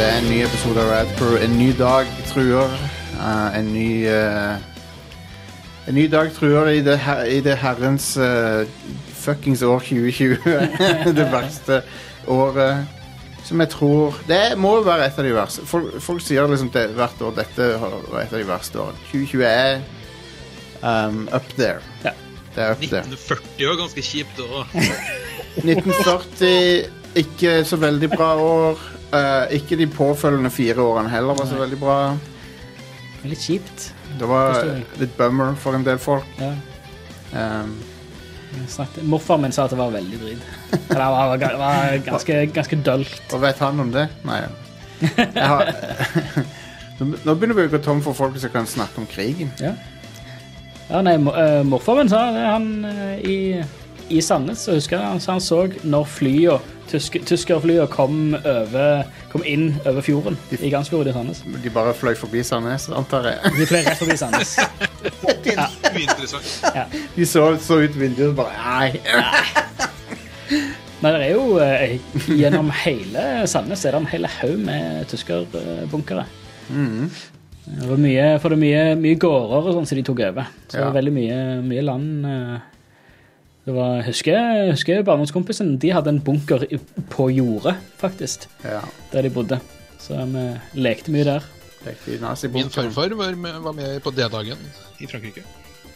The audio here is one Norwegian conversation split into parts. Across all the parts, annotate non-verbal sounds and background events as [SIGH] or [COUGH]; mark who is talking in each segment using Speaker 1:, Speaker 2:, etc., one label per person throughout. Speaker 1: episode av Rad Crew. En ny dag truer. Eh, en ny eh, En ny dag truer i det, her, i det herrens eh, fuckings år 2020. [LAUGHS] det verste året som jeg tror Det må jo være et av de verste. Folk, folk sier liksom det hvert år dette var et av de verste årene. 2020 er um, up there.
Speaker 2: Ja.
Speaker 1: Det er up there.
Speaker 3: 1940 var ganske kjipt [LAUGHS] år.
Speaker 1: 1940, ikke så veldig bra år. Eh, ikke de påfølgende fire årene heller var så veldig bra.
Speaker 2: Litt kjipt.
Speaker 1: Det var
Speaker 2: Forstår jeg.
Speaker 1: litt bummer for en del folk.
Speaker 2: Ja.
Speaker 1: Um,
Speaker 2: jeg snakket- Morfar min sa at det var veldig drit. Eller det var, det var ganske, ganske dølt.
Speaker 1: og vet han om det? Nei. Jeg har, [LAUGHS] nå nå begynner vi å gå tom for folk som kan snakke om krigen.
Speaker 2: Ja. Ja, nei, mo- eh, morfar min sa det. Han eh, i, i Sandnes så husker jeg han, sa han så når flya, tysk, tyskerflya kom, over- kom inn over fjorden i Gansfjord i Sandnes.
Speaker 1: De bare fløy forbi Sandnes, antar jeg.
Speaker 2: De fløy rett forbi Sandnes.
Speaker 1: [LAUGHS]
Speaker 3: Uinteressant.
Speaker 1: De så, så ut vinduet og bare Nei.
Speaker 2: Nei, det er jo eh, Gjennom hele Sandnes er det en hel haug med tyskerbunkere.
Speaker 1: Mm.
Speaker 2: Det var mye, for det var mye, mye gårder og sånn som de tok over. Så det
Speaker 1: Ja.
Speaker 2: var veldig mye, mye land. eh. Det var, jeg husker jeg husker barndomskompisen de hadde en bunker i- på jordet, faktisk,
Speaker 1: Ja,
Speaker 2: der de bodde. Så vi lekte mye der.
Speaker 1: riktig
Speaker 4: Min
Speaker 1: nazibunker.
Speaker 4: farfar var med, var med på D-dagen i Frankrike.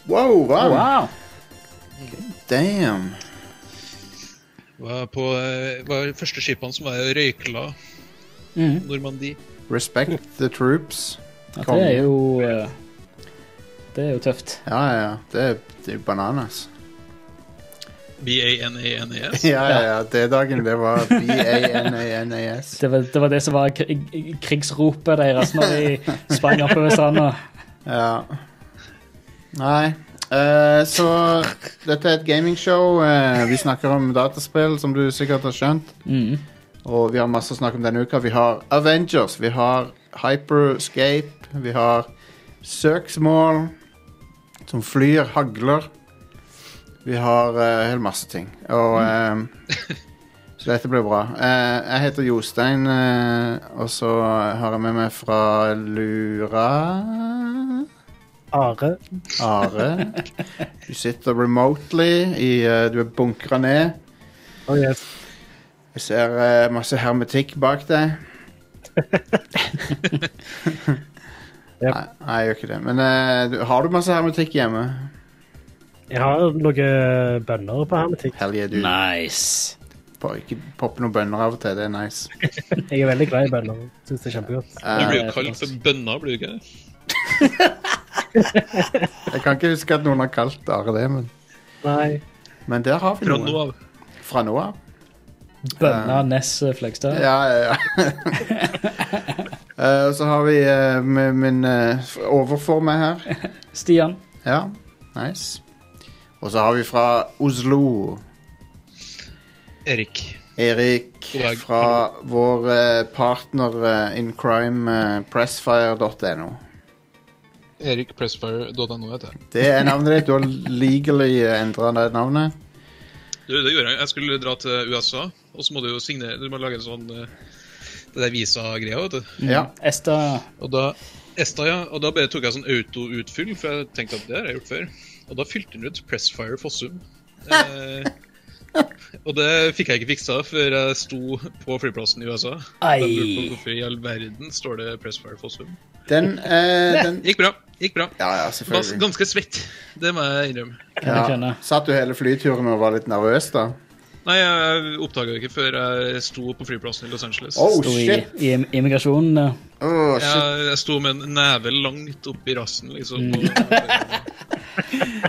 Speaker 1: Wow, wow.
Speaker 2: Wow!
Speaker 1: Damn.
Speaker 4: Var, på, eh, var første skipene som var i røykla,
Speaker 2: Mhm.
Speaker 4: Normandie.
Speaker 1: Respect the troops.
Speaker 2: Ja, det
Speaker 1: Konge.
Speaker 2: er jo eh, Det er jo tøft.
Speaker 1: Ja, ja, ja. Det er, det er bananas.
Speaker 3: B-A-N-A-N-E-S.
Speaker 1: [LAUGHS] Ja, ja, ja. Det dagen det var B-A-N-A-N-A-S.
Speaker 2: Det var det, var det som var kri- krigsropet deres når de sprang oppover stranda.
Speaker 1: Ja. Nei. eh, så dette er et gamingshow. eh, vi snakker om dataspill, som du sikkert har skjønt.
Speaker 2: Mhm.
Speaker 1: Og vi har masse å snakke om denne uka. Vi har Avengers, vi har Hyperscape, vi har søksmål som flyr, hagler. Vi har eh, en hel masse ting. Og eh, Så dette blir bra. Eh, jeg heter Jostein, eh, og så har jeg med meg fra Lura
Speaker 5: Are.
Speaker 1: Are. Du sitter remotely i eh, Du er bunkra ned.
Speaker 5: Oh, yes.
Speaker 1: Jeg ser eh, masse hermetikk bak deg.
Speaker 5: Yep.
Speaker 1: Nei, nei, jeg gjør ikke det. Men eh, du- har du masse hermetikk hjemme?
Speaker 5: Jeg har noen bønner på hermetikk.
Speaker 1: Hell yeah, du.
Speaker 2: Nice.
Speaker 1: Po- Ikke poppe noen bønner av og til. Det er nice.
Speaker 5: Jeg er veldig glad i bønner. Synes det er kjempegodt.
Speaker 3: Du
Speaker 1: Eh,
Speaker 3: blir jo kalt for bønna, blir du ikke det?
Speaker 1: jeg kan ikke huske at noen har kalt Are det, men,
Speaker 5: Nei.
Speaker 1: men der har vi
Speaker 3: Fra nå
Speaker 1: noe.
Speaker 3: av.
Speaker 1: Fra nå av?
Speaker 2: Bønna Ness Fløgstad.
Speaker 1: Ja, ja, [LAUGHS] ja. Eh, Og så har vi eh, min, min eh, overfor meg her.
Speaker 2: Stian.
Speaker 1: Ja, nice. Og så har vi fra Oslo.
Speaker 3: Erik.
Speaker 1: Erik
Speaker 3: God dag.
Speaker 1: fra vår eh, partner eh, in crime, eh, pressfire.no.
Speaker 4: Erikpressfire.no, heter jeg.
Speaker 1: Det er navnet ditt. Du har legally endra det navnet.
Speaker 3: Du, det gjorde jeg. Jeg skulle dra til USA, og så må du jo signere Du må lage en sånn eh, Det der visa-greia, vet du.
Speaker 2: Mm.
Speaker 1: Ja.
Speaker 2: Esta.
Speaker 3: Og da Esta, ja. Og da bare tok jeg sånn autoutfyll, for jeg tenkte at det har jeg gjort før. Og da fylte den ut Pressfire Fossum. Eh, og det fikk jeg ikke fiksa før jeg sto på flyplassen i USA. Jeg lurte på
Speaker 2: Ei.
Speaker 3: hvorfor i all verden står det Pressfire Fossum.
Speaker 1: Den, eh, den
Speaker 3: Gikk bra. Gikk bra.
Speaker 1: Ja, ja,
Speaker 3: Var
Speaker 1: selvfølgelig.
Speaker 3: ganske svett. Det må jeg innrømme.
Speaker 2: Kan jeg
Speaker 1: Ja.
Speaker 2: skjønne.
Speaker 1: Satt du hele flyturen og var litt nervøs, da?
Speaker 3: Nei, jeg oppdaga ikke før jeg sto på flyplassen i Los Angeles.
Speaker 1: Oh,
Speaker 2: Sto i,
Speaker 1: shit!
Speaker 2: i immigrasjonen. eh.
Speaker 1: Oh, shit.
Speaker 3: Jeg, jeg sto med en neve langt oppi rassen, liksom. Og,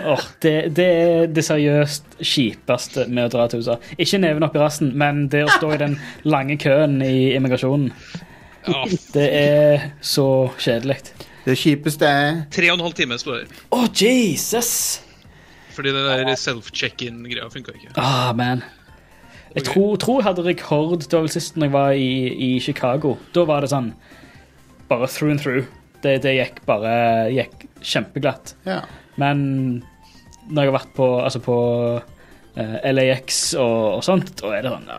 Speaker 2: Åh, det, det er det seriøst kjipeste med å dra til USA. Ikke neven opp i rassen, men det å stå i den lange køen i immigrasjonen.
Speaker 3: ja,
Speaker 2: Det er så kjedelig.
Speaker 1: Det kjipeste er
Speaker 3: tre og en halv time sto jeg der.
Speaker 2: Å, Jesus!
Speaker 3: Fordi det der self-check-in-greia funka ikke.
Speaker 2: Ah, man. Jeg tror, tror jeg hadde rekord det var vel sist når jeg var i, i Chicago. Da var det sånn bare through and through. Det, det gikk bare gikk kjempeglatt.
Speaker 1: Ja.
Speaker 2: Men når jeg har vært på, altså på eh, LAX og, og sånt, og er det sånn ja,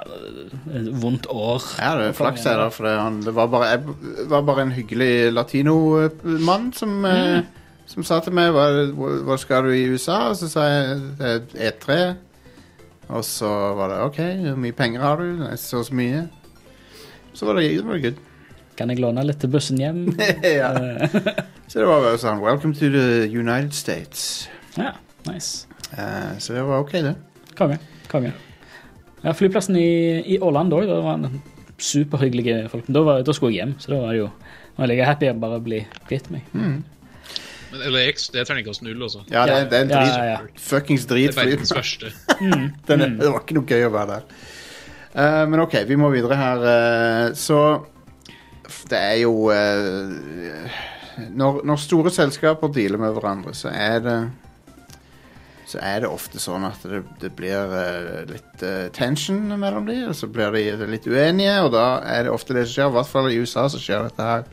Speaker 2: et vondt år.
Speaker 1: Ja, det er flaks her, da, for det, han, det var, bare, jeg, var bare en hyggelig latinomann som, eh, som sa til meg hva, hvor hvor skal du i USA? Og så sa jeg det er E3. Og så var det OK, hvor mye penger har du? Nei, så og så mye. Så var det, det var good.
Speaker 2: Kan jeg låne litt til bussen hjem?
Speaker 1: ja.
Speaker 2: Eh,
Speaker 1: Så det var bare sånn Welcome to the United States.
Speaker 2: ja, nice.
Speaker 1: Eh, så det var OK, det.
Speaker 2: Konge. Konge. Ja, flyplassen i, i Orlando òg, det var en superhyggelige folk. Men Da, var, da skulle jeg hjem, så da var det jo Nå ligger jeg happy og bare blir kvitt meg.
Speaker 4: Men LAX, det er terningkast null, altså.
Speaker 1: Mm. Ja, det, det er en
Speaker 2: Ja,
Speaker 1: drit,
Speaker 2: ja, ja.
Speaker 1: fuckings
Speaker 4: Det er
Speaker 1: dritfly.
Speaker 4: verdens verste.
Speaker 1: Den, Det var ikke noe gøy å være der. Eh, men OK, vi må videre her. eh, så f- Det er jo eh, når, når store selskaper dealer med hverandre, så er det så er det ofte sånn at det, det blir eh, litt eh, tension mellom de, og så blir de litt uenige, og da er det ofte det som skjer. I hvert fall i USA så skjer dette her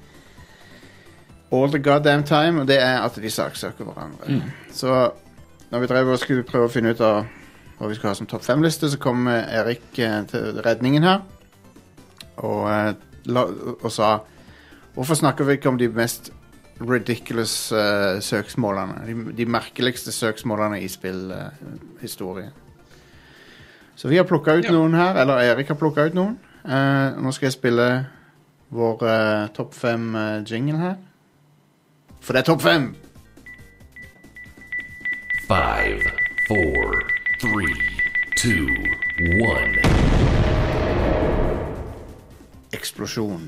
Speaker 1: all the goddamn time, og det er at de saksøker hverandre. Så når vi drev og skulle prøve å finne ut av hva vi skal ha som topp fem-liste, så kom eh, Erik eh, til redningen her og, eh, la, og sa Hvorfor snakker vi ikke om de mest ridiculous eh, søksmålene? De, de merkeligste søksmålene i spillhistorien. så vi har plukka ut
Speaker 4: Ja.
Speaker 1: noen her, eller Erik har plukka ut noen. Eh, nå skal jeg spille vår eh, topp fem-jingle her. For det er topp fem!
Speaker 6: Five, four, three, two, one.
Speaker 1: Eksplosjon.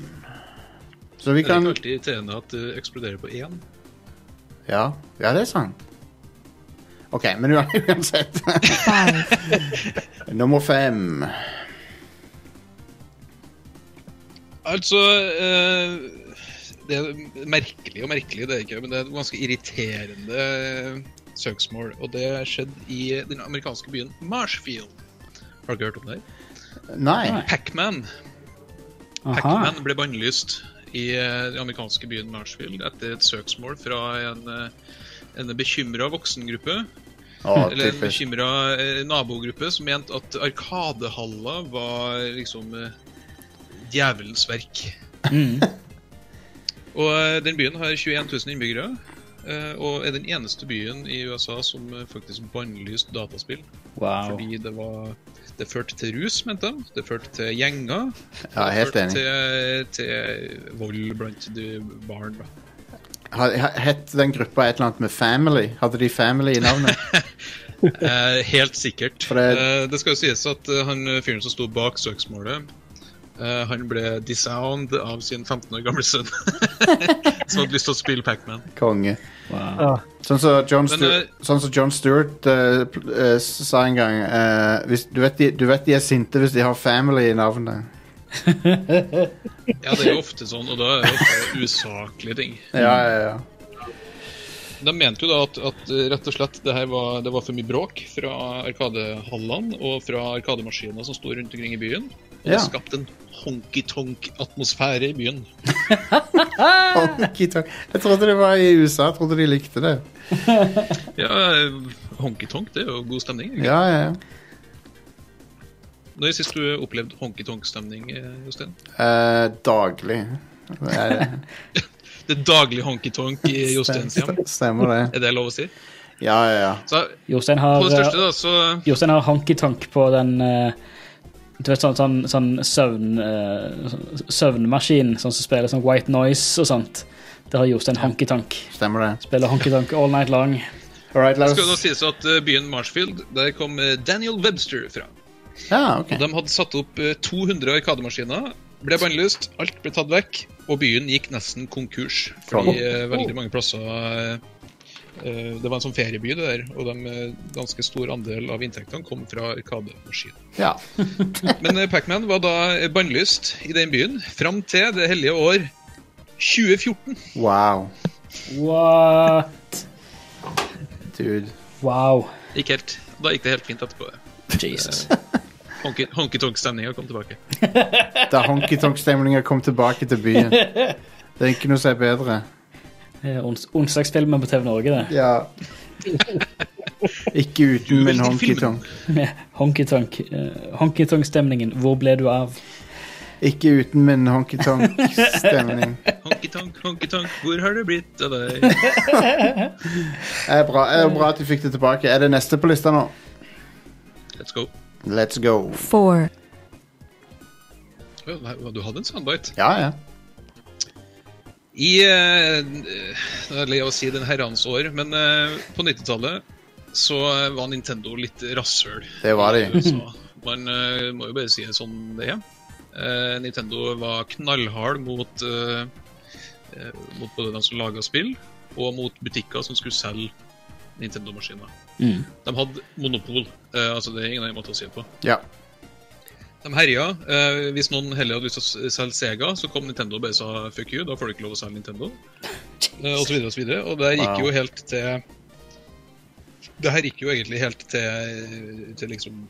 Speaker 1: Så vi
Speaker 4: Det er
Speaker 1: kan
Speaker 4: ikke alltid TNA at det eksploderer på én.
Speaker 1: Ja, ja det er sant. OK, men [LAUGHS] uansett
Speaker 7: five,
Speaker 1: Nummer fem.
Speaker 4: Altså eh, Det er merkelig og merkelig, det er ikke, men det er et ganske irriterende eh, søksmål. Og det skjedde i den amerikanske byen Marshfield. Har dere hørt om det?
Speaker 1: Nei.
Speaker 4: Pacman.
Speaker 2: Aha.
Speaker 4: Pac-Man ble bannlyst i eh, den amerikanske byen Marshfield etter et søksmål fra en, eh, en bekymra voksengruppe,
Speaker 1: Å,
Speaker 4: eller en
Speaker 1: typisk.
Speaker 4: bekymra nabogruppe, som mente at Arkadehalla var liksom eh, djevelens verk.
Speaker 1: Mm.
Speaker 4: [LAUGHS] Og eh, den byen har 21 000 innbyggere. eh, Og er den eneste byen i USA som eh, faktisk bannlyste dataspill.
Speaker 2: Wow.
Speaker 4: Fordi det var Det førte til rus, mente de. Det førte til gjenger.
Speaker 1: Ja, jeg er helt
Speaker 4: Det
Speaker 1: enig.
Speaker 4: førte Til, eh, til vold blant de barn. da.
Speaker 1: Ha- ha- Het den gruppa et eller annet med Family? Hadde de Family i
Speaker 4: [LAUGHS]
Speaker 1: navnet?
Speaker 4: Eh, helt sikkert.
Speaker 1: For det-
Speaker 4: Eh, det skal jo sies at eh, han eh, fyren som sto bak søksmålet, eh, han ble disowned av sin 15 år gamle sønn. [LAUGHS] som hadde lyst til å spille Pac-Man.
Speaker 1: Konge.
Speaker 2: wow.
Speaker 5: Ja.
Speaker 1: Sånn som John,
Speaker 4: Men,
Speaker 1: Stu
Speaker 4: eh,
Speaker 1: sånn som John Stewart eh, pl- eh, s- sa en gang eh, hvis, du, vet de, du vet de er sinte hvis de har Family i navnet.
Speaker 4: Ja, det er jo ofte sånn, og da er det ofte usaklige ting.
Speaker 1: Ja, ja, ja.
Speaker 4: De mente jo da at, at eh, rett og slett det her var, det var for mye bråk fra Arkadehallene og fra Arkademaskiner som sto rundt omkring i byen. Og
Speaker 1: Ja.
Speaker 4: det skapte en honky-tonk-atmosfære i byen. Mm.
Speaker 1: [LAUGHS] Honky tonk. Jeg trodde det var i USA. Jeg trodde de likte det.
Speaker 4: Ja, eh, honky-tonk det er jo god stemning. ikke?
Speaker 1: Ja, ja, ja.
Speaker 4: Når sist du opplevde honky-tonk-stemning, eh, Jostein?
Speaker 1: Eh, daglig. Det er-
Speaker 4: Det er daglig honky-tonk i Josteins hjem.
Speaker 1: Stemmer det.
Speaker 4: Er det lov å si?
Speaker 1: Ja, ja, ja.
Speaker 4: Så
Speaker 2: Jostein
Speaker 4: på
Speaker 2: har, eh,
Speaker 4: det største, da, så
Speaker 2: Jostein har honky-tonk på den eh, du vet, sånn, sånn, sånn søvn, eh, sånn søvnmaskin sånn som spiller sånn white noise og sånt. Der har Jostein honky-tonk.
Speaker 1: Stemmer det.
Speaker 2: Spiller honky-tonk all night long.
Speaker 1: All right, la
Speaker 4: skal det nå
Speaker 1: oss
Speaker 4: sies at eh, byen Marshfield, der kom eh, Daniel Webster fra.
Speaker 1: Ja, OK.
Speaker 4: De hadde satt opp eh, 200 arkademaskiner, ble bannlyst, alt ble tatt vekk, og byen gikk nesten konkurs. Fordi eh, veldig mange plasser eh, eh, Det var en sånn ferieby, det der, og de eh, ganske stor andel av inntektene kom fra arkademaskiner.
Speaker 1: Ja.
Speaker 4: Men eh, Pac-Man var da eh, bannlyst i den byen fram til det hellige år 2014.
Speaker 1: Wow.
Speaker 2: What?
Speaker 1: Dude.
Speaker 2: Wow.
Speaker 4: Gikk helt, da gikk det helt fint etterpå.
Speaker 1: [LAUGHS]
Speaker 2: Jesus.
Speaker 4: Honky- Honky-tonk-stemninga kom tilbake.
Speaker 1: Da honky-tonk-stemninga kom tilbake til byen. Det er ikke noe som er bedre.
Speaker 2: Det er ons- Onsdagsfilmen på TV Norge, det.
Speaker 1: Ja. Ikke uten, men
Speaker 4: Veldig
Speaker 1: honky-tonk.
Speaker 2: eh, Honky-tonk-stemningen. Honky -tonk Hvor ble du av?
Speaker 1: Ikke uten, men
Speaker 4: [LAUGHS]
Speaker 1: honky-tonk-stemning.
Speaker 4: Honky-tonk, honky-tonk, hvor har det blitt av deg?
Speaker 1: Er bra, er bra at du fikk det tilbake. Er det neste på lista nå?
Speaker 4: Let's go.
Speaker 1: Let's go.
Speaker 3: four,
Speaker 4: Å, nei, du hadde en soundbite.
Speaker 1: Ja, ja.
Speaker 4: I eh, Nå er jeg lei av å si den herrens år, men eh, på 90-tallet så var Nintendo litt rasshøl.
Speaker 1: Det var
Speaker 4: i
Speaker 1: de.
Speaker 4: USA. Man eh, må jo bare si det sånn det er. Eh, Nintendo var knallhard mot, eh, eh, mot både dem som laga spill, og mot butikker som skulle selge Nintendo-maskiner.
Speaker 2: Mm.
Speaker 4: De hadde monopol. eh, altså Det er ingen annen måte å si det på.
Speaker 1: Ja.
Speaker 4: De herja. Eh, hvis noen heller hadde lyst til å s- selge Sega, så kom Nintendo og bare sa fuck you, da får du ikke lov å selge Nintendo. Eh, og så videre og så videre. Og det gikk
Speaker 1: Wow.
Speaker 4: jo helt til Det her gikk jo egentlig helt til, til liksom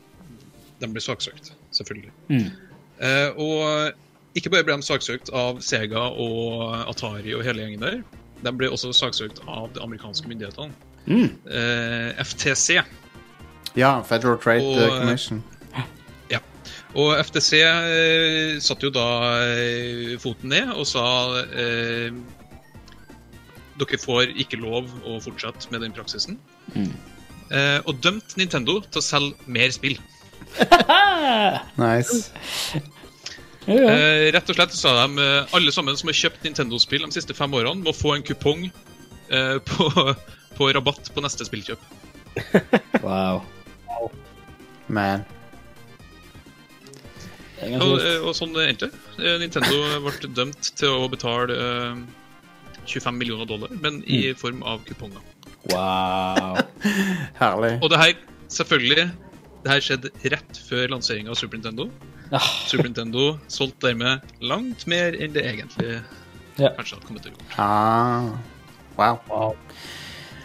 Speaker 4: De ble saksøkt, selvfølgelig.
Speaker 2: Mm.
Speaker 4: Eh, og ikke bare ble de saksøkt av Sega og Atari og hele gjengen der. De ble også saksøkt av de amerikanske myndighetene.
Speaker 2: Mm.
Speaker 4: Eh, FTC.
Speaker 1: ja, Federal Trade
Speaker 4: Og,
Speaker 1: eh, Commission.
Speaker 4: Og FTC eh, satte jo da eh, foten ned og sa eh, Dere får ikke lov å fortsette med den praksisen. Eh, og dømte Nintendo til å selge mer spill.
Speaker 1: Nice.
Speaker 2: Ja, ja.
Speaker 4: Eh, rett og slett sa de eh, alle sammen som har kjøpt Nintendo-spill de siste fem årene, må få en kupong eh, [LAUGHS] på, på rabatt på neste spillkjøp.
Speaker 2: Wow.
Speaker 1: Man.
Speaker 2: Det er ganske
Speaker 4: Og,
Speaker 2: vilt.
Speaker 4: eh, og sånn endte det. Eh, Nintendo ble dømt til å betale eh, 25 millioner dollar, men i form av kuponger.
Speaker 2: Wow.
Speaker 1: Herlig.
Speaker 4: Og det her, selvfølgelig Det her skjedde rett før lanseringa av Super Nintendo.
Speaker 2: Ah.
Speaker 4: Super Nintendo solgte dermed langt mer enn det egentlig
Speaker 2: Ja.
Speaker 4: kanskje hadde kommet til å gjøre.
Speaker 1: Ah. Wow.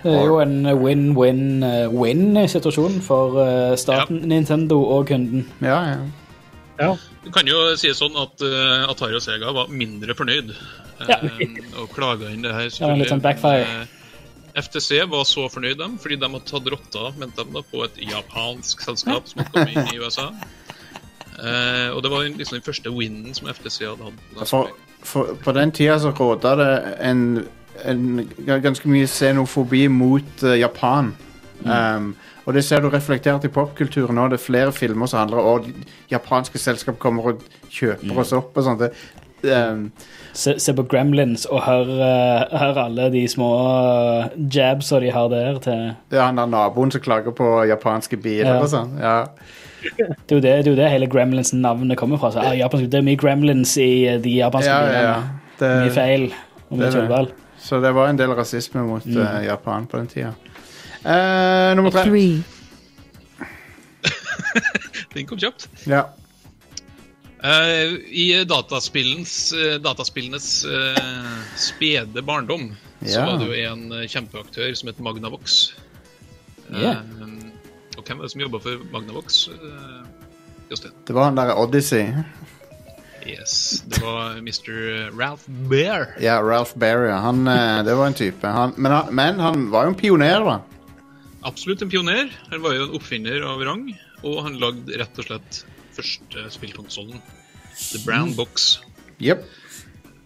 Speaker 2: Det er jo en win-win-win-situasjon for eh, staten, Nintendo og kunden.
Speaker 1: Ja, ja.
Speaker 5: Ja.
Speaker 4: Du kan jo si sånn at eh, Atari og Sega var mindre fornøyd eh, og klaga inn det her.
Speaker 2: var litt sånn backfire.
Speaker 4: Men, eh, FTC var så fornøyd dem, fordi de hadde tatt rotta mente de da, på et japansk selskap som hadde kommet inn i USA. Eh, og det var liksom den første winnen som FTC hadde hatt. på den
Speaker 1: Altså, For, for, på den tida så råda det en, en g- ganske mye xenofobi mot eh, Japan.
Speaker 2: Mm.
Speaker 1: Um, og det ser du reflektert i popkulturen nå. Det er flere filmer som handler om at japanske selskap kommer og kjøper
Speaker 2: Mm.
Speaker 1: oss opp og sånt. Det, um,
Speaker 2: Se, se på Gremlins og hør, eh, hør alle de små eh, jabsa de har der. Til.
Speaker 1: det er han der naboen som klager på japanske biler
Speaker 2: Ja.
Speaker 1: og sånn. Ja.
Speaker 2: Det er jo det, det, er jo det hele Gremlins-navnet kommer fra. Så, ah, japansk, det er mye Gremlins i eh, de japanske
Speaker 1: Ja, ja, ja.
Speaker 2: bilene. Mye
Speaker 1: Det,
Speaker 2: feil og mye
Speaker 1: det er det.
Speaker 2: tullball.
Speaker 1: så det var en del rasisme mot
Speaker 2: Mm.
Speaker 1: eh, Japan på den tida. Eh, nummer tre.
Speaker 3: three,
Speaker 4: tiden. Den kom kjapt.
Speaker 1: Ja.
Speaker 4: Eh, I dataspillens, eh, dataspillenes eh, spede barndom så
Speaker 1: Ja.
Speaker 4: var det jo en eh, kjempeaktør som het Magnavox. Eh,
Speaker 2: Ja.
Speaker 4: og hvem var det som jobba for Magnavox? Eh, Jostein.
Speaker 1: Det var han der Odyssey.
Speaker 4: Yes, det var Mr. Ralph Bear.
Speaker 1: Ja, Ralph Berry. Han, eh, det var en type. Han, men, han, men han var jo en pioner, da.
Speaker 4: Absolutt en pioner. Han var jo en oppfinner av rang, og han lagde rett og slett første spillkonsollen, The Brown Box.
Speaker 1: Jepp.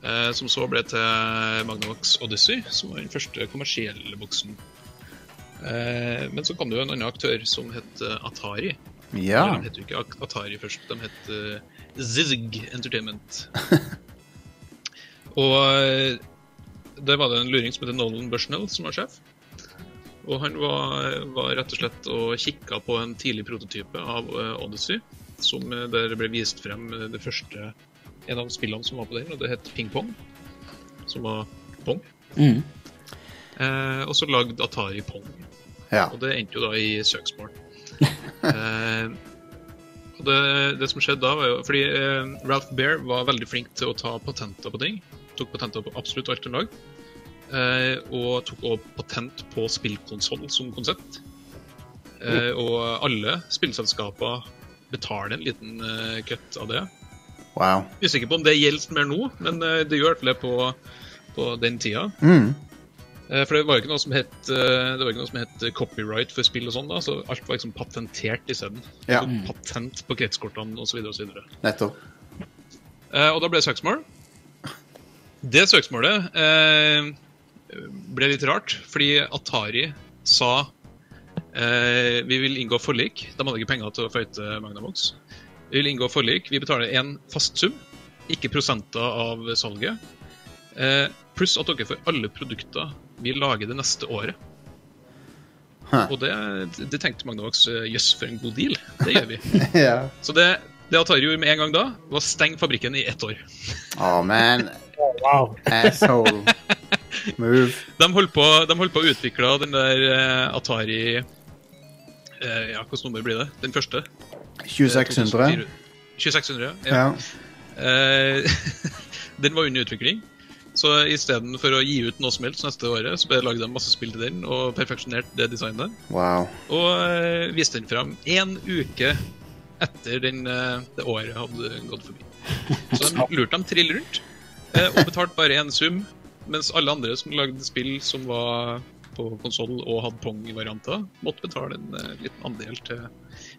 Speaker 4: Eh, som så ble til Magnavox Odyssey, som var den første kommersielle boksen. Eh, men så kom det jo en annen aktør som het eh, Atari.
Speaker 1: Ja.
Speaker 4: Eller, De het jo ikke Ak- Atari først, de het eh, Zizg Entertainment. [LAUGHS] Og eh, der var det en luring som heter Nolan Bushnell, som var sjef. Og han var, var rett og slett og kikka på en tidlig prototype av eh, Odyssey, som eh, der ble vist frem eh, det første en av spillene som var på den, og det het Ping Pong. Som var pong.
Speaker 2: Mm.
Speaker 4: Eh, og så lagde Atari Pong,
Speaker 1: ja.
Speaker 4: og det endte jo da i søksmål. eh, og det, det som skjedde da, var jo fordi eh, Ralph Bear var veldig flink til å ta patenter på ting. Tok patenter på absolutt alt han lagde. Eh, og tok også patent på spillkonsoll som konsept. Eh, og alle spillselskaper betaler en liten eh, kutt av det.
Speaker 1: Wow.
Speaker 4: Usikker på om det gjelder mer nå, men eh, det gjør i hvert fall det på, på den tida.
Speaker 1: Mm.
Speaker 4: Eh, For det var jo ikke noe som het, eh, det var ikke noe som het copyright for spill og sånn, da, så alt var liksom patentert isteden.
Speaker 1: Ja.
Speaker 4: Så Patent på kretskortene osv. Og, så videre.
Speaker 1: Nettopp. [LAUGHS]
Speaker 4: Eh, og da ble det søksmål. Det søksmålet eh, ble litt rart, fordi Atari sa eh, vi vil inngå forlik. De hadde ikke penger til å føyte Magnavox. Vi vil inngå forlik. Vi betaler en fast sum, ikke prosenter av salget. Eh, pluss at dere får alle produkter vi lager det neste året.
Speaker 1: Hæ.
Speaker 4: Og det, det tenkte Magnavox eh, jøss, for en god deal. Det gjør vi.
Speaker 1: ja.
Speaker 4: Så det, det Atari gjorde med en gang da, var å stenge fabrikken i ett år.
Speaker 1: Å, man.
Speaker 5: Wow.
Speaker 1: Asshole. Move.
Speaker 4: De holdt på, de holdt på å utvikle den der eh, Atari eh, Ja, hvilket nummer blir det? Den første? Eh,
Speaker 1: 2600.
Speaker 4: 2600, ja.
Speaker 1: Ja.
Speaker 4: Eh, [LAUGHS] den var under utvikling. Så istedenfor å gi ut noe som helst neste året, så bare lagde de masse spill til den og perfeksjonerte det designet.
Speaker 1: Wow.
Speaker 4: Og eh, viste den fram én uke etter den, eh, det året hadde gått forbi. Så de lurte dem trill rundt, eh, og betalte bare én sum. Mens alle andre som lagde spill som var på konsoll og hadde Pong-varianter, måtte betale en eh, liten andel til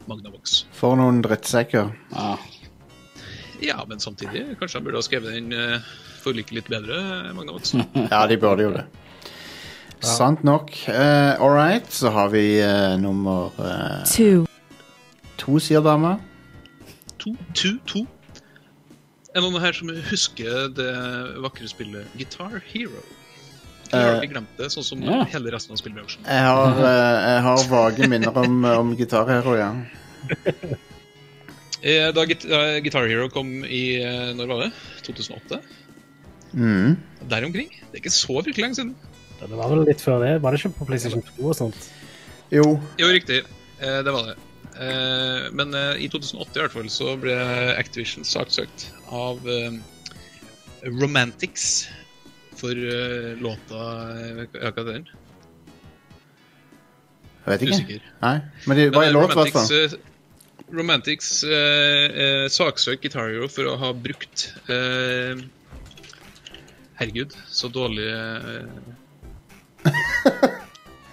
Speaker 4: Magnavox.
Speaker 1: For noen drittsekker.
Speaker 2: Ja.
Speaker 4: Ja, men samtidig, kanskje de burde ha skrevet den eh, forliket litt bedre, eh, Magnavox.
Speaker 1: Ja, de burde jo det. Sant nok. Uh, All right, så har vi eh, nummer eh,
Speaker 3: two,
Speaker 1: to, sier dama.
Speaker 4: To, to, to. Er det noen her som husker det vakre spillet Guitar Hero? Jeg
Speaker 1: Eh,
Speaker 4: har aldri glemt det, sånn som
Speaker 2: Ja.
Speaker 4: hele resten av spillbransjen.
Speaker 1: Jeg [LAUGHS] har, eh, jeg har vage minner om, eh, om gitarhero, ja.
Speaker 4: Eh, Da Git- da Guitar Hero kom i eh, når var det? 2008?
Speaker 1: Mm.
Speaker 4: Der omkring. Det er ikke så virkelig lenge siden.
Speaker 5: Det var vel litt før det. Var det ikke på PlayStation 2 og sånt?
Speaker 1: Jo.
Speaker 4: Jo, riktig. Eh, Det var det. Eh, Men eh, i 2008 i hvert fall så ble Activision saksøkt av eh, Romantics for eh, låta eh, Hva hva heter den?
Speaker 1: Jeg vet ikke.
Speaker 4: Usikker.
Speaker 1: Nei. Men det var
Speaker 4: Eh,
Speaker 1: en låt, i hvert
Speaker 4: Romantics,
Speaker 1: fall.
Speaker 4: eh, Romantics eh, eh, saksøk Guitar Hero for å ha brukt eh, Herregud, så dårlig eh. [LAUGHS]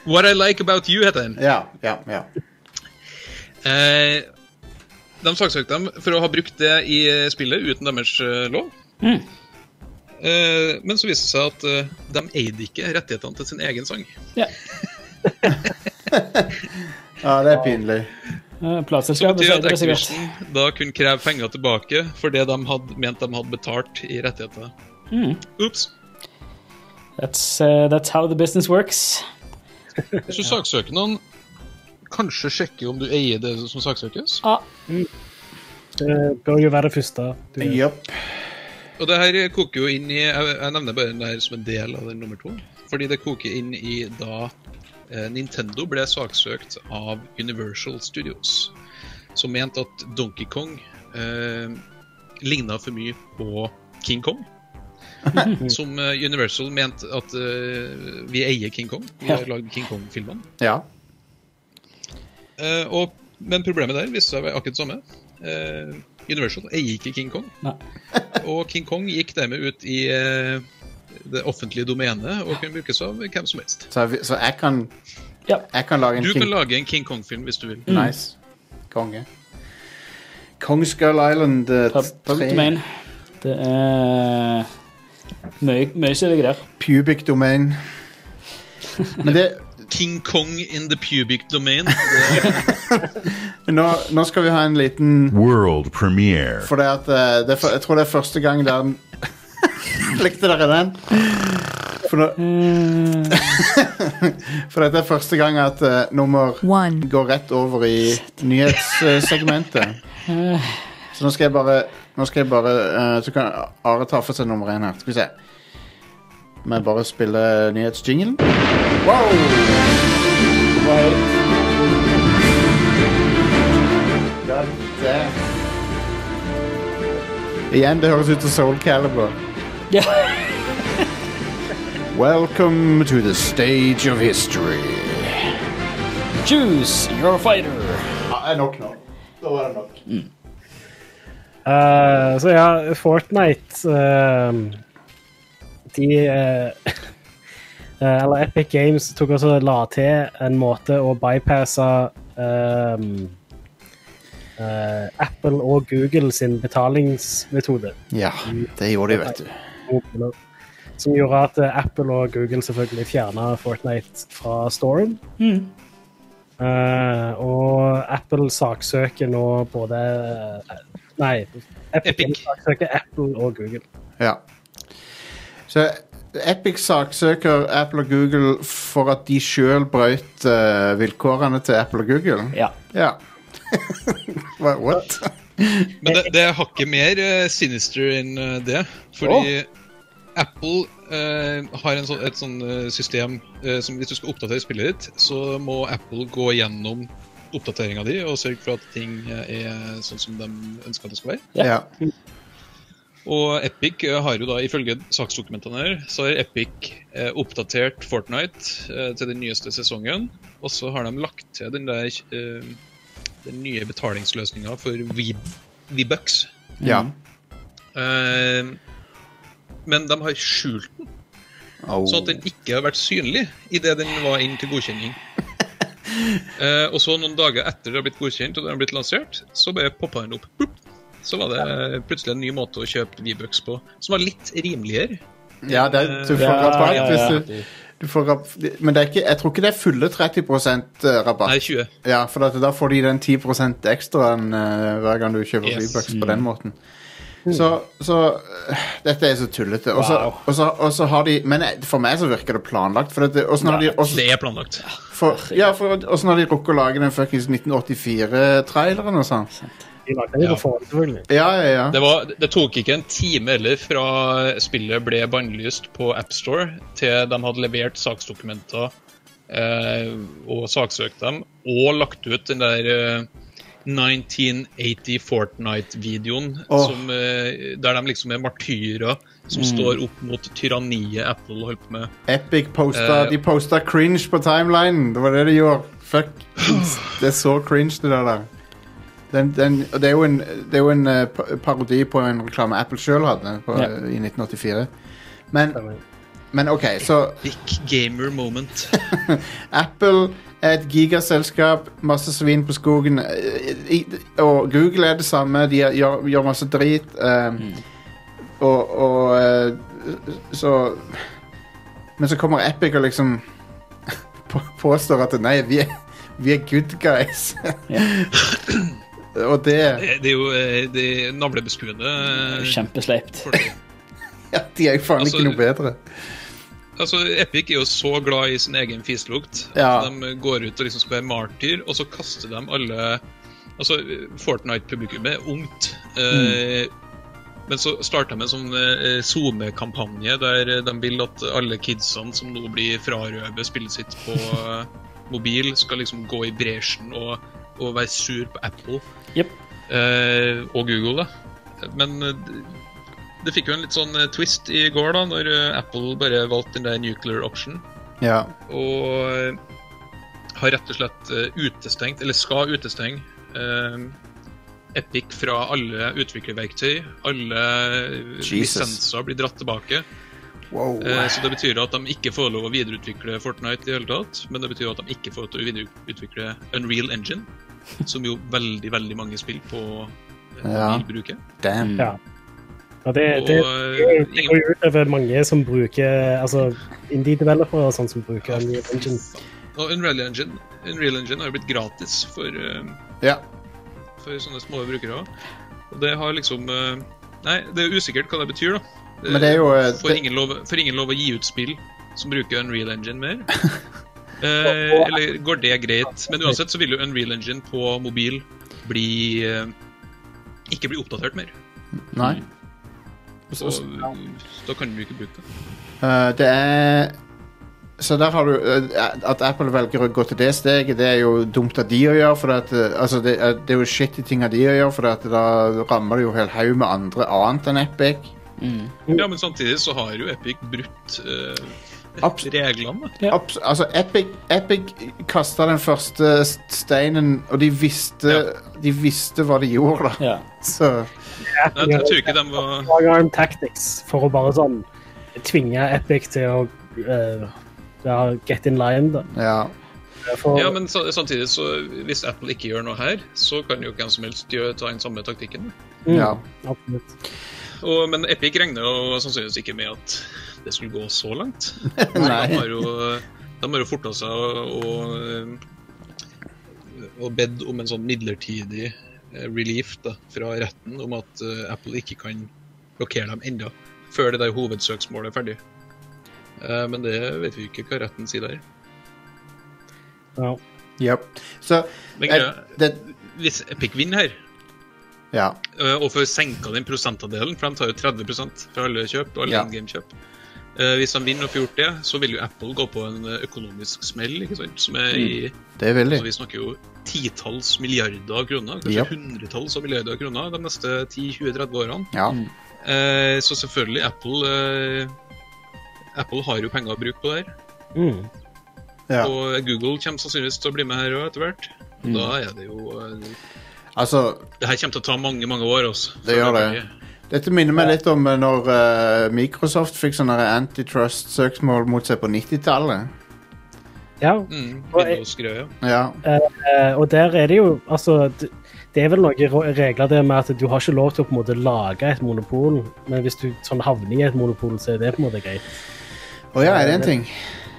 Speaker 4: What I Like About You, heter den.
Speaker 1: Ja, ja, ja.
Speaker 4: Eh, de saksøkte dem for å ha brukt det i spillet uten deres eh, lov.
Speaker 2: Mm.
Speaker 4: Eh, men så viste det seg at eh, de eide ikke rettighetene til sin egen sang.
Speaker 1: Ja, det er pinlig.
Speaker 2: Eh,
Speaker 4: Det
Speaker 2: Plateselskapet
Speaker 4: betyr
Speaker 2: sier
Speaker 4: at
Speaker 2: det sikkert.
Speaker 4: Activision da kunne kreve penger tilbake for det de hadde ment de hadde betalt i rettigheter.
Speaker 2: Mm.
Speaker 4: Ops.
Speaker 2: That's, eh, that's how the business works.
Speaker 4: Hvis du saksøker noen, kanskje sjekke om du eier det som saksøkes.
Speaker 5: Det bør jo være det første. Du,
Speaker 1: Jepp.
Speaker 4: Og det her koker jo inn i Jeg, jeg nevner bare den her som en del av den nummer to. Fordi det koker inn i da eh, Nintendo ble saksøkt av Universal Studios. Som mente at Donkey Kong eh, ligna for mye på King Kong. som eh, Universal mente at eh, vi eier King Kong. Vi har lagd King Kong-filmene.
Speaker 1: Ja.
Speaker 4: Eh, og, men problemet der viste seg å være akkurat det samme. Eh, Universal eier ikke King Kong.
Speaker 2: Nei.
Speaker 4: [LAUGHS] og King Kong gikk dermed ut i eh, det offentlige domenet og kunne brukes av hvem som helst.
Speaker 1: Så, vi- så jeg kan
Speaker 2: Ja. Mm.
Speaker 1: Jeg kan lage en
Speaker 4: Du
Speaker 1: King- Mm.
Speaker 4: kan lage en King Kong-film hvis du vil.
Speaker 1: Nice. Konge. Kongskull Island eh,
Speaker 2: Pub, pub
Speaker 1: tre.
Speaker 2: domain. Det er mye, mye stilige greier.
Speaker 1: Pubic
Speaker 2: [LAUGHS]
Speaker 1: domain. Men det
Speaker 4: King Kong in the pubic domain.
Speaker 1: nå, nå skal vi ha en liten
Speaker 6: World premiere.
Speaker 1: For det at eh, det er, for- Jeg tror det er første gang der [LAUGHS] Likte dere den? For, nå,
Speaker 2: Mm.
Speaker 1: [LAUGHS] for dette er første gang at eh, nummer
Speaker 3: one,
Speaker 1: går rett over i nyhetssegmentet. Så nå skal jeg bare, nå skal jeg bare eh, Så kan Are ta for seg nummer én her. Skal vi se. Men bare spille nyhetsjingelen. Wow! God damn. Igjen, det høres ut som Soul Calibur.
Speaker 2: Ja.
Speaker 1: Welcome to the stage of history.
Speaker 2: Juice, you're a fighter.
Speaker 1: Ja, det er nok nå. Da var det nok.
Speaker 5: Eh, så ehm, ja, Fortnite [LAUGHS] eh, De eh, Eh, eller Epic Games tok også la til en måte å bypasse ehm, eh, Apple og Google sin betalingsmetode.
Speaker 1: Ja, det gjorde de, vet du.
Speaker 5: Som gjorde at eh, Apple og Google selvfølgelig fjerna Fortnite fra Storm. Eh, og Apple saksøker nå både eh, Nei, Epic,
Speaker 4: Epic.
Speaker 5: Games saksøker Apple og Google.
Speaker 1: Ja. Så Epic saksøker Apple og Google for at de sjøl brøt eh, vilkårene til Apple og Google.
Speaker 2: Ja.
Speaker 1: Ja. [LAUGHS] Hva- What?
Speaker 4: Men det, det er hakket mer eh, sinister enn eh, det. Fordi Apple eh, har en sånn, et sånn eh, system eh, som hvis du skal oppdatere spillet ditt, så må Apple gå gjennom oppdateringa di og sørge for at ting eh, er sånn som de ønsker at det skal være.
Speaker 1: Ja.
Speaker 4: Og Epic eh, har jo da, ifølge saksdokumentene her, så har Epic eh, oppdatert Fortnite eh, til den nyeste sesongen. Og så har de lagt til den der eh, den nye betalingsløsninga for V- V-bucks.
Speaker 1: ja.
Speaker 4: Eh, men de har skjult den,
Speaker 1: Oh.
Speaker 4: sånn at den ikke har vært synlig idet den var inn til godkjenning. Eh, og så noen dager etter det har blitt godkjent og det har blitt lansert, så bare poppa den opp. Boop. Så var det eh, plutselig en ny måte å kjøpe V-bucks på, som var litt rimeligere.
Speaker 1: Ja, det, er- du får
Speaker 2: Ja,
Speaker 1: rabatt
Speaker 2: ja, ja.
Speaker 1: hvis du, du får rabatt. Men det er ikke, jeg tror ikke det er fulle 30 rabatt.
Speaker 4: Nei, 20.
Speaker 1: Ja, for at da får de den 10 ekstraen uh, hver gang du kjøper
Speaker 4: Yes. Mm.
Speaker 1: Freebucks på den måten. Så, så øh, Dette er så tullete. Og så- og så- og så har de Men eh, for meg så virker det planlagt. For, dette, og så har de, og så-
Speaker 4: Det er planlagt.
Speaker 1: for, ja, for og så har de rukket å lage den fuckings 1984-traileren og sånn.
Speaker 5: De lagde det
Speaker 4: Ja.
Speaker 5: på forhånd, selvfølgelig.
Speaker 1: Ja, ja, ja.
Speaker 4: Det, var, det tok ikke en time eller fra spillet ble bannlyst på AppStore til de hadde levert saksdokumenter eh, og saksøkt dem, og lagt ut den der eh, 1980 Fortnite-videoen
Speaker 1: Åh.
Speaker 4: som, eh, der de liksom er martyrer som står opp mot tyranniet Apple holder på med.
Speaker 1: Epic posta,
Speaker 4: Eh.
Speaker 1: de posta cringe på timelinen. Det var det de gjorde. Fuck. Det er så cringe, det der. der. Den, den, og det er jo en, det er jo en eh, pa- parodi på en reklame Apple sjøl hadde på, eh,
Speaker 2: Ja.
Speaker 1: i 1984. Men, men OK, så
Speaker 4: Big gamer moment.
Speaker 1: Apple er et gigaselskap, masse svin på skogen. eh, i- Og Google er det samme, de er- gjør, gjør masse drit. eh, Og, og eh, så Men så kommer Epic og liksom [LAUGHS] på- påstår at nei, vi er, vi er good guys. [LAUGHS] og det
Speaker 4: [LAUGHS] Det det er jo eh, det er navlebeskuende. eh,
Speaker 2: Kjempesleipt.
Speaker 4: for det.
Speaker 1: ja, De er jo faen
Speaker 4: Altså,
Speaker 1: ikke noe bedre.
Speaker 4: Altså, Epic er jo så glad i sin egen fislukt.
Speaker 1: Ja.
Speaker 4: at De går ut og liksom skal være martyr, og så kaster de alle Altså, Fortnite-publikummet er ungt. Eh, Men så starter de med en sånn eh, SoMe-kampanje der eh, de vil at alle kidsene som nå blir frarøvet spillet sitt på eh, mobil, skal liksom gå i bresjen og, og være sur på Apple.
Speaker 2: Jep.
Speaker 4: Eh, og Google, da. Men eh, d- det fikk jo en litt sånn eh, twist i går, da, når eh, Apple bare valgte den der nuclear option.
Speaker 1: Ja.
Speaker 4: Og eh, har rett og slett eh, utestengt, eller skal utestenge, eh, Epic fra alle utviklerverktøy. Alle eh,
Speaker 1: Jesus.
Speaker 4: lisenser blir dratt tilbake.
Speaker 1: Wow.
Speaker 4: Eh, Så det betyr at de ikke får lov å videreutvikle Fortnite i det hele tatt. Men det betyr at de ikke får til å videreutvikle Unreal Engine, som jo veldig, veldig mange spill på eh,
Speaker 1: Ja.
Speaker 4: mobil bruker.
Speaker 1: Damn.
Speaker 5: Ja. Og det,
Speaker 4: Og,
Speaker 5: det,
Speaker 4: eh,
Speaker 5: det går jo ut over mange som bruker Altså indie-developere og sånn som bruker Unreal Engine.
Speaker 4: Og Unreal Engine, Unreal Engine har jo blitt gratis for, eh,
Speaker 1: Ja.
Speaker 4: for sånne små brukere òg. Og det har liksom eh, Nei, det er usikkert hva det betyr, da.
Speaker 1: Men det er jo eh,
Speaker 4: Får
Speaker 1: det,
Speaker 4: ingen, lov, får ingen lov å gi ut spill som bruker Unreal Engine
Speaker 1: [LAUGHS]
Speaker 4: mer.
Speaker 5: Og-
Speaker 4: Eh,
Speaker 5: og-
Speaker 4: eller går det greit? Men uansett så vil jo Unreal Engine på mobil bli eh, ikke bli oppdatert mer.
Speaker 1: Nei.
Speaker 4: Og eh, da kan du ikke bruke det.
Speaker 1: Eh, det er Så der har du eh, At Apple velger å gå til det steget, det er jo dumt av de å gjøre. For at, eh, altså det, er- det er jo shitty ting av de å gjøre, for at da rammer det jo hel haug med andre annet enn Epic.
Speaker 4: Ja, Men samtidig så har jo Epic brutt eh,
Speaker 1: Abs-
Speaker 4: reglene. da.
Speaker 2: Ja.
Speaker 1: Abs altså, Epic, Epic kasta den første st- steinen, og de visste De visste hva de gjorde, da.
Speaker 2: Ja.
Speaker 1: Så
Speaker 4: Nei, Jeg tror ikke de var
Speaker 5: Strong arm tactics for å bare sånn tvinge Epic til å eh, det har Get in line, da.
Speaker 1: Ja.
Speaker 5: For,
Speaker 4: Ja, men sa- samtidig, så hvis Apple ikke gjør noe her, så kan jo hvem som helst gjøre, ta den samme taktikken.
Speaker 5: Mm,
Speaker 1: ja.
Speaker 5: absolutt.
Speaker 4: Og, men Epic regner jo sannsynligvis ikke med at det skulle gå så [LAUGHS] langt. De
Speaker 1: Nei.
Speaker 4: har jo, de har jo forta seg og, og, og bedt om en sånn midlertidig eh, relief da, fra retten om at eh, Apple ikke kan blokkere dem enda, før det der hovedsøksmålet er ferdig. Eh, Men det vet vi ikke hva retten sier der.
Speaker 5: Ja.
Speaker 1: Yep. Så
Speaker 4: Men
Speaker 1: eh,
Speaker 4: greia-
Speaker 1: det,
Speaker 4: hvis Epic vinner her,
Speaker 1: Ja.
Speaker 4: eh, og får senka den prosentandelen, for de tar jo 30 fra alle kjøp, alle
Speaker 1: Ja.
Speaker 4: in game-kjøp Eh, Hvis de vinner og får gjort det, så vil jo Apple gå på en eh, økonomisk smell, ikke sant, som er i
Speaker 1: Det vil de.
Speaker 4: Altså, vi snakker jo titalls milliarder av kroner, kanskje
Speaker 1: Ja.
Speaker 4: hundretalls av milliarder av kroner de neste 10-20-30 årene.
Speaker 1: Ja.
Speaker 4: Eh, så selvfølgelig, Apple eh, Apple har jo penger å bruke på det her.
Speaker 5: Mm.
Speaker 1: ja. Mm.
Speaker 4: Og Google kommer sannsynligvis til å bli med her òg etter hvert. Og Da er det jo eh,
Speaker 1: Altså,
Speaker 4: Det her kommer til å ta mange, mange år. altså. Også,
Speaker 1: Det gjør det. Dette minner meg litt om eh, når eh, Microsoft fikk sånne antitrust-søksmål mot seg på 90-tallet.
Speaker 5: ja.
Speaker 4: Mm,
Speaker 5: Og jeg-
Speaker 4: Windows-greia.
Speaker 1: Ja.
Speaker 5: Eh, og der er det jo Altså, d- det er vel noen ro- regler der med at du har ikke lov til å på en måte lage et monopol, men hvis du sånn havner i et monopol, så er det på en måte greit.
Speaker 1: Å ja, er det en ting?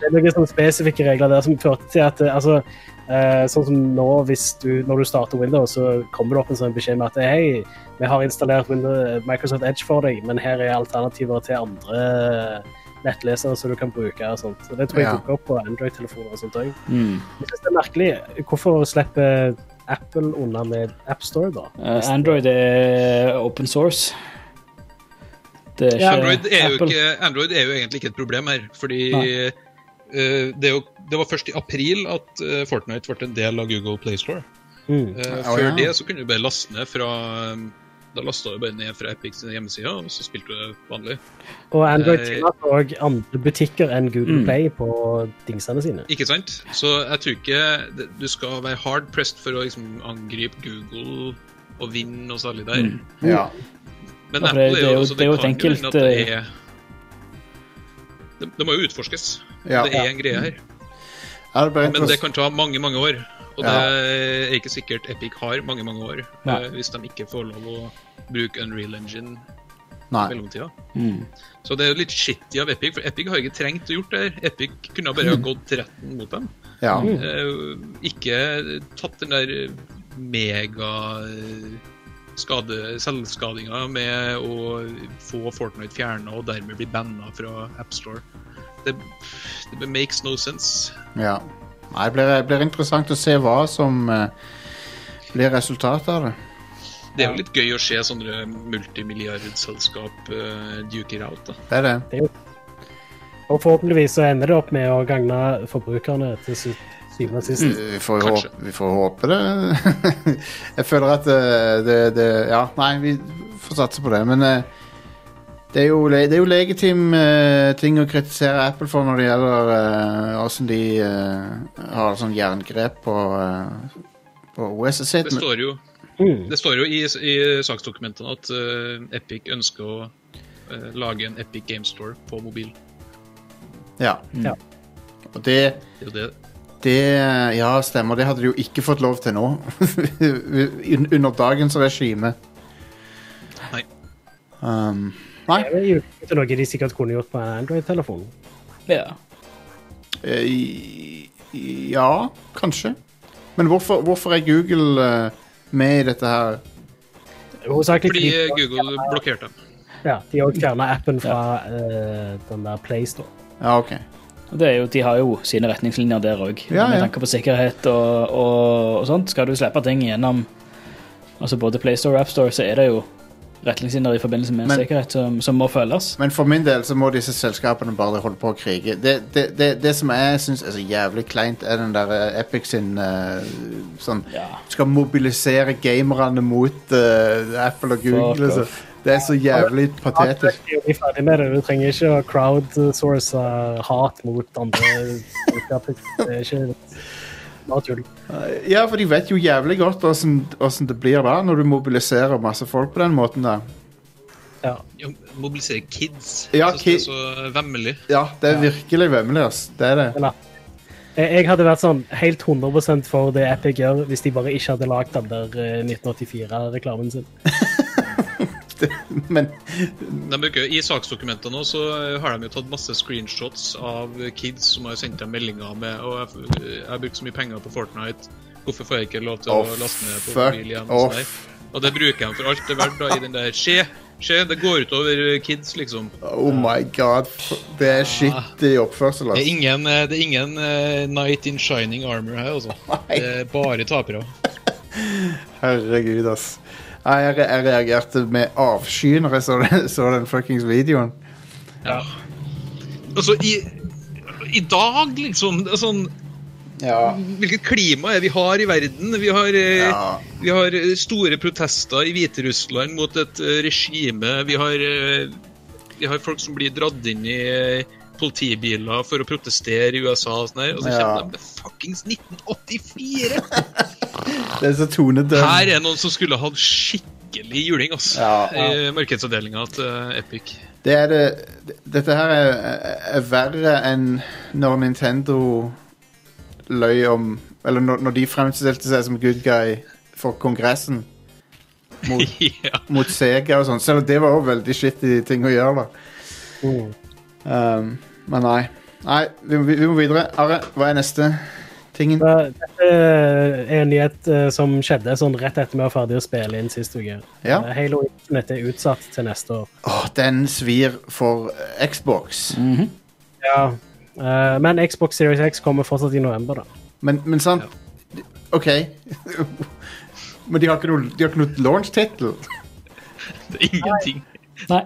Speaker 5: Det er noen sånne spesifikke regler der som førte til at eh, altså, eh, Sånn som nå, hvis du, når du starter Windows, så kommer det opp en sånn beskjed med at hei, vi har installert Windows, eh, Microsoft Edge for deg, men her er alternativer til andre eh, nettlesere som du kan bruke. og sånt. Så Det tror jeg
Speaker 1: Ja.
Speaker 5: dukker opp på Android-telefoner og sånt òg.
Speaker 2: Mm.
Speaker 5: Jeg synes det er merkelig. Hvorfor slipper Apple unna med AppStore, da?
Speaker 2: Eh, Android er open source. Det er ikke
Speaker 5: Ja,
Speaker 4: Android er, jo
Speaker 2: Apple.
Speaker 4: ikke, Android er jo egentlig ikke et problem her, fordi
Speaker 2: Nei.
Speaker 4: eh, det, er jo, det var først i april at eh, Fortnite ble en del av Google Playstore.
Speaker 5: Mm.
Speaker 4: Eh,
Speaker 1: Å,
Speaker 4: før
Speaker 1: ja.
Speaker 4: det så kunne du bare laste ned fra um, Da lasta du bare ned fra Epic sine hjemmesider, og så spilte du det vanlig.
Speaker 5: Og Android
Speaker 4: Eh,
Speaker 5: tillater òg andre butikker enn Google
Speaker 2: Mm.
Speaker 5: Play på dingsene sine.
Speaker 4: Ikke sant? Så jeg tror ikke det- du skal være hard pressed for å liksom angripe Google og vinne noe særlig der.
Speaker 1: Ja.
Speaker 2: Mm. Ja, for
Speaker 4: Men
Speaker 2: det-
Speaker 4: Apple
Speaker 2: det
Speaker 4: er
Speaker 2: er jo-
Speaker 4: jo altså,
Speaker 2: det er jo et
Speaker 4: kan
Speaker 2: enkelt, eh,
Speaker 4: hende at det, er, det, det må jo utforskes.
Speaker 1: ja.
Speaker 4: Det er en greie her.
Speaker 1: Er det bare
Speaker 4: Men det
Speaker 1: interess-
Speaker 4: kan ta mange, mange år. Og
Speaker 1: Ja.
Speaker 4: det er ikke sikkert Epic har mange, mange år
Speaker 2: Nei.
Speaker 4: eh, hvis de ikke får lov å bruke Unreal Engine i
Speaker 1: Nei.
Speaker 4: mellomtida.
Speaker 2: Mm.
Speaker 4: Så det er jo litt shitty av Epic, for Epic har ikke trengt å gjort det her. Epic kunne bare ha gått til retten mot dem.
Speaker 1: Ja.
Speaker 4: Eh, ikke tatt den der mega eh, skade, selvskadinga med å få Fortnite fjerna og dermed bli banna fra AppStore. Det, det makes no sense.
Speaker 1: ja. Nei, det blir, det blir interessant å se hva som eh, blir resultatet av det.
Speaker 4: Det er jo litt gøy å se sånne multimilliardselskap uh, duker out. da.
Speaker 1: Det er det.
Speaker 5: Og forhåpentligvis så ender det opp med å gagne forbrukerne til sy- syvende og sist.
Speaker 1: Vi får, jo
Speaker 4: Kanskje.
Speaker 1: håpe, vi får håpe det. [LAUGHS] jeg føler at eh, det, det Ja, nei, vi får satse på det. Men eh, det er jo, le- det er jo legitim eh, ting å kritisere Apple for når det gjelder åssen de eh, har sånn jerngrep på, eh, på OS-et sitt.
Speaker 4: Det
Speaker 1: Men,
Speaker 4: står jo,
Speaker 5: Mm.
Speaker 4: det står jo i, i saksdokumentene at eh, Epic ønsker å eh, lage en Epic Game Store på mobil.
Speaker 1: ja.
Speaker 5: Ja.
Speaker 1: Og det,
Speaker 4: Det er jo det
Speaker 1: det Ja, stemmer. Det hadde de jo ikke fått lov til nå. [LAUGHS] Un- Under dagens regime.
Speaker 4: Nei.
Speaker 1: Um, nei.
Speaker 5: Det er jo ikke noe de sikkert kunne gjort på en Android-telefon.
Speaker 2: Ja.
Speaker 1: Eh, i- i- Ja, kanskje. Men hvorfor, hvorfor er Google eh, med i dette her?
Speaker 5: Hovedsakelig
Speaker 4: Fordi
Speaker 5: fordi
Speaker 4: eh, Google blokkerte dem.
Speaker 5: ja, de òg fjerna appen fra eh, den der PlayStore.
Speaker 1: Ja, OK.
Speaker 2: Det er jo, de har jo sine retningslinjer der òg,
Speaker 1: Ja,
Speaker 2: med
Speaker 1: ja.
Speaker 2: tanke på sikkerhet og, og, og sånt. Skal du slippe ting gjennom altså både PlayStore og AppStore, så er det jo retningslinjer i forbindelse med
Speaker 1: Men-
Speaker 2: sikkerhet som, som må følges.
Speaker 1: Men for min del så må disse selskapene bare holde på å krige. Det, det, det, det som jeg syns er så jævlig kleint, er den der eh, Epic sin eh, sånn
Speaker 2: Ja.
Speaker 1: Skal mobilisere gamerne mot eh, Apple og Google.
Speaker 2: Fuck eh,
Speaker 1: Så. Det er så jævlig patetisk.
Speaker 5: Patetisk. Vi er ferdig med det. Du trenger ikke å crowdsource eh, hat mot andre. selskaper. Det er ikke bare tull.
Speaker 1: Ja, for de vet jo jævlig godt åssen det blir da, når du mobiliserer masse folk på den måten der.
Speaker 5: Ja.
Speaker 4: Ja, mobilisere kids.
Speaker 1: Ja,
Speaker 4: jeg synes
Speaker 1: ki-
Speaker 4: det er så vemmelig.
Speaker 1: Ja, det er virkelig vemmelig, ass. Det er det.
Speaker 5: Eller, jeg, jeg hadde vært sånn helt 100 for det Epic gjør, hvis de bare ikke hadde lagd den der eh, 1984-reklamen sin.
Speaker 1: Men
Speaker 4: De bruker, I saksdokumentene nå så har de jo tatt masse screenshots av kids som har sendt dem meldinger med og jeg, jeg har brukt så mye penger på Fortnite, hvorfor får jeg ikke lov til
Speaker 1: Å,
Speaker 4: å laste ned på
Speaker 1: fuck
Speaker 4: mobil igjen? Og, sånn
Speaker 1: off.
Speaker 4: der. og det bruker de for alt det er verdt da, i den der Se, se, det går utover kids, liksom.
Speaker 1: Oh my god. Det er skittig oppførsel,
Speaker 4: Det er
Speaker 1: ass.
Speaker 4: ingen, eh, det er ingen eh, Knight in Shining Armor her, altså. Det er bare tapere.
Speaker 1: Herregud, ass. Nei, Jeg, re- jeg reagerte med avsky når jeg så den, [LAUGHS] så den fuckings videoen.
Speaker 4: Ja. Altså, i, i dag, liksom. Det er sånn
Speaker 1: Ja.
Speaker 4: Hvilket klima er vi har i verden? Vi har, eh,
Speaker 1: Ja.
Speaker 4: vi har eh, store protester i Hviterussland mot et eh, regime. Vi har, eh, vi har folk som blir dratt inn i eh, politibiler for å protestere i USA og sånn her. Og så
Speaker 1: Ja.
Speaker 4: kommer de med fuckings 1984!
Speaker 1: [LAUGHS] Det er så tonedøv.
Speaker 4: Her er noen som skulle hatt skikkelig juling, altså.
Speaker 1: Ja,
Speaker 4: I markedsavdelinga til eh, Epic.
Speaker 1: Det er det Dette her er, er verre enn når Nintendo løy om Eller når, når de fremstilte seg som good guy for Kongressen mot,
Speaker 4: [LAUGHS] ja.
Speaker 1: mot Sega og sånn. Selv om det var òg veldig shitty ting å gjøre, da.
Speaker 5: Mm.
Speaker 1: Um, men nei. Nei, vi, må- vi må videre. Are, hva er neste tingen?
Speaker 5: Så eh, Dette er en nyhet eh, som skjedde sånn rett etter vi var ferdig å spille inn sist uke.
Speaker 1: Ja.
Speaker 5: Eh, Halo Infinite er utsatt til neste år.
Speaker 1: Åh, den svir for Xbox.
Speaker 5: Ja. eh, Men Xbox Series X kommer fortsatt i november, da.
Speaker 1: Men, men sant OK. [LAUGHS] men de har ikke noe, de har ikke noe launch-tittel.
Speaker 4: Det er ingenting.
Speaker 2: Nei.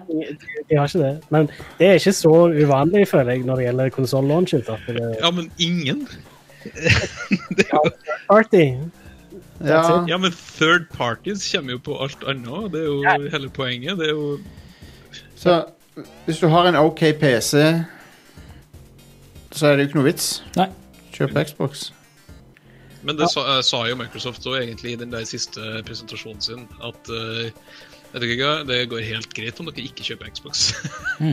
Speaker 5: De har ikke det. Men det er ikke så uvanlig, føler jeg, når det gjelder konsoll-launchen. at det er
Speaker 4: Ja, men ingen.
Speaker 5: Party.
Speaker 1: Ja.
Speaker 4: Ja, men third parties kommer jo på alt annet. Det er jo hele poenget. Det er jo
Speaker 1: Så hvis du har en OK PC, så er det jo ikke noe vits.
Speaker 2: Nei.
Speaker 1: Kjøp Xbox.
Speaker 4: Men det sa, eh, sa jo Microsoft også egentlig i den der siste presentasjonen sin at eh, vet dere ikke, hva, det går helt greit om dere ikke kjøper
Speaker 1: [LAUGHS]
Speaker 4: Xbox.
Speaker 5: Ja,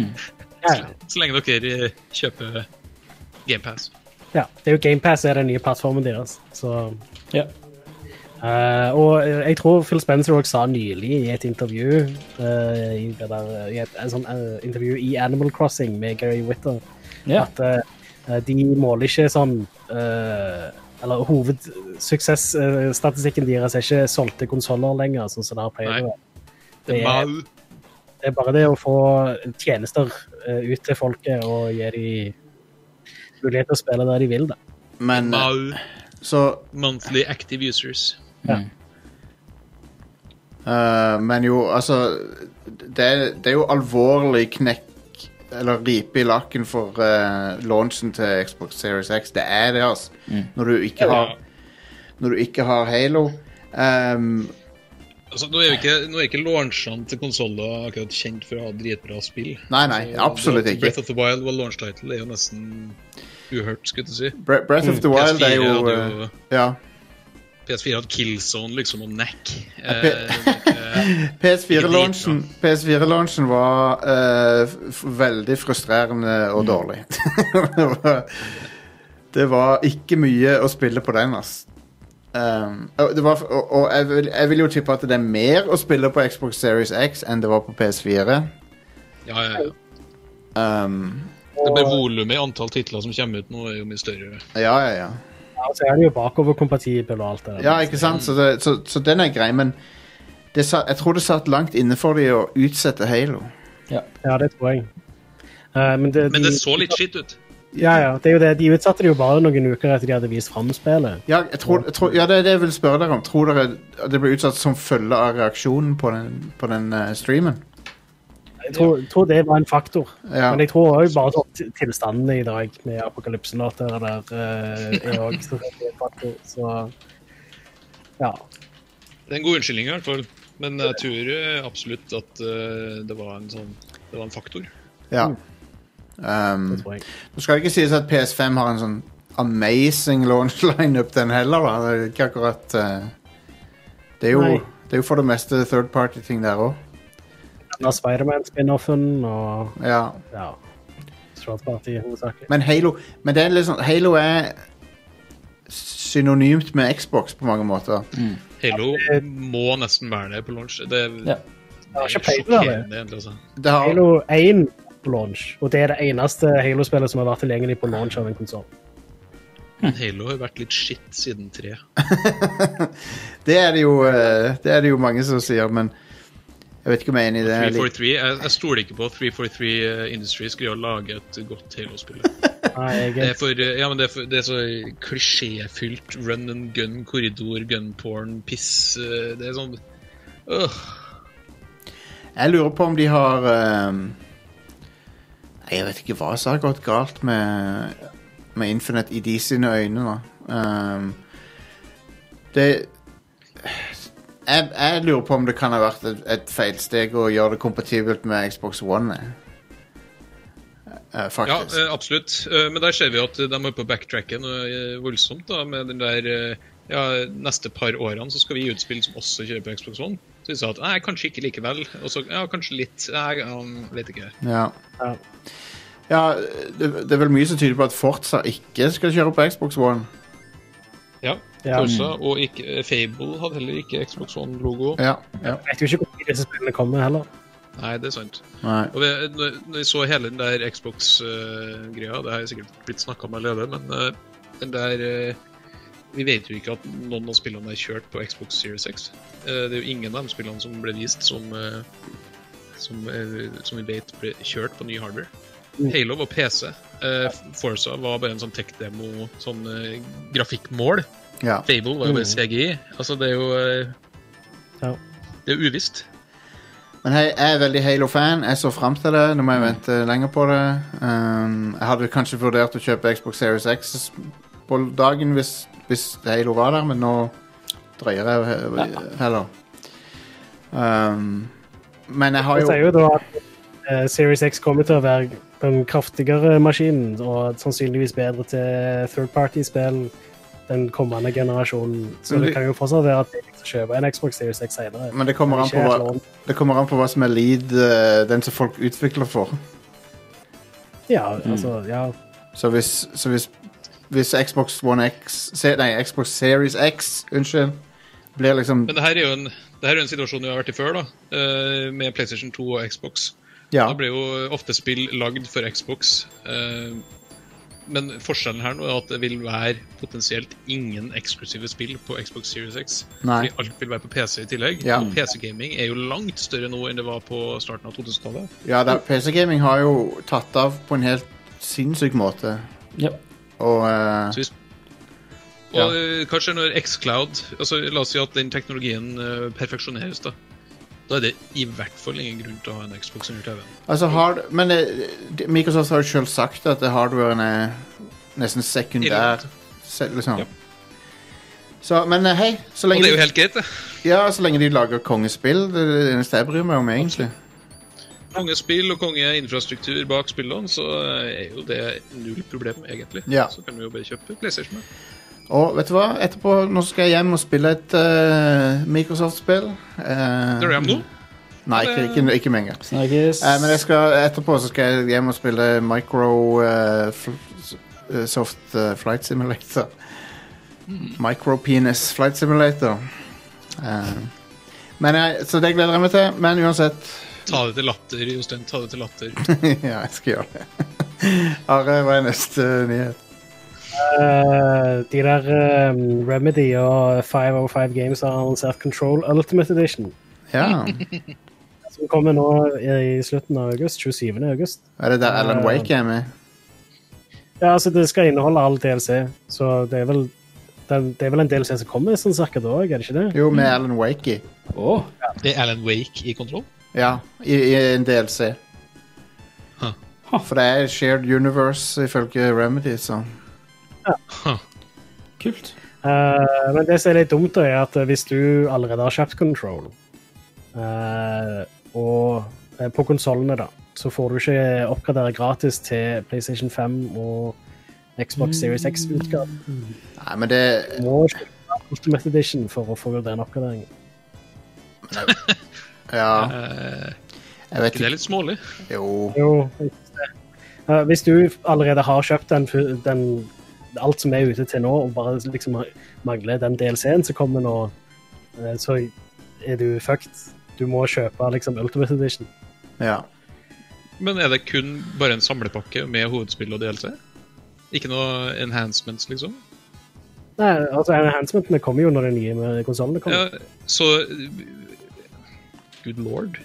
Speaker 5: ja.
Speaker 4: så lenge dere eh, kjøper GamePass.
Speaker 5: Ja, det er jo GamePass er den nye plattformen deres. Så,
Speaker 2: Ja.
Speaker 5: eh, og eh, jeg tror Phil Spencer også sa nylig i et intervju eh, i, det der, eh, i et en sånn, eh, intervju i Animal Crossing med Gary Whitter
Speaker 2: ja.
Speaker 5: at eh, de måler ikke sånn eh, Eller hovedsuksessstatistikken deres er ikke solgte konsoller lenger, sånn som det har pleid
Speaker 4: Nei.
Speaker 5: å være.
Speaker 4: Det
Speaker 5: Det
Speaker 4: er
Speaker 5: er-
Speaker 4: mal.
Speaker 5: Det er bare det å få tjenester eh, ut til folket og gi dem mulighet til å spille der de vil, da.
Speaker 1: Men eh,
Speaker 4: Mal.
Speaker 1: så
Speaker 4: Monthly active users.
Speaker 1: eh, Men jo, altså det er, det er jo alvorlig knekk eller ripe i lakken for eh, launchen til Xbox Series X. Det er det, altså. Når du ikke har, når du ikke har Halo. Ehm,
Speaker 4: Altså, nå er jo ikke, nå er ikke launchene til konsoller akkurat kjent for å ha dritbra spill.
Speaker 1: nei, nei, absolutt
Speaker 4: Det at
Speaker 1: ikke.
Speaker 4: Breath of the Wild var launch title, det er jo nesten uhørt, skulle jeg til å si.
Speaker 1: Bre Breath of the
Speaker 4: Mm.
Speaker 1: Wild er
Speaker 4: PS4
Speaker 1: jo
Speaker 4: hadde
Speaker 1: eh,
Speaker 4: jo
Speaker 1: Ja.
Speaker 4: PS4 hadde Killzone liksom, og Knack. Eh,
Speaker 1: PS4-launchen PS4 var eh, f- veldig frustrerende og dårlig. [LAUGHS] det, var, det var ikke mye å spille på den, ass. Um, og det var, og, og jeg, vil, jeg vil jo tippe at det er mer å spille på Xbox Series X enn det var på PS4.
Speaker 4: Ja, ja, ja.
Speaker 1: Um,
Speaker 4: Det er bare volumet i antall titler som kommer ut nå, er jo mye større.
Speaker 1: ja, ja, ja.
Speaker 5: Ja, og så er det jo bakoverkompatibel og alt det der.
Speaker 1: Ja, ikke sant? Så, det, så, så den er grei, men det sa, jeg tror det satt langt inne for dem å utsette Halo.
Speaker 5: Ja, det tror jeg. Eh, men det,
Speaker 4: Men det
Speaker 5: de-
Speaker 4: så litt skitt ut.
Speaker 5: Ja, ja, det er jo det. De utsatte det jo bare noen uker etter de hadde vist fram spillet.
Speaker 1: Ja, jeg tror, jeg tror, ja, det er det jeg vil spørre dere om. Tror dere at det ble utsatt som følge av reaksjonen på den, på den eh, streamen?
Speaker 5: Jeg tror, tror det var en faktor.
Speaker 1: Ja.
Speaker 5: Men jeg tror òg bare sånn til- tilstanden i dag med apokalypsen og alt det der eh, er også en faktor. Så ja.
Speaker 4: Det er en god unnskyldning i hvert fall. Men jeg tror eh, absolutt at eh, det var en sånn Det var en faktor.
Speaker 1: Ja.
Speaker 5: Mm.
Speaker 1: Um,
Speaker 5: Det tror jeg.
Speaker 1: nå skal det ikke sies at PS5 har en sånn amazing launch [LAUGHS] lineup, den heller. Da. Det er ikke akkurat eh, det, er jo,
Speaker 5: Nei.
Speaker 1: det er jo for det meste third party-ting der òg.
Speaker 5: pga. Spiderman-spin-offen og
Speaker 1: Ja.
Speaker 5: ja, Third Party hovedsakelig.
Speaker 1: Men Halo, men det er liksom, Halo er synonymt med Xbox på mange måter.
Speaker 4: Halo må nesten være det på launch. Det er
Speaker 2: Ja.
Speaker 5: Jeg har ikke peiling av det.
Speaker 4: sjokkerende, egentlig. Altså.
Speaker 1: Det har,
Speaker 5: Halo 1 på launch, og det er det eneste Halo-spillet som har vært tilgjengelig på launch av en konsoll.
Speaker 4: Men Halo har vært litt shit siden tre.
Speaker 1: det, er det, jo, eh, det er det jo mange som sier, men jeg vet ikke om jeg er enig i det. Jeg lik-
Speaker 4: 343, jeg, jeg stoler ikke på at 343 Industries greier å lage et godt Halo-spill.
Speaker 5: Nei,
Speaker 4: Det
Speaker 5: jeg
Speaker 4: er, for, eh, ja, men det, er for, det er så klisjéfylt. Run and gun, korridor, gunporn, piss. eh, Det er sånn øh.
Speaker 1: Jeg lurer på om de har eh, Nei, Jeg vet ikke hva som har gått galt med, med Infinite i de sine øyne. Da. Ehm, det jeg, jeg lurer på om det kan ha vært et, et feilsteg å gjøre det kompatibelt med Xbox One. jeg. Eh,
Speaker 4: Ja,
Speaker 1: faktisk.
Speaker 4: eh, absolutt. Eh, Men der ser vi jo at de er på backtracken eh, voldsomt. da, med den der, eh, ja, Neste par årene så skal vi gi ut spill som også kjører på Xbox One. Så vi sa at nei, kanskje ikke likevel. Og så ja, kanskje litt. Nei, um, vet ikke.
Speaker 1: Ja.
Speaker 5: Ja.
Speaker 1: Ja, det, det er vel mye som tyder på at Forza ikke skal kjøre på Xbox One.
Speaker 4: Ja.
Speaker 5: Ja.
Speaker 4: Forza og ikke, eh, Fable hadde heller ikke Xbox One-logo.
Speaker 1: Ja, ja.
Speaker 5: vet jo ikke hvor disse spillene kommer heller.
Speaker 4: Nei, det er sant.
Speaker 1: Nei.
Speaker 4: Og vi, når når vi så hele den der Xbox-greia, det har jeg sikkert blitt snakka om allerede, men eh, den der eh, Vi vet jo ikke at noen av spillene er kjørt på Xbox Series X. Eh, det er jo ingen av de spillene som ble vist som, eh, som, eh, som vi vet ble kjørt på ny hardware. Halo var PC. eh, Forza var bare en sånn tech-demo, sånn eh, grafikkmål.
Speaker 1: Ja.
Speaker 4: Fable var jo bare CGI. Altså, det er jo eh,
Speaker 5: Ja.
Speaker 4: Det er uvisst.
Speaker 1: Men hei, jeg er veldig Halo-fan. Jeg så fram til det. Nå må jeg vente lenger på det. Um, jeg hadde kanskje vurdert å kjøpe Xbox Series X på dagen hvis, hvis Halo var der, men nå drøyer jeg he- heller. Um, men jeg har
Speaker 5: Det
Speaker 1: jo
Speaker 5: sier jo da at eh, Series X kommer til å være den kraftigere maskinen, og sannsynligvis bedre til third party-spill den kommende generasjonen. Så
Speaker 1: Men
Speaker 5: det
Speaker 1: vi-
Speaker 5: kan jo fortsatt være at jeg skal kjøpe en Xbox Series X senere.
Speaker 1: Men det kommer, an på hva, det kommer an på hva som er lead, eh, den som folk utvikler for.
Speaker 5: Ja, altså, ja.
Speaker 1: Så hvis, så hvis, hvis Xbox One X se- Nei, Xbox Series X, unnskyld, blir liksom
Speaker 4: Men det her er jo en, det her er jo en situasjon vi har vært i før, da, eh, med PlayStation 2 og Xbox.
Speaker 1: Ja.
Speaker 4: Da ble jo ofte spill lagd for Xbox. eh, Men forskjellen her nå er at det vil være potensielt ingen eksklusive spill på Xbox Series X.
Speaker 1: Nei.
Speaker 4: Fordi alt vil være på PC i tillegg.
Speaker 1: Ja.
Speaker 4: Og PC-gaming er jo langt større nå enn det var på starten av 2000-tallet.
Speaker 1: Ja, da, PC Gaming har jo tatt av på en helt sinnssyk måte.
Speaker 2: Ja.
Speaker 1: Og eh,
Speaker 4: Så hvis- Og eh, hva skjer når Xcloud altså, La oss si at den teknologien eh, perfeksjoneres, da. Da er det i hvert fall ingen grunn til å ha en Xbox under TV-en.
Speaker 1: altså hard, Men eh, de- Microsoft har jo sjøl sagt at hardwaren er nesten sekundær.
Speaker 4: Irrelevant.
Speaker 1: Se, liksom.
Speaker 4: Ja.
Speaker 1: Så, men eh, hei, så
Speaker 4: Og
Speaker 1: lenge,
Speaker 4: det er jo
Speaker 1: de,
Speaker 4: helt greit, det.
Speaker 1: ja, så lenge de lager kongespill, det er det eneste jeg bryr meg om, egentlig.
Speaker 4: kongespill og kongeinfrastruktur bak spillene, så er jo det null problem, egentlig.
Speaker 1: Ja.
Speaker 4: Så kan vi jo bare kjøpe PlayStation. da.
Speaker 1: Og vet du hva? Etterpå nå skal jeg hjem og spille et eh, Microsoft-spill. Eh,
Speaker 4: Drar du hjem nå?
Speaker 1: Nei, ikke, ikke, ikke med en gang.
Speaker 2: Snakkes.
Speaker 1: Eh, men jeg skal, etterpå så skal jeg hjem og spille Micro eh, fl s- eh, Soft eh, Flight Simulator. Micro Penis Flight Simulator. Eh, men jeg, så det gleder jeg meg til. Men uansett [LAUGHS]
Speaker 4: Ta det til latter, Jostein. Ta det til latter.
Speaker 1: Ja, jeg skal gjøre det. [LAUGHS] Are, hva er neste nyhet?
Speaker 5: Eh, de der eh, Remedy og 505 Games har annonsert Control Ultimate Edition,
Speaker 1: Ja.
Speaker 5: som kommer nå i slutten av august, 27. august.
Speaker 1: Er det der Alan
Speaker 5: Eh,
Speaker 1: Wake er med?
Speaker 5: Ja, altså det skal inneholde all DLC, så det er vel, den, det er vel en DLC som kommer sånn cirka da òg, er det ikke det?
Speaker 1: Jo, med Alan Wake i.
Speaker 2: Åh,
Speaker 4: Det er Alan Wake i kontroll?
Speaker 1: Ja, i, i en DLC.
Speaker 4: Huh.
Speaker 1: For det er Shared Universe ifølge Remedy, så
Speaker 2: kult.
Speaker 5: Eh, men det som er litt dumt, da, er at hvis du allerede har kjøpt Control, eh, og eh, på konsollene, da, så får du ikke oppgradere gratis til PlayStation 5 og Xbox Series X-utgave.
Speaker 1: Nei, men det
Speaker 5: Du må kjøpe Ultimate Edition for å få den oppgraderingen.
Speaker 1: Ja. Jeg vet
Speaker 4: Eh, Ikke det er
Speaker 1: ikke.
Speaker 4: litt smålig?
Speaker 1: Jo.
Speaker 5: Jo, jeg synes det. Eh, Hvis du allerede har kjøpt den, fu- den alt som er ute til nå, og bare liksom mangler den DLC-en som kommer nå, eh, så er du fucked. Du må kjøpe liksom Ultimate Edition.
Speaker 1: Ja.
Speaker 4: Men er det kun bare en samlepakke med hovedspill og DLC? Ikke noe enhancements, liksom?
Speaker 5: Nei, altså Enhancementene kommer jo når de nye konsollene kommer.
Speaker 4: Ja, så Good lord.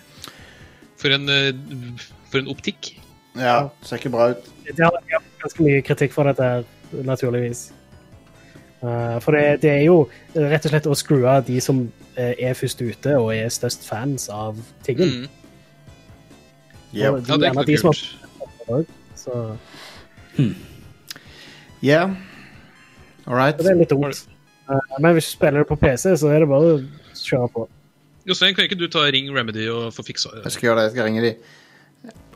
Speaker 4: For en, eh, for en optikk.
Speaker 1: ja. Ser ikke bra ut.
Speaker 5: Det har jeg fått ganske mye kritikk for dette, her, naturligvis. Eh, for det, det er jo eh, rett og slett å skru av de som eh, er først ute og er størst fans av tingen.
Speaker 4: Mm.
Speaker 1: Yep.
Speaker 5: Og
Speaker 4: Ja,
Speaker 5: de,
Speaker 4: det er
Speaker 5: gjerne
Speaker 4: ikke
Speaker 5: de som
Speaker 4: noe
Speaker 5: har
Speaker 4: kult.
Speaker 5: Så
Speaker 1: Yeah. All right.
Speaker 5: så det er litt dumt. Eh, Men hvis du spiller det på PC, så er det bare å kjøre på.
Speaker 4: Jostein, kan ikke du ta Ring Remedy og få fiksa
Speaker 1: Jeg
Speaker 4: det?
Speaker 1: skal gjøre det. Jeg skal ringe de.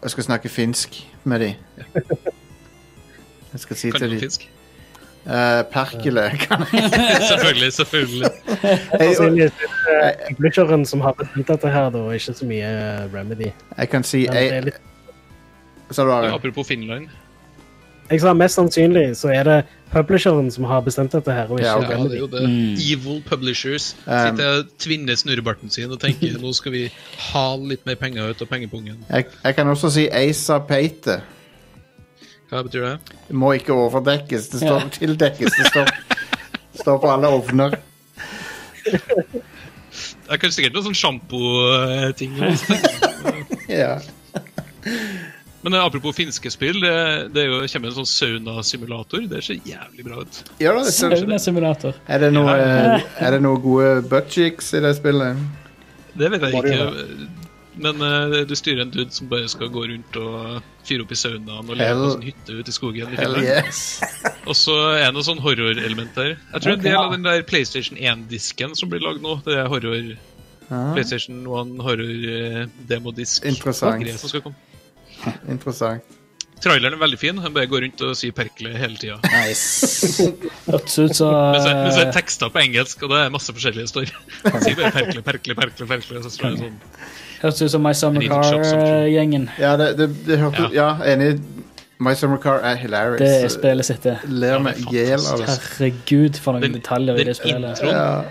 Speaker 1: Jeg skal snakke finsk med de. Jeg skal si
Speaker 4: Kan
Speaker 1: til
Speaker 4: du
Speaker 1: de
Speaker 4: fisk?
Speaker 1: Eh, Perkele, kan jeg
Speaker 4: Selvfølgelig, selvfølgelig.
Speaker 1: jeg,
Speaker 5: Sannsynligvis er det Altså, eh, publisheren som har bestemt dette her, da, og ikke så mye eh, Remedy.
Speaker 1: jeg kan si
Speaker 5: Men det er
Speaker 1: jeg,
Speaker 5: litt,
Speaker 1: Sa du
Speaker 4: Ja,
Speaker 1: Are?
Speaker 4: apropos Finland.
Speaker 5: jeg sa mest sannsynlig så er det publisheren som har bestemt dette her, og ikke
Speaker 1: Ja,
Speaker 4: Ja, det er
Speaker 5: Remedy.
Speaker 4: jo det. Evil Publishers
Speaker 1: Mm. Um.
Speaker 4: sitter og tvinner snurrebarten sin og tenker nå skal vi hale litt mer penger ut av pengepungen.
Speaker 1: Jeg, jeg kan også si Asa Peite.
Speaker 4: Hva betyr det?
Speaker 1: Må ikke overdekkes. Det står
Speaker 2: Ja.
Speaker 1: [LAUGHS] tildekkes. Det står, står på alle ovner.
Speaker 4: Jeg kan sikkert noe sånn
Speaker 1: [LAUGHS]
Speaker 4: sjampo-ting.
Speaker 1: Ja.
Speaker 4: Men eh, apropos finske spill, det, det er jo, kommer en sånn saunasimulator. Det ser jævlig bra ut.
Speaker 1: Gjør det? så-
Speaker 2: Saunasimulator.
Speaker 1: Er det noe, eh, er det noe gode buttcheeks i det spillet?
Speaker 4: Det vet jeg
Speaker 5: Bare
Speaker 4: ikke. Men eh, du styrer en dude som bare skal gå rundt og fyre opp i saunaen og leve
Speaker 1: Hell-
Speaker 4: på en sånn hytte ute i skogen. i
Speaker 1: Hell
Speaker 4: Finland.
Speaker 1: yes.
Speaker 4: Og så er det noe sånn horrorelement der. Jeg tror en del av den der PlayStation 1-disken som blir lagd nå, det er horror
Speaker 1: Ah,
Speaker 4: PlayStation 1 horror-demodisk.
Speaker 1: Interessant.
Speaker 4: som skal komme.
Speaker 1: interessant.
Speaker 4: Traileren er veldig fin. Han bare går rundt og sier 'Perkele' hele tida.
Speaker 2: Eh.
Speaker 1: Nice.
Speaker 2: [LAUGHS] Hørtes ut
Speaker 4: [LAUGHS]
Speaker 2: som
Speaker 4: Men så, men så er
Speaker 2: eh,
Speaker 4: tekster på engelsk, og det er masse forskjellige står. [LAUGHS] Han sier bare 'Perkele, Perkele, Perkele'. perkele så står det sånn.
Speaker 2: hørtes ut som My Summer
Speaker 4: Little Shop Shop.
Speaker 2: Car-gjengen.
Speaker 1: Ja, det, det, det hørte Ja, enig. My Summer Car er hilarious.
Speaker 2: Det er spillet sitt, det.
Speaker 1: Ler meg i hjel av det.
Speaker 2: Herregud, for noen
Speaker 4: Den-
Speaker 2: detaljer i
Speaker 4: den
Speaker 2: det spillet.
Speaker 4: introen,
Speaker 1: Ja.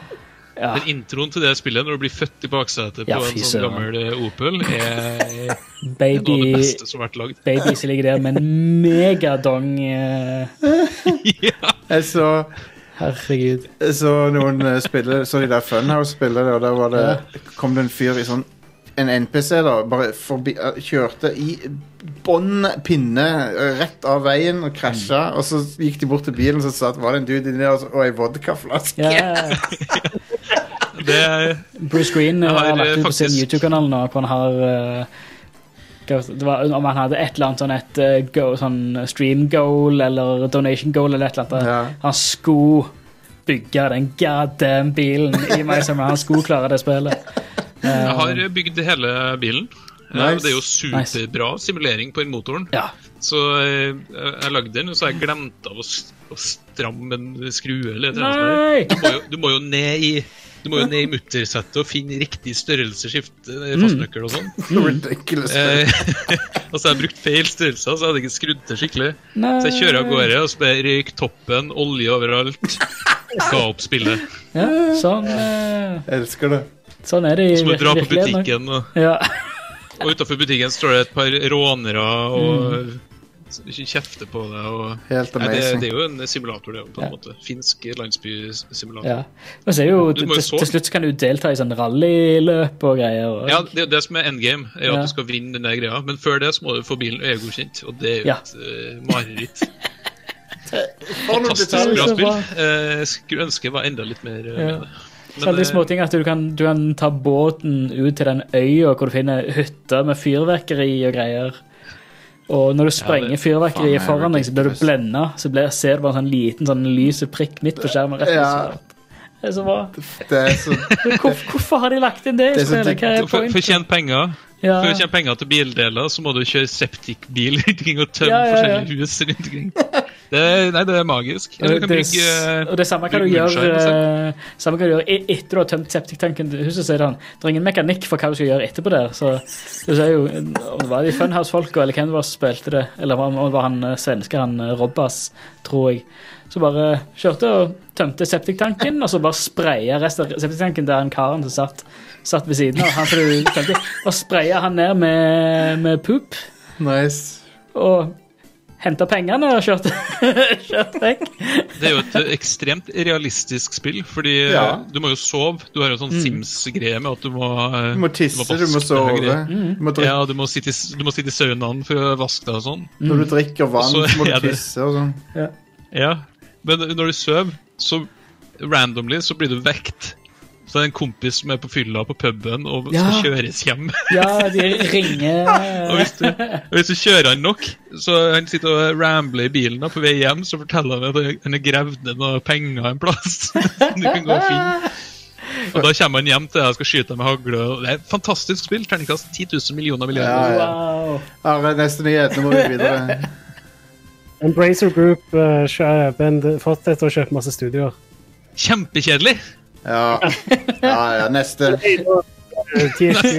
Speaker 2: Ja.
Speaker 4: den introen til det spillet, når du blir født i baksetet på
Speaker 2: Ja,
Speaker 4: en
Speaker 2: fy
Speaker 4: sånn
Speaker 2: søren.
Speaker 4: gammel eh,
Speaker 2: [LAUGHS]
Speaker 4: Opel, er noe av det
Speaker 2: Baby,
Speaker 4: beste [LAUGHS] som har vært lagd.
Speaker 2: baby som ligger der med en megadong. eh,
Speaker 4: ja.
Speaker 1: Jeg så,
Speaker 2: Herregud.
Speaker 1: jeg så noen eh, spille Så de der Funhouse spille det, og der var det, kom det en fyr i sånn En NPC, da. Bare forbi, eh, kjørte i bånn pinne eh, rett av veien og
Speaker 2: Mm.
Speaker 1: krasja. Og så gikk de bort til bilen, så satt, var det en dude inni der og så- og ei vodkaflaske.
Speaker 2: Ja,
Speaker 4: det, er-
Speaker 2: Bruce Green eh,
Speaker 4: Jeg har,
Speaker 2: har lagt ut på sin
Speaker 4: faktisk-
Speaker 2: YouTube-kanal nå hvor han har eh, hva- det var, Om han hadde et eller annet sånn, et, eh, go, sånn stream goal eller donation goal eller et eller annet.
Speaker 1: Ja.
Speaker 2: Han skulle bygge den goddamn bilen i meg som han skulle klare det spillet. Eh,
Speaker 4: jeg har bygd hele bilen. Eh,
Speaker 1: Nice.
Speaker 4: og Det er jo superbra simulering på den motoren.
Speaker 2: Ja.
Speaker 4: Så eh, jeg, jeg lagde den, og så har jeg glemt av å, s- å stramme en skrue. Eller et eller annet sånt.
Speaker 2: Nei!
Speaker 4: du, må jo, du må jo ned i du må jo ned i muttersettet og finne riktig størrelse, skifte eh,
Speaker 1: Mm.
Speaker 4: fastnøkkel og sånn.
Speaker 1: Ridiculous.
Speaker 4: Eh, [LAUGHS] og så har jeg brukt feil størrelser, så jeg hadde ikke skrudd til skikkelig.
Speaker 2: Nei.
Speaker 4: Så jeg kjører av gårde og spør røyk toppen, olje overalt. Ga opp spillet.
Speaker 2: Ja, sånn, eh,
Speaker 1: Jeg elsker det.
Speaker 2: sånn er det i
Speaker 4: Så må du dra på
Speaker 2: virkeligheten også.
Speaker 4: butikken, og,
Speaker 2: Ja.
Speaker 4: og utafor butikken står det et par rånere og s-
Speaker 2: Mm.
Speaker 4: kjefter på deg. Og,
Speaker 1: Helt
Speaker 4: nei, det,
Speaker 1: amazing.
Speaker 4: det er jo en simulator, det er jo på en
Speaker 2: Ja.
Speaker 4: måte. Finsk landsbysimulator. Ja.
Speaker 2: ja. Men så er jo,
Speaker 4: Du
Speaker 2: til,
Speaker 4: må jo så.
Speaker 2: til slutt så kan du delta i sånn rallyløp og greier. Og,
Speaker 4: det er jo det som er endgame, er jo
Speaker 2: Ja.
Speaker 4: at du skal vinne den der greia. Men før det så må du få bilen EU-godkjent, og det er jo
Speaker 2: Ja.
Speaker 4: et eh, mareritt.
Speaker 1: For noen
Speaker 4: Fantastisk
Speaker 1: detaljer.
Speaker 4: bra
Speaker 2: så
Speaker 4: spill.
Speaker 2: bra.
Speaker 4: Eh, skulle ønske jeg var enda litt mer eh,
Speaker 2: Ja.
Speaker 4: med det. Men,
Speaker 2: Sånne
Speaker 4: eh,
Speaker 2: små ting at du kan, du kan ta båten ut til den øya hvor du finner hytter med fyrverkeri og greier. Og når du sprenger
Speaker 1: faen, det
Speaker 2: fyrverkeriet
Speaker 1: er
Speaker 2: foran deg, så blir du
Speaker 1: ridiculous.
Speaker 2: blenda. Så blir, ser du bare en sånn liten sånn lys prikk midt på skjermen. Rett
Speaker 1: Ja.
Speaker 2: og slett. Det er
Speaker 1: [LAUGHS]
Speaker 2: så bra.
Speaker 1: Det er så
Speaker 2: Hvor, hvorfor har de lagt inn det i
Speaker 1: Det er så
Speaker 2: spillet? Hva er
Speaker 4: for, for å
Speaker 2: pointet?
Speaker 4: tjene penger
Speaker 2: Ja.
Speaker 4: For å tjene penger til bildeler så må du kjøre septikbil [LAUGHS] rundt omkring og tømme
Speaker 2: Ja, ja, ja.
Speaker 4: forskjellige hus rundt omkring. Det, nei, det er magisk.
Speaker 2: Og
Speaker 4: Eller du
Speaker 2: det,
Speaker 4: kan brygge
Speaker 2: og det samme kan du
Speaker 4: brygge
Speaker 2: gjøre
Speaker 4: moonshine og sånt.
Speaker 2: eh, samme kan du gjøre e- etter du har tømt septiktanken til huset. så er Det han. Det er ingen mekanikk for hva du skal gjøre etterpå der. Så du ser jo eh, om det var de Funhouse-folka eller hvem det var som spilte det, eller om det var han eh, svenske, han eh, Robbas, tror jeg. Så bare kjørte og tømte septiktanken, og så bare spraya resten av septiktanken der han karen som satt, satt ved siden av. Han som du tømte, i, og spraya han ned med, med poop
Speaker 1: Nice.
Speaker 2: og henta pengene og kjørte, [LAUGHS] kjørte vekk.
Speaker 4: Det er jo et eh, ekstremt realistisk spill, fordi eh,
Speaker 1: Ja.
Speaker 4: du må jo sove. Du har jo en
Speaker 2: Mm.
Speaker 4: sånn Sims-greie med at du må eh,
Speaker 1: Du må tisse, du må
Speaker 4: vaske deg og
Speaker 1: sove. Mm.
Speaker 4: greier.
Speaker 1: Du må drikke,
Speaker 4: Ja, du må, sitte i, s- du må sitte i saunaen for å vaske deg og sånn.
Speaker 1: Når du drikker vann,
Speaker 4: Og så
Speaker 1: så må du
Speaker 4: er det-
Speaker 1: tisse og sånn.
Speaker 4: Ja, Men når du sover, så randomly så blir du vekt. Så det er en kompis som er på fylla på puben og
Speaker 2: Ja.
Speaker 4: skal kjøres hjem. [LAUGHS]
Speaker 2: Ja, de
Speaker 4: Og
Speaker 2: ringer
Speaker 4: hvis, du, og hvis du kjører han nok, så han sitter og rambler i bilen da, på vei hjem, så forteller han at han har gravd ned noen penger en plass. [LAUGHS] som du kan gå og finne. Og da kommer han hjem til deg og skal skyte deg med hagle. og Det er et fantastisk spill. Terningkast 10 000 millioner
Speaker 1: Ja,
Speaker 4: milliarder.
Speaker 1: ja.
Speaker 2: Wow.
Speaker 1: Are, neste nyhet. Nå må vi videre.
Speaker 5: Embracer Group eh, kjø- band- fortsetter å kjøpe masse studioer.
Speaker 4: Kjempekjedelig!
Speaker 1: Ja, ja, ja neste.
Speaker 5: Eh, THQ eh,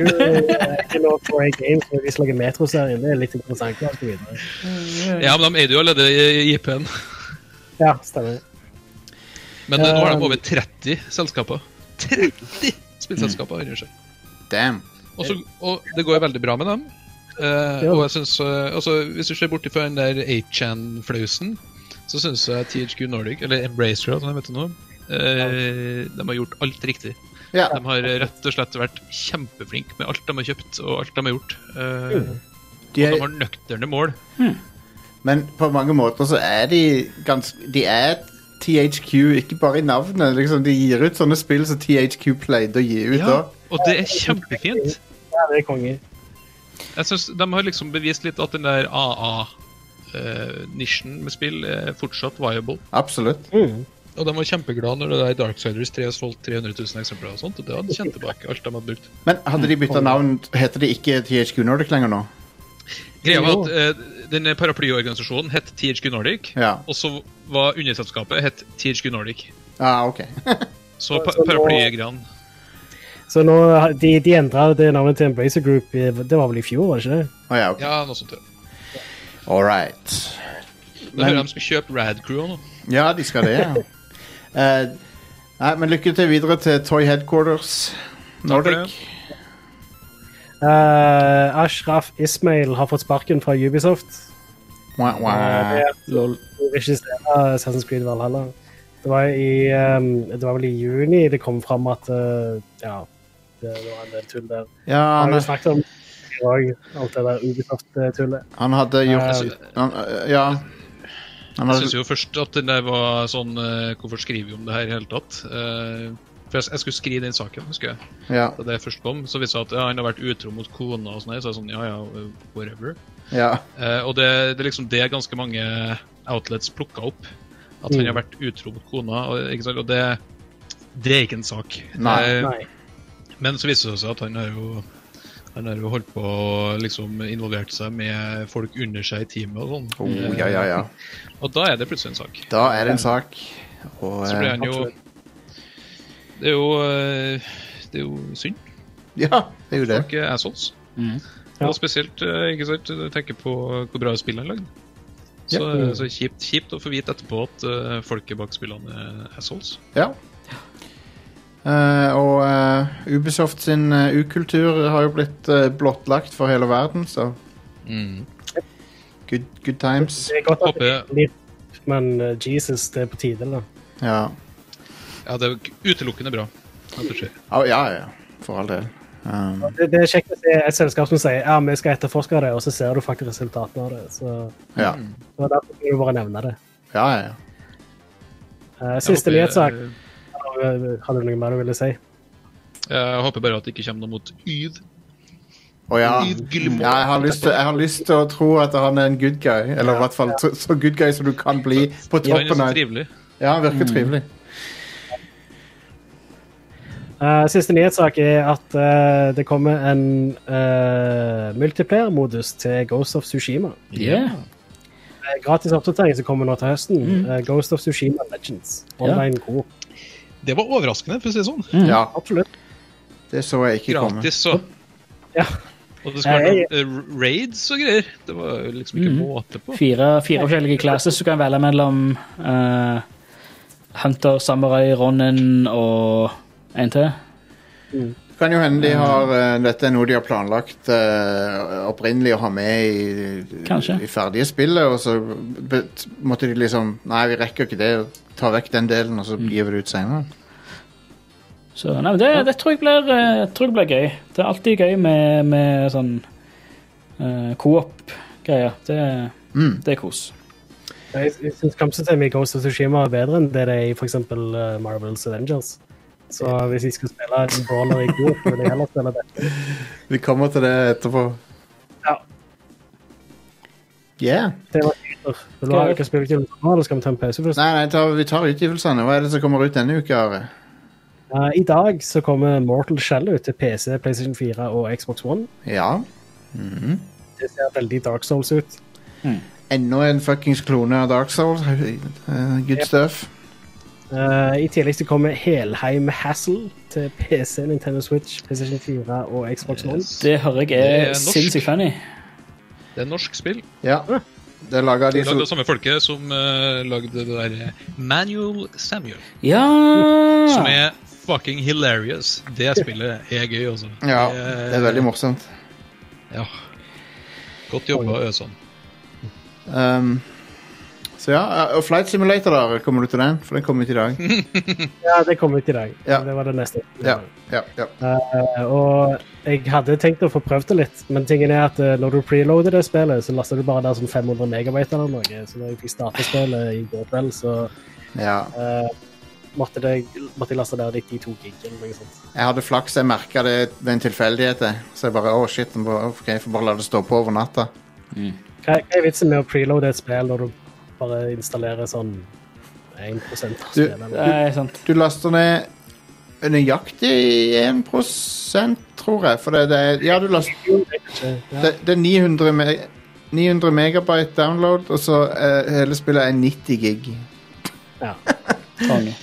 Speaker 5: er nå på en game som de slager Metro-serien. Det er litt interessant. og så videre.
Speaker 4: Ja, men de eide jo allerede i IP-en.
Speaker 5: Ja, stemmer.
Speaker 4: Men eh, nå har de over 30 selskaper. 30 spillselskaper under seg.
Speaker 1: Damn.
Speaker 4: Og, så, og det går jo veldig bra med dem. Eh,
Speaker 5: Ja.
Speaker 4: og jeg synes, eh, altså, Hvis du ser bort fra den der 8chan-flausen, så syns jeg THQ Nordic, eller Embracer, som de heter nå, eh, de har gjort alt riktig.
Speaker 1: Ja.
Speaker 4: De har rett og slett vært kjempeflinke med alt de har kjøpt og alt de har gjort. Eh,
Speaker 1: De
Speaker 4: De
Speaker 1: er,
Speaker 4: har nøkterne mål.
Speaker 1: men på mange måter så er de ganske De er THQ, ikke bare i navnet. Liksom, de gir ut sånne spill som THQ pleide å gi ut
Speaker 4: Ja,
Speaker 1: da.
Speaker 4: og det er kjempefint.
Speaker 5: Ja, det er konge.
Speaker 4: Jeg synes De har liksom bevist litt at den der AA-nisjen med spill er fortsatt viable.
Speaker 1: Absolutt.
Speaker 4: Og de var kjempeglade når det der Darksiders 3 solgte 300 000 eksemplarer. og sånt, og Det hadde de kjent tilbake alt de hadde brukt.
Speaker 1: Men hadde de
Speaker 4: Mm.
Speaker 1: bytta navn, heter de ikke THQ Nordic lenger nå?
Speaker 4: Greia var at eh, denne paraplyorganisasjonen het THQ Nordic,
Speaker 1: Ja.
Speaker 4: og så var underselskapet het THQ Nordic.
Speaker 1: Ah, ok.
Speaker 4: Så pa
Speaker 5: Så nå-
Speaker 4: paraplygreiene
Speaker 5: Så nå, har- de, de endra det navnet til Embracer Group. i- Det var vel i fjor, var det ikke det?
Speaker 1: Å ja, ok.
Speaker 4: Ja, noe sånt. Ja.
Speaker 1: All right.
Speaker 4: Da hører jeg de skal kjøpe Rad Crew nå.
Speaker 1: Ja, de skal det, ja. [LAUGHS] Eh, nei, men lykke til videre til Toy Headquarters Nordic.
Speaker 5: Eh, Ashraf Ismail har fått sparken fra Ubisoft. Eh,
Speaker 1: Wah, wah.
Speaker 5: Det er regissere Assassin's Creed Valhalla. Det var, i, ehm, det var vel i juni det kom fram at eh, ja, det, det var en del tull der.
Speaker 1: Ja,
Speaker 5: Han har
Speaker 1: han,
Speaker 5: jo snakket om i dag, alt det der Ubisoft-tullet.
Speaker 1: han hadde gjort han, eh, Ja. Han
Speaker 4: Jeg syns
Speaker 1: hadde,
Speaker 4: jo først at den der var sånn eh, Hvorfor skriver vi om det her i det hele tatt? Eh, for jeg, jeg skulle skrive den saken, husker jeg.
Speaker 1: ja,
Speaker 4: Da det først kom, så viste det seg at ja, han har vært utro mot kona og sånn. her, Så jeg sånn, ja, ja, whatever.
Speaker 1: ja.
Speaker 4: Eh, og det, det er liksom det ganske mange outlets plukka opp. At
Speaker 1: Mm.
Speaker 4: han har vært utro mot kona. Og, ikke sant? og det, det er ikke en sak.
Speaker 1: Nei,
Speaker 4: Eh,
Speaker 5: Nei.
Speaker 4: Men så viser det seg at han har jo han har jo holdt på å liksom involvert seg med folk under seg i teamet og sånn.
Speaker 1: Oh, ja, ja, ja.
Speaker 4: Og da er det plutselig en sak.
Speaker 1: Da er det en sak. Og,
Speaker 4: Så
Speaker 1: eh,
Speaker 4: blir han jo Det er jo eh, Det er jo synd.
Speaker 1: [LAUGHS] ja, det er jo det.
Speaker 4: Folk er assholes.
Speaker 5: Ja.
Speaker 4: Og spesielt eh, ikke sant, når du tenker på hvor bra spillene er lagd. Så, eh, så kjipt, kjipt å få vite etterpå at eh, folket bak spillene er assholes.
Speaker 1: Ja. Eh, og eh, Ubisoft sin eh, ukultur har jo blitt eh, blottlagt for hele verden, så good, good times.
Speaker 5: Det er godt at det
Speaker 4: Håper,
Speaker 5: blir men eh, Jesus, det er på tide, da.
Speaker 1: Ja.
Speaker 4: ja, det er jo utelukkende bra. at det skjer.
Speaker 1: Å, ja, ja. For all del. Um,
Speaker 5: Det, det er kjekt å se et selskap som sier ja, vi skal etterforske det, og så ser du faktisk resultatene av det. Så,
Speaker 1: ja.
Speaker 5: så derfor kan du bare nevne det.
Speaker 1: ja, ja, ja.
Speaker 5: Eh,
Speaker 4: Jeg
Speaker 5: siste nyhetssak. eh,
Speaker 4: håper-
Speaker 5: Hadde du noe mer du ville si?
Speaker 4: Jeg håper bare at det ikke kommer noe mot Yd.
Speaker 1: Å ja.
Speaker 4: Lyd Gilmore.
Speaker 1: ja jeg, har lyst til, jeg har lyst til å tro at han er en good guy. Eller i hvert fall så, så good guy som du kan bli på
Speaker 4: Han er
Speaker 1: toppen
Speaker 4: så
Speaker 1: av
Speaker 4: trivelig.
Speaker 1: Ja, han virker trivelig.
Speaker 5: Eh, siste nyhetssak er at eh, det kommer en eh, multiplayer-modus til Ghost of Sushima.
Speaker 2: Yeah.
Speaker 5: eh, gratis oppdatering som kommer nå til høsten. eh, Ghost of Tsushima Legends. Online god.
Speaker 4: Det var overraskende, for å si det sånn.
Speaker 5: Mm.
Speaker 1: Ja,
Speaker 5: Absolutt.
Speaker 1: det så jeg ikke komme.
Speaker 4: Gratis, så.
Speaker 5: Ja.
Speaker 4: Og det skal
Speaker 5: Nei, Mm.
Speaker 4: være noen eh, raids og greier. Det var jo liksom ikke måte på.
Speaker 2: Fire, fire forskjellige classes du kan velge mellom eh, Hunter, Samurai, Ronin og en til.
Speaker 1: Det kan jo hende de har eh, Dette er noe de har planlagt eh, opprinnelig å ha med i,
Speaker 2: Kanskje.
Speaker 1: i ferdige spillet, og så be- måtte de liksom Nei, vi rekker ikke det. Ta vekk den delen, og så gir vi det ut senere.
Speaker 2: Så nei, men det, det tror, jeg blir, eh, tror jeg blir gøy. Det er alltid gøy med, med sånn eh, coop-greier. Det, det er kos.
Speaker 5: Jeg, jeg syns kampsystemet i Ghost of Tsushima er bedre enn det det er i f.eks. Uh, Marvels Avengers. Så hvis jeg skal spille en brawler i god, vil jeg heller spille det.
Speaker 1: Vi kommer til det etterpå.
Speaker 5: Ja.
Speaker 1: Yeah.
Speaker 5: det var kjøter. Vil du ha hvilket spill til nå, eller skal vi ta en pause først?
Speaker 1: Nei, nei, ta, vi tar utgivelsene. Hva er det som kommer ut denne uka? Are?
Speaker 5: Eh, I dag så kommer Mortal Shell ut til PC, PlayStation 4 og Xbox One.
Speaker 1: Ja.
Speaker 5: Det ser veldig Dark Souls ut.
Speaker 1: Enda en fuckings klone av Dark Souls. Eh, Good stuff.
Speaker 5: Eh, I tillegg så kommer Helheim Hassel til PC, Nintendo Switch, PlayStation 4 og Xbox One.
Speaker 2: Det hører jeg
Speaker 4: Det er
Speaker 2: er
Speaker 4: norsk.
Speaker 2: sinnssykt funny.
Speaker 4: Det er norsk spill.
Speaker 1: Ja. Det er laga av de
Speaker 4: Det er
Speaker 1: som
Speaker 4: laget av samme folket som eh, lagde det der eh, Manual Samuel,
Speaker 2: Ja!
Speaker 4: som er fucking hilarious. Det spillet er gøy, altså.
Speaker 1: Ja, det er veldig morsomt.
Speaker 4: Ja. Godt jobba, Øsan.
Speaker 1: Um, så ja, eh, og Flight Simulator, da. Kommer du til den? For den kom ut i
Speaker 4: [LAUGHS]
Speaker 1: dag.
Speaker 5: Ja, det kom ut i dag.
Speaker 1: Ja.
Speaker 5: Det var det neste.
Speaker 1: Ja, ja, ja.
Speaker 5: Eh, og jeg hadde tenkt å få prøvd det litt, men tingen er at eh, når du preloader det spillet, så laster du bare der som 500 megabyte eller noe. Så når jeg fikk starte spillet i går kveld, så
Speaker 1: ja.
Speaker 5: eh, måtte, det, måtte jeg laste der 92 gig eller noe sånt.
Speaker 1: Jeg hadde flaks. Jeg merka det ved en tilfeldighet. jeg. Så jeg bare Å, shit. den bare- ok, jeg får bare la det stå på over natta.
Speaker 5: Hva, hva er vitsen med å preloade et spill når du bare installerer sånn 1 av
Speaker 1: Du,
Speaker 5: spillet? eller?
Speaker 2: Nei, sant.
Speaker 1: Du laster ned nøyaktig 1 tror jeg. For det, det er Ja, du laster
Speaker 5: Ja.
Speaker 1: Det, det er 900, me 900 megabyte download, og så eh, hele spillet er 90 gig.
Speaker 5: Ja.
Speaker 2: Konge.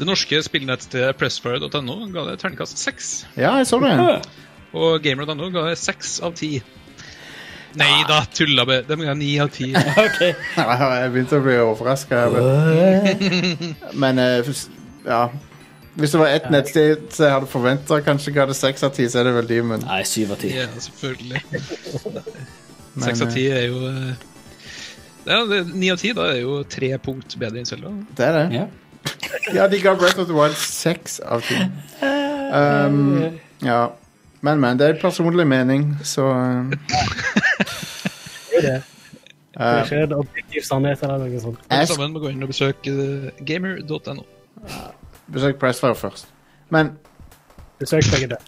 Speaker 4: Det norske spillnettstedet pressfire.no ga det terningkast seks.
Speaker 1: Ja, jeg så [LAUGHS] det.
Speaker 4: Og gamer.no ga det seks av ti. Nei da, tulla med. De ga ni av ti.
Speaker 2: OK.
Speaker 1: jeg begynte å bli overraska. Men eh, hvis- ja Hvis det var ett nettsted så jeg hadde forventa kanskje ga det seks av ti, så er det vel de, men
Speaker 2: Nei, syv av ti.
Speaker 4: Ja, selvfølgelig. Seks av ti er jo eh, ja, det- Ni av ti da er jo tre punkt bedre enn Selda.
Speaker 1: det er det.
Speaker 2: Ja.
Speaker 1: Ja, de ga Breath of the Wild seks av ti. Um, ja. Men, men. Det er en personlig mening, så eh,
Speaker 5: Det er ikke en objektiv sannhet eller noe sånt.
Speaker 4: Alle
Speaker 1: jeg,
Speaker 4: sammen må gå inn og besøke eh, gamer.no.
Speaker 1: Besøk Pressfire først. Men
Speaker 5: Besøk begge der.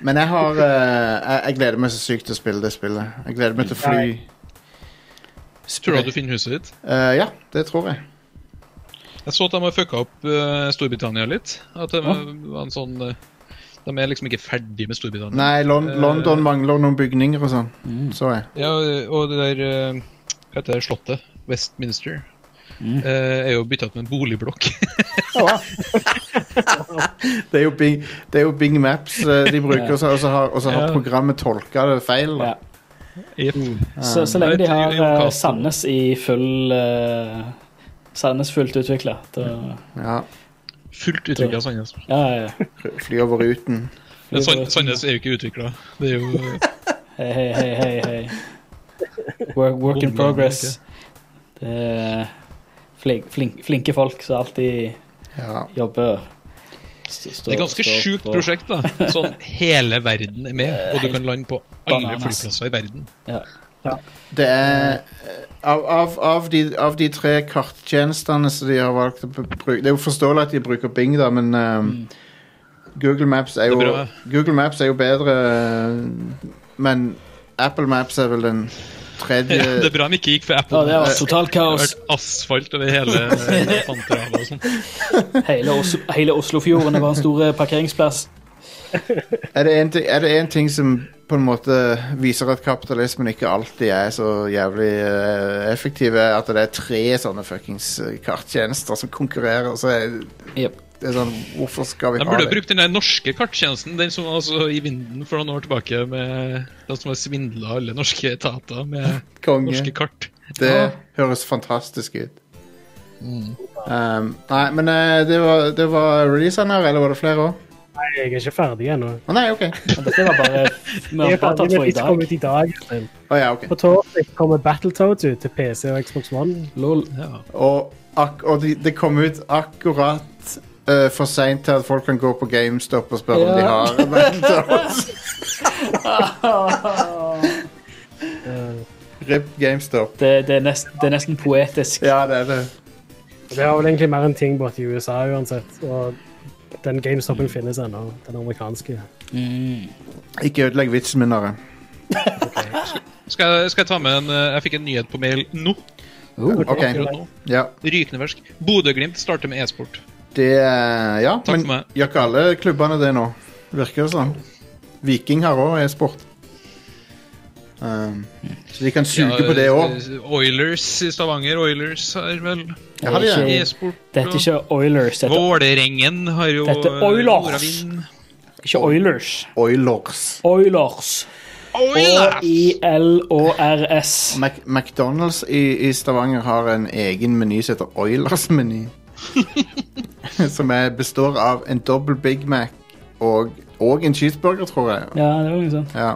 Speaker 1: Men jeg har eh, jeg, jeg gleder meg så sykt til å spille det spillet. Jeg gleder meg til å fly.
Speaker 4: Tror du at du finner huset ditt?
Speaker 1: Eh, ja, det tror jeg.
Speaker 4: Jeg så at de har fucka opp eh, Storbritannia litt. At de var en sånn eh, De er liksom ikke ferdig med Storbritannia.
Speaker 1: Nei, Lon
Speaker 4: Eh,
Speaker 1: London mangler noen bygninger og sånn.
Speaker 2: Mm.
Speaker 1: Så jeg.
Speaker 4: Ja, og det der eh, Hva heter det slottet? Westminster.
Speaker 1: Mm.
Speaker 4: eh, er jo bytta ut med en boligblokk.
Speaker 1: [LAUGHS] Det er jo Bing, det er jo Bing Maps eh, de bruker, og så- og så har, og så har
Speaker 4: Ja.
Speaker 1: programmet tolka det feil. Da. Eh,
Speaker 2: Ja.
Speaker 4: Jepp.
Speaker 2: Mm. Så, så lenge de
Speaker 4: Nei,
Speaker 2: har
Speaker 4: det er jo
Speaker 2: eh,
Speaker 4: kaos.
Speaker 2: Sandnes i full eh, Sandnes fullt utvikla. Ja,
Speaker 1: Ja.
Speaker 4: Fullt utvikla Sandnes.
Speaker 2: ja, ja.
Speaker 1: Fly over ruten.
Speaker 4: Men Sand- Sandnes er jo ikke utvikla. Det er
Speaker 2: [LAUGHS]
Speaker 4: jo eh,
Speaker 2: Hei, hei, hei, hei. hei. Work, work in
Speaker 4: Bombe,
Speaker 2: progress. Det er flink, flink, flinke folk som alltid
Speaker 1: Ja.
Speaker 2: jobber. St- står-
Speaker 4: Det er ganske
Speaker 2: står
Speaker 4: sjukt
Speaker 2: på-
Speaker 4: prosjekt, da. Sånn hele verden er med, og du kan lande på alle
Speaker 2: Bananas.
Speaker 4: flyplasser i verden.
Speaker 2: Ja.
Speaker 1: Det er eh, av, av, av, de, av de tre karttjenestene som de har valgt å b- bruke Det er jo forståelig at de bruker Bing, da, men eh,
Speaker 2: Mm.
Speaker 1: Google, Maps er
Speaker 4: Mm. Det er
Speaker 1: jo,
Speaker 4: bra.
Speaker 1: Google Maps er jo bedre eh, Men Apple Maps er vel den
Speaker 4: [LAUGHS] Det
Speaker 1: tredje
Speaker 4: er bra de ikke gikk for
Speaker 2: Å,
Speaker 4: Apple.
Speaker 2: det var totalt
Speaker 4: Det har
Speaker 2: kaos.
Speaker 4: vært asfalt over
Speaker 2: [LAUGHS]
Speaker 4: hele Fantravet og sånn.
Speaker 2: Hele, Oslo, hele Oslofjorden var en stor eh, parkeringsplass.
Speaker 1: Er det en ting- er det én ting som på en måte viser at kapitalismen ikke alltid er så jævlig eh, effektiv, er at det er tre sånne fuckings eh, karttjenester som konkurrerer. Så er
Speaker 2: Jep.
Speaker 1: det er sånn, hvorfor skal vi
Speaker 4: De
Speaker 1: ha
Speaker 4: burde
Speaker 1: det?
Speaker 4: jo brukt den der norske karttjenesten, den som var altså i vinden for noen år tilbake, med de som har svindla alle norske etater med
Speaker 1: Konge.
Speaker 4: norske kart.
Speaker 1: Det høres fantastisk ut. Um, nei, men eh, det var, det var releasen her, eller var det flere òg?
Speaker 5: Nei, jeg er ikke ferdig ennå.
Speaker 1: Å nei, OK.
Speaker 2: Men Dette var bare Vi
Speaker 5: Jeg
Speaker 2: har
Speaker 5: er
Speaker 2: bare
Speaker 5: ferdig
Speaker 2: tatt
Speaker 5: med
Speaker 2: for
Speaker 5: de
Speaker 2: i
Speaker 5: som kom
Speaker 2: dag.
Speaker 5: ut i dag. Øystein.
Speaker 1: Å ja, ok.
Speaker 5: På torsdag kommer Battletoads ut til PC og Xbox One.
Speaker 2: Lol.
Speaker 1: Og, ak og det de kom ut akkurat eh, for seint til at folk kan gå på GameStop og spørre om
Speaker 2: Ja.
Speaker 1: de har Battletoads. Rip GameStop.
Speaker 2: Det, det, er nest, det er nesten poetisk.
Speaker 1: Ja, det er det.
Speaker 5: Det var vel egentlig mer en ting borte i USA uansett. Og den GameStopen finnes ennå, den amerikanske.
Speaker 1: Ikke ødelegg vitsen min, Are.
Speaker 4: Skal, jeg- skal jeg ta med en eh, Jeg fikk en nyhet på mail nå.
Speaker 1: OK.
Speaker 4: akkurat nå.
Speaker 1: Ja,
Speaker 4: Rykende fersk. Bodø-Glimt starter med e-sport.
Speaker 1: det eh, Ja,
Speaker 4: Takk for
Speaker 1: men
Speaker 4: meg.
Speaker 1: gjør ikke alle klubbene det nå? Virker det sånn. Viking har òg e-sport. Um, så de kan suge på det òg.
Speaker 4: eh, Oilers i Stavanger. Oilers har vel
Speaker 1: Ja, har de det?
Speaker 4: e-sport.
Speaker 2: Det heter ikke Oilers. Det heter,
Speaker 4: Vålerengen har jo
Speaker 2: Dette er
Speaker 4: eh,
Speaker 2: Oilers.
Speaker 4: Nordavind.
Speaker 2: ikke Oilers.
Speaker 1: Oilers.
Speaker 2: Oilers. O-I-L-O-R-S.
Speaker 1: Mac McDonald's i, i Stavanger har en egen meny som heter
Speaker 2: [LAUGHS]
Speaker 1: Oilers-meny. som er, består av en dobbel Big Mac og, og en cheeseburger, tror jeg.
Speaker 2: Ja, det var liksom- noe sånt.
Speaker 1: Ja.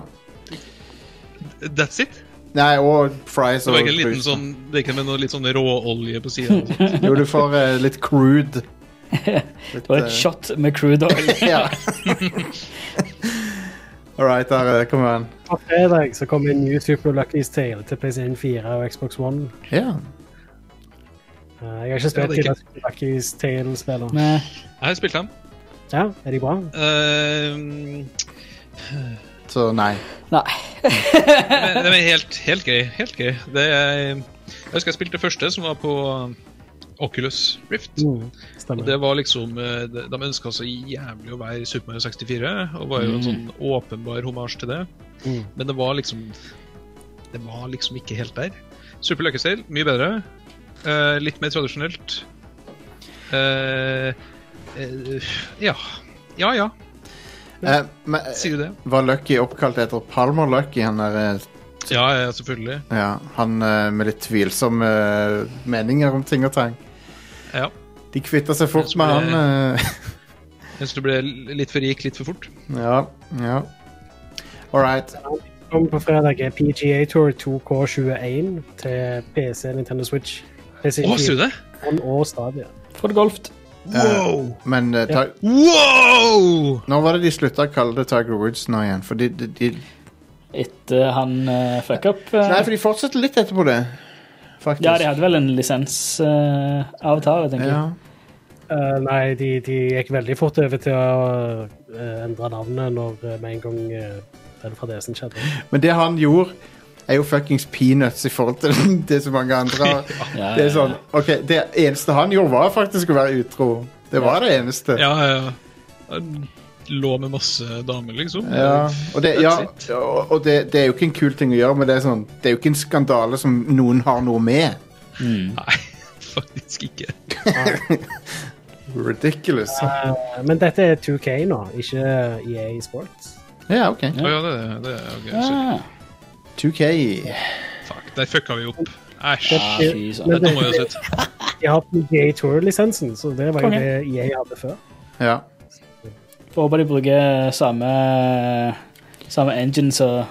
Speaker 4: That's it.
Speaker 1: Nei, og fries
Speaker 4: Det
Speaker 1: og
Speaker 4: var ikke en liten
Speaker 1: brus.
Speaker 4: sånn Det er ikke med noe litt sånn råolje på sida.
Speaker 1: [LAUGHS] Jo, du får eh, litt crude. Litt,
Speaker 2: [LAUGHS] Det var
Speaker 1: eh,
Speaker 2: et shot med crude oil.
Speaker 1: [LAUGHS]
Speaker 2: [LAUGHS]
Speaker 1: ja. All right, der eh, kommer han.
Speaker 5: På fredag så kommer New Super Lucky's Tale til PlayStation 4 og Xbox One.
Speaker 1: Ja.
Speaker 5: Eh, Jeg har ikke
Speaker 4: Ja,
Speaker 5: spilt
Speaker 4: det er
Speaker 5: til Super Lucky's Tale-spiller.
Speaker 2: Nei.
Speaker 4: Jeg har spilt dem.
Speaker 5: Ja, er de bra?
Speaker 4: Eh,
Speaker 1: Så nei.
Speaker 2: Nei.
Speaker 4: Men det var helt, helt gøy. Helt gøy. Det, jeg husker jeg spilte det første, som var på eh, Oculus Rift.
Speaker 5: Mm,
Speaker 4: Og
Speaker 5: stemmer.
Speaker 4: det var liksom eh, De de ønska så jævlig å være Super Mario 64, og var jo en sånn åpenbar homasj til det.
Speaker 5: Mm.
Speaker 4: Men det var liksom Det var liksom ikke helt der. Super Lucky Stale, mye bedre. Eh, litt mer tradisjonelt. Eh, eh, ja. Ja ja,
Speaker 1: Eh, men, eh,
Speaker 4: sier du det?
Speaker 1: var Lucky oppkalt etter Palmer Lucky, han der eh,
Speaker 4: Ja, ja, selvfølgelig.
Speaker 1: Ja, han eh, med litt tvilsomme eh, meninger om ting og tang.
Speaker 4: Ja.
Speaker 1: De kvitta seg fort
Speaker 4: Jeg
Speaker 1: med
Speaker 4: tror det-
Speaker 1: han. eh, [LAUGHS]
Speaker 4: Jeg syns du ble litt for rik litt for fort.
Speaker 1: ja, ja. All right.
Speaker 5: Kommer på fredag er PGA Tour 2K21 til PC, Nintendo Switch, PlayStation
Speaker 4: Å, sier du
Speaker 5: 4
Speaker 4: det?
Speaker 5: One og Stadia.
Speaker 2: Få det golft.
Speaker 4: Wow!
Speaker 1: Men eh, ta,
Speaker 4: Wow!
Speaker 1: nå var det de slutta å kalle det Tiger Woods nå igjen. For de, de, de,
Speaker 2: Etter han uh, fucka opp. eh,
Speaker 1: nei, for de fortsetter litt etterpå det, faktisk.
Speaker 2: ja, de hadde vel en lisensavtale, tenker jeg.
Speaker 1: Ja.
Speaker 5: Eh, nei, de, de gikk veldig fort over til å eh, endre navnet når eh, med en gang eh, den fra DC-en skjedde.
Speaker 1: Men det han gjorde, er jo fuckings peanuts i forhold til [LAUGHS] det som mange andre har.
Speaker 2: Ja,
Speaker 1: Det er
Speaker 2: ja,
Speaker 1: sånn, ok, det eneste han gjorde, var faktisk å være utro. Det var det eneste.
Speaker 4: Ja, ja. Han Lå med masse damer, liksom.
Speaker 1: Ja, og, det, ja,
Speaker 4: That's
Speaker 1: og og det, det er jo ikke en kul ting å gjøre, men det er, sånn, det er jo ikke en skandale som noen har noe med.
Speaker 4: Nei, [LAUGHS] faktisk ikke.
Speaker 1: [LAUGHS] Ridiculous.
Speaker 5: Eh, men dette er 2K nå, ikke EA Sports.
Speaker 1: Ja, ok.
Speaker 4: Å ja, det, det er ok. sorry.
Speaker 2: Ah,
Speaker 1: 2K.
Speaker 4: Fuck, der fucka vi opp. Æsj.
Speaker 2: ah,
Speaker 5: Det-
Speaker 2: fy søren.
Speaker 5: men
Speaker 4: Dette
Speaker 5: det-
Speaker 4: må vi ha sett.
Speaker 5: de har PGA Tour-lisensen, så det var jo
Speaker 2: Konge.
Speaker 5: det EA hadde før.
Speaker 1: Ja.
Speaker 2: Får håpe de bruker samme, samme engine som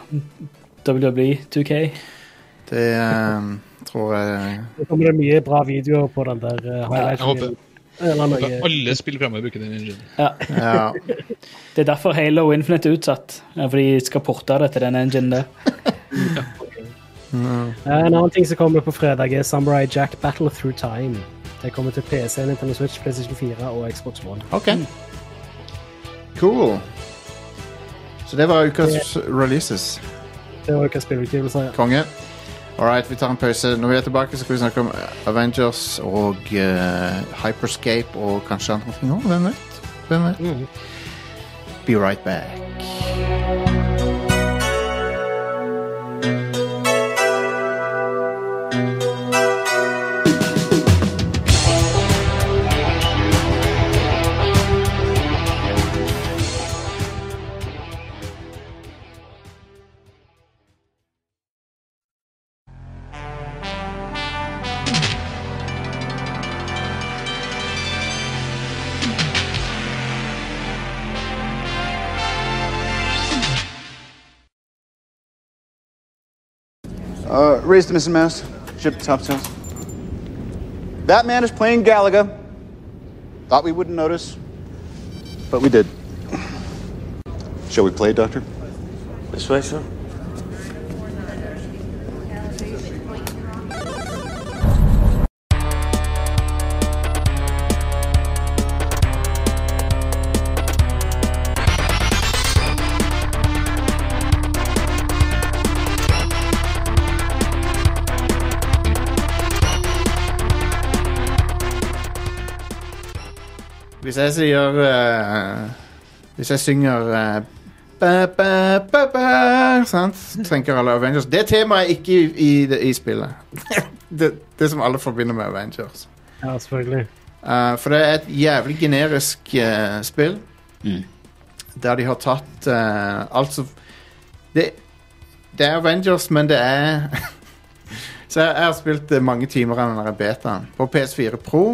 Speaker 2: WWE 2K.
Speaker 1: Det ehm, tror jeg
Speaker 5: Nå kommer det mye bra videoer på den der uh,
Speaker 4: jeg håper-
Speaker 5: highlighten. Eller noe.
Speaker 4: Kan Alle spill fremover bruker den enginen.
Speaker 1: Ja.
Speaker 2: Det er derfor Halo Infinite er utsatt. eh, For de skal porte det til den enginen der.
Speaker 5: Eh, en annen ting som kommer på fredag, er Samurai Jack Battle Through Time. Det kommer til PC, Nintendo Switch, PlayStation 4 og Xbox One.
Speaker 1: OK. Cool. Så det var ukas releases.
Speaker 5: Det var jo hva spillutgivelser er.
Speaker 1: Konge. All right, vi tar en pause. Når vi er tilbake, så skal vi snakke om eh, Avengers og eh, Hyperscape og kanskje andre ting òg. Hvem vet? Hvem vet? Be right back.
Speaker 8: Uh, raise the missing mast. Ship the topsails. That man is playing Galaga. Thought we wouldn't notice, but we did. Shall we play, Doctor?
Speaker 9: This way, sir.
Speaker 1: Hvis jeg sier eh, Hvis jeg synger eh, ba, ba, ba, ba, sant? Så tenker alle Avengers. Det temaet er ikke i, i, det- i spillet. [LAUGHS] det, det som alle forbinder med Avengers.
Speaker 5: Ja, selvfølgelig.
Speaker 1: Eh, for det er et jævlig generisk eh, spill.
Speaker 2: Mm.
Speaker 1: Der de har tatt eh, alt som det, det er Avengers, men det er [LAUGHS] Så jeg, jeg har spilt eh, mange timer av den der betaen på PS4 Pro.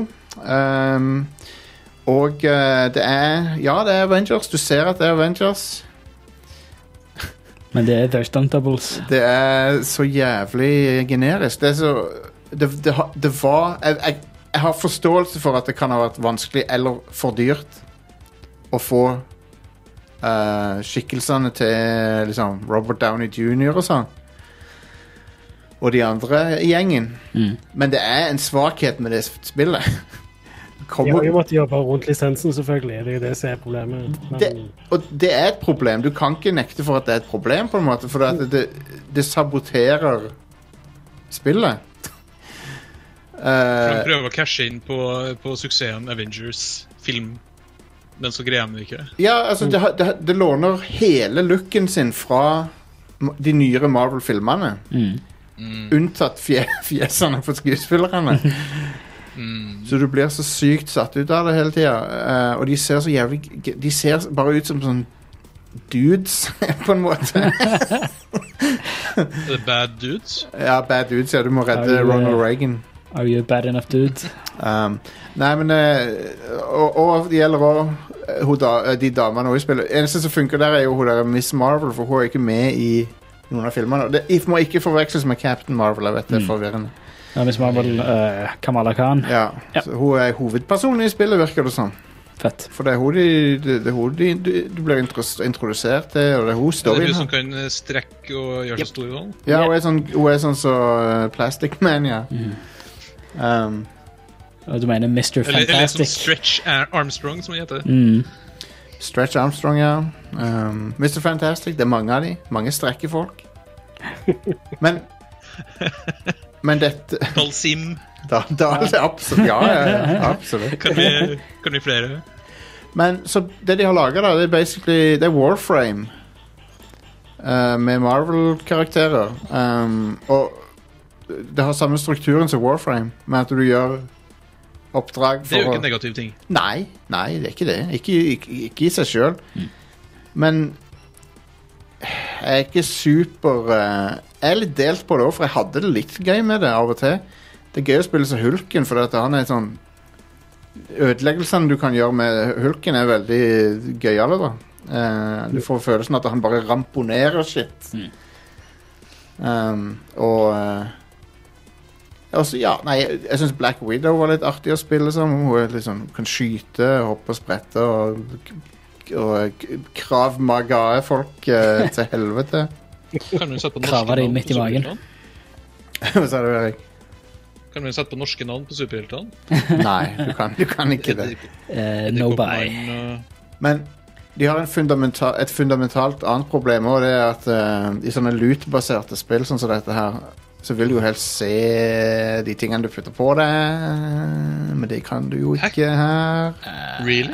Speaker 1: Ehm, og eh, det er Ja, det er Avengers. Du ser at det er Avengers.
Speaker 2: Men det er Dutch Duntables.
Speaker 1: Det er så jævlig generisk. Det er så Det, det, har- det var jeg, jeg, jeg har forståelse for at det kan ha vært vanskelig eller for dyrt å få eh, skikkelsene til liksom, Robert Downey jr. og sånn. Og de andre i gjengen.
Speaker 2: Mm.
Speaker 1: Men det er en svakhet med det spillet.
Speaker 5: De har
Speaker 1: Kommer,
Speaker 5: jo måttet jobbe rundt lisensen, selvfølgelig. Det er jo det som er problemet. Men
Speaker 1: det, og det er et problem. Du kan ikke nekte for at det er et problem, på en måte, for at det, det saboterer spillet.
Speaker 4: De
Speaker 1: Eh,
Speaker 4: prøver å cashe inn på, på suksessen Avengers-film. Den som greier meg ikke.
Speaker 1: ja, altså, det, har- det, har- det låner hele looken sin fra ma- de nyere Marvel-filmene.
Speaker 2: Mm.
Speaker 1: Unntatt fje, [LAUGHS] fjesene på skuespillerne.
Speaker 4: Mm.
Speaker 1: Så du blir så sykt satt ut av det hele tida. eh, og de ser så jævlig g- De ser bare ut som sånn dudes, [LAUGHS] på en måte.
Speaker 4: Er det Bad Dudes?
Speaker 1: ja, bad dudes, ja. Du må
Speaker 2: Ja,
Speaker 1: redde
Speaker 2: de, eh,
Speaker 1: Ronald Reagan.
Speaker 2: Are you bad enough, dude?
Speaker 1: Um, nei, men eh, og, og det gjelder òg da, eh, de damene også i spillet. Eneste som funker der, er jo hun der Miss Marvel, for hun er ikke med i noen av filmene. Og Det det må ikke forveksles med Captain Marvel. Jeg vet det er
Speaker 2: Mm.
Speaker 1: forvirrende.
Speaker 2: Ja, hvis man vel eh, Kamala Khan.
Speaker 1: Ja,
Speaker 2: Ja.
Speaker 1: Så hun er hovedpersonen i spillet, virker det som.
Speaker 2: Fett.
Speaker 1: For det er hun, de, det, det er hun de, du, du blir intros- introdusert til, og det er hun
Speaker 4: Det er
Speaker 1: storyen
Speaker 4: hun
Speaker 1: her.
Speaker 4: som kan eh, strekke og gjøre seg stor i vann.
Speaker 1: Ja, hun er sånn hun er sånn så eh, Plastic Man, ja. Um,
Speaker 2: Og du mener Mr.
Speaker 4: Eller, eller som
Speaker 2: Fantastic?
Speaker 4: Stretch Ar- Armstrong, som han
Speaker 2: [LAUGHS]
Speaker 4: heter.
Speaker 2: Mm.
Speaker 1: Stretch Armstrong, ja. Um, Mr. Fantastic. Det er mange av de. Mange strekkefolk. Men Men dette
Speaker 4: Dalsim.
Speaker 1: [LAUGHS] da, da, absolutt, Ja, ja, ja, absolutt.
Speaker 4: Kan bli, kan bli flere.
Speaker 1: Men så det de har laga, da, det er basically Det er Warframe. eh, med Marvel-karakterer. Um, og det har samme strukturen som Warframe, med at du gjør oppdrag for
Speaker 4: Det er jo
Speaker 1: å-
Speaker 4: ikke en negativ ting.
Speaker 1: Nei, nei, det er ikke det. Ikke, ikke, ikke i seg sjøl. Men jeg er ikke super eh, Jeg er litt delt på det òg, for jeg hadde det litt gøy med det av og til. Det er gøy å spille som Hulken, for at han er sånn Ødeleggelsene du kan gjøre med Hulken, er veldig gøyale, da. Eh, du får følelsen at han bare ramponerer shit. Um, og eh, og så, Altså, ja, nei, jeg, jeg syns Black Widow var litt artig å spille som. Hun er litt sånn- kan skyte, hoppe og sprette og, og k- Krav Maga-folk [LAUGHS] eh, til helvete.
Speaker 4: Kan hun sette på norske
Speaker 2: Krava deg
Speaker 4: navn
Speaker 2: midt i
Speaker 4: på
Speaker 2: magen.
Speaker 4: superheltene?
Speaker 1: Hva sa du, Erik?
Speaker 4: Kan hun sette på norske navn på superheltene?
Speaker 1: Nei, du kan, du kan ikke det.
Speaker 4: Edderkoppmann
Speaker 2: Eh, nobody.
Speaker 4: og-
Speaker 1: Men de har en fundamenta et fundamentalt annet problem òg, det er at eh, i sånne loot-baserte spill sånn som dette her, så vil du jo helst se de tingene du putter på deg, men det kan du jo ikke her.
Speaker 4: Really?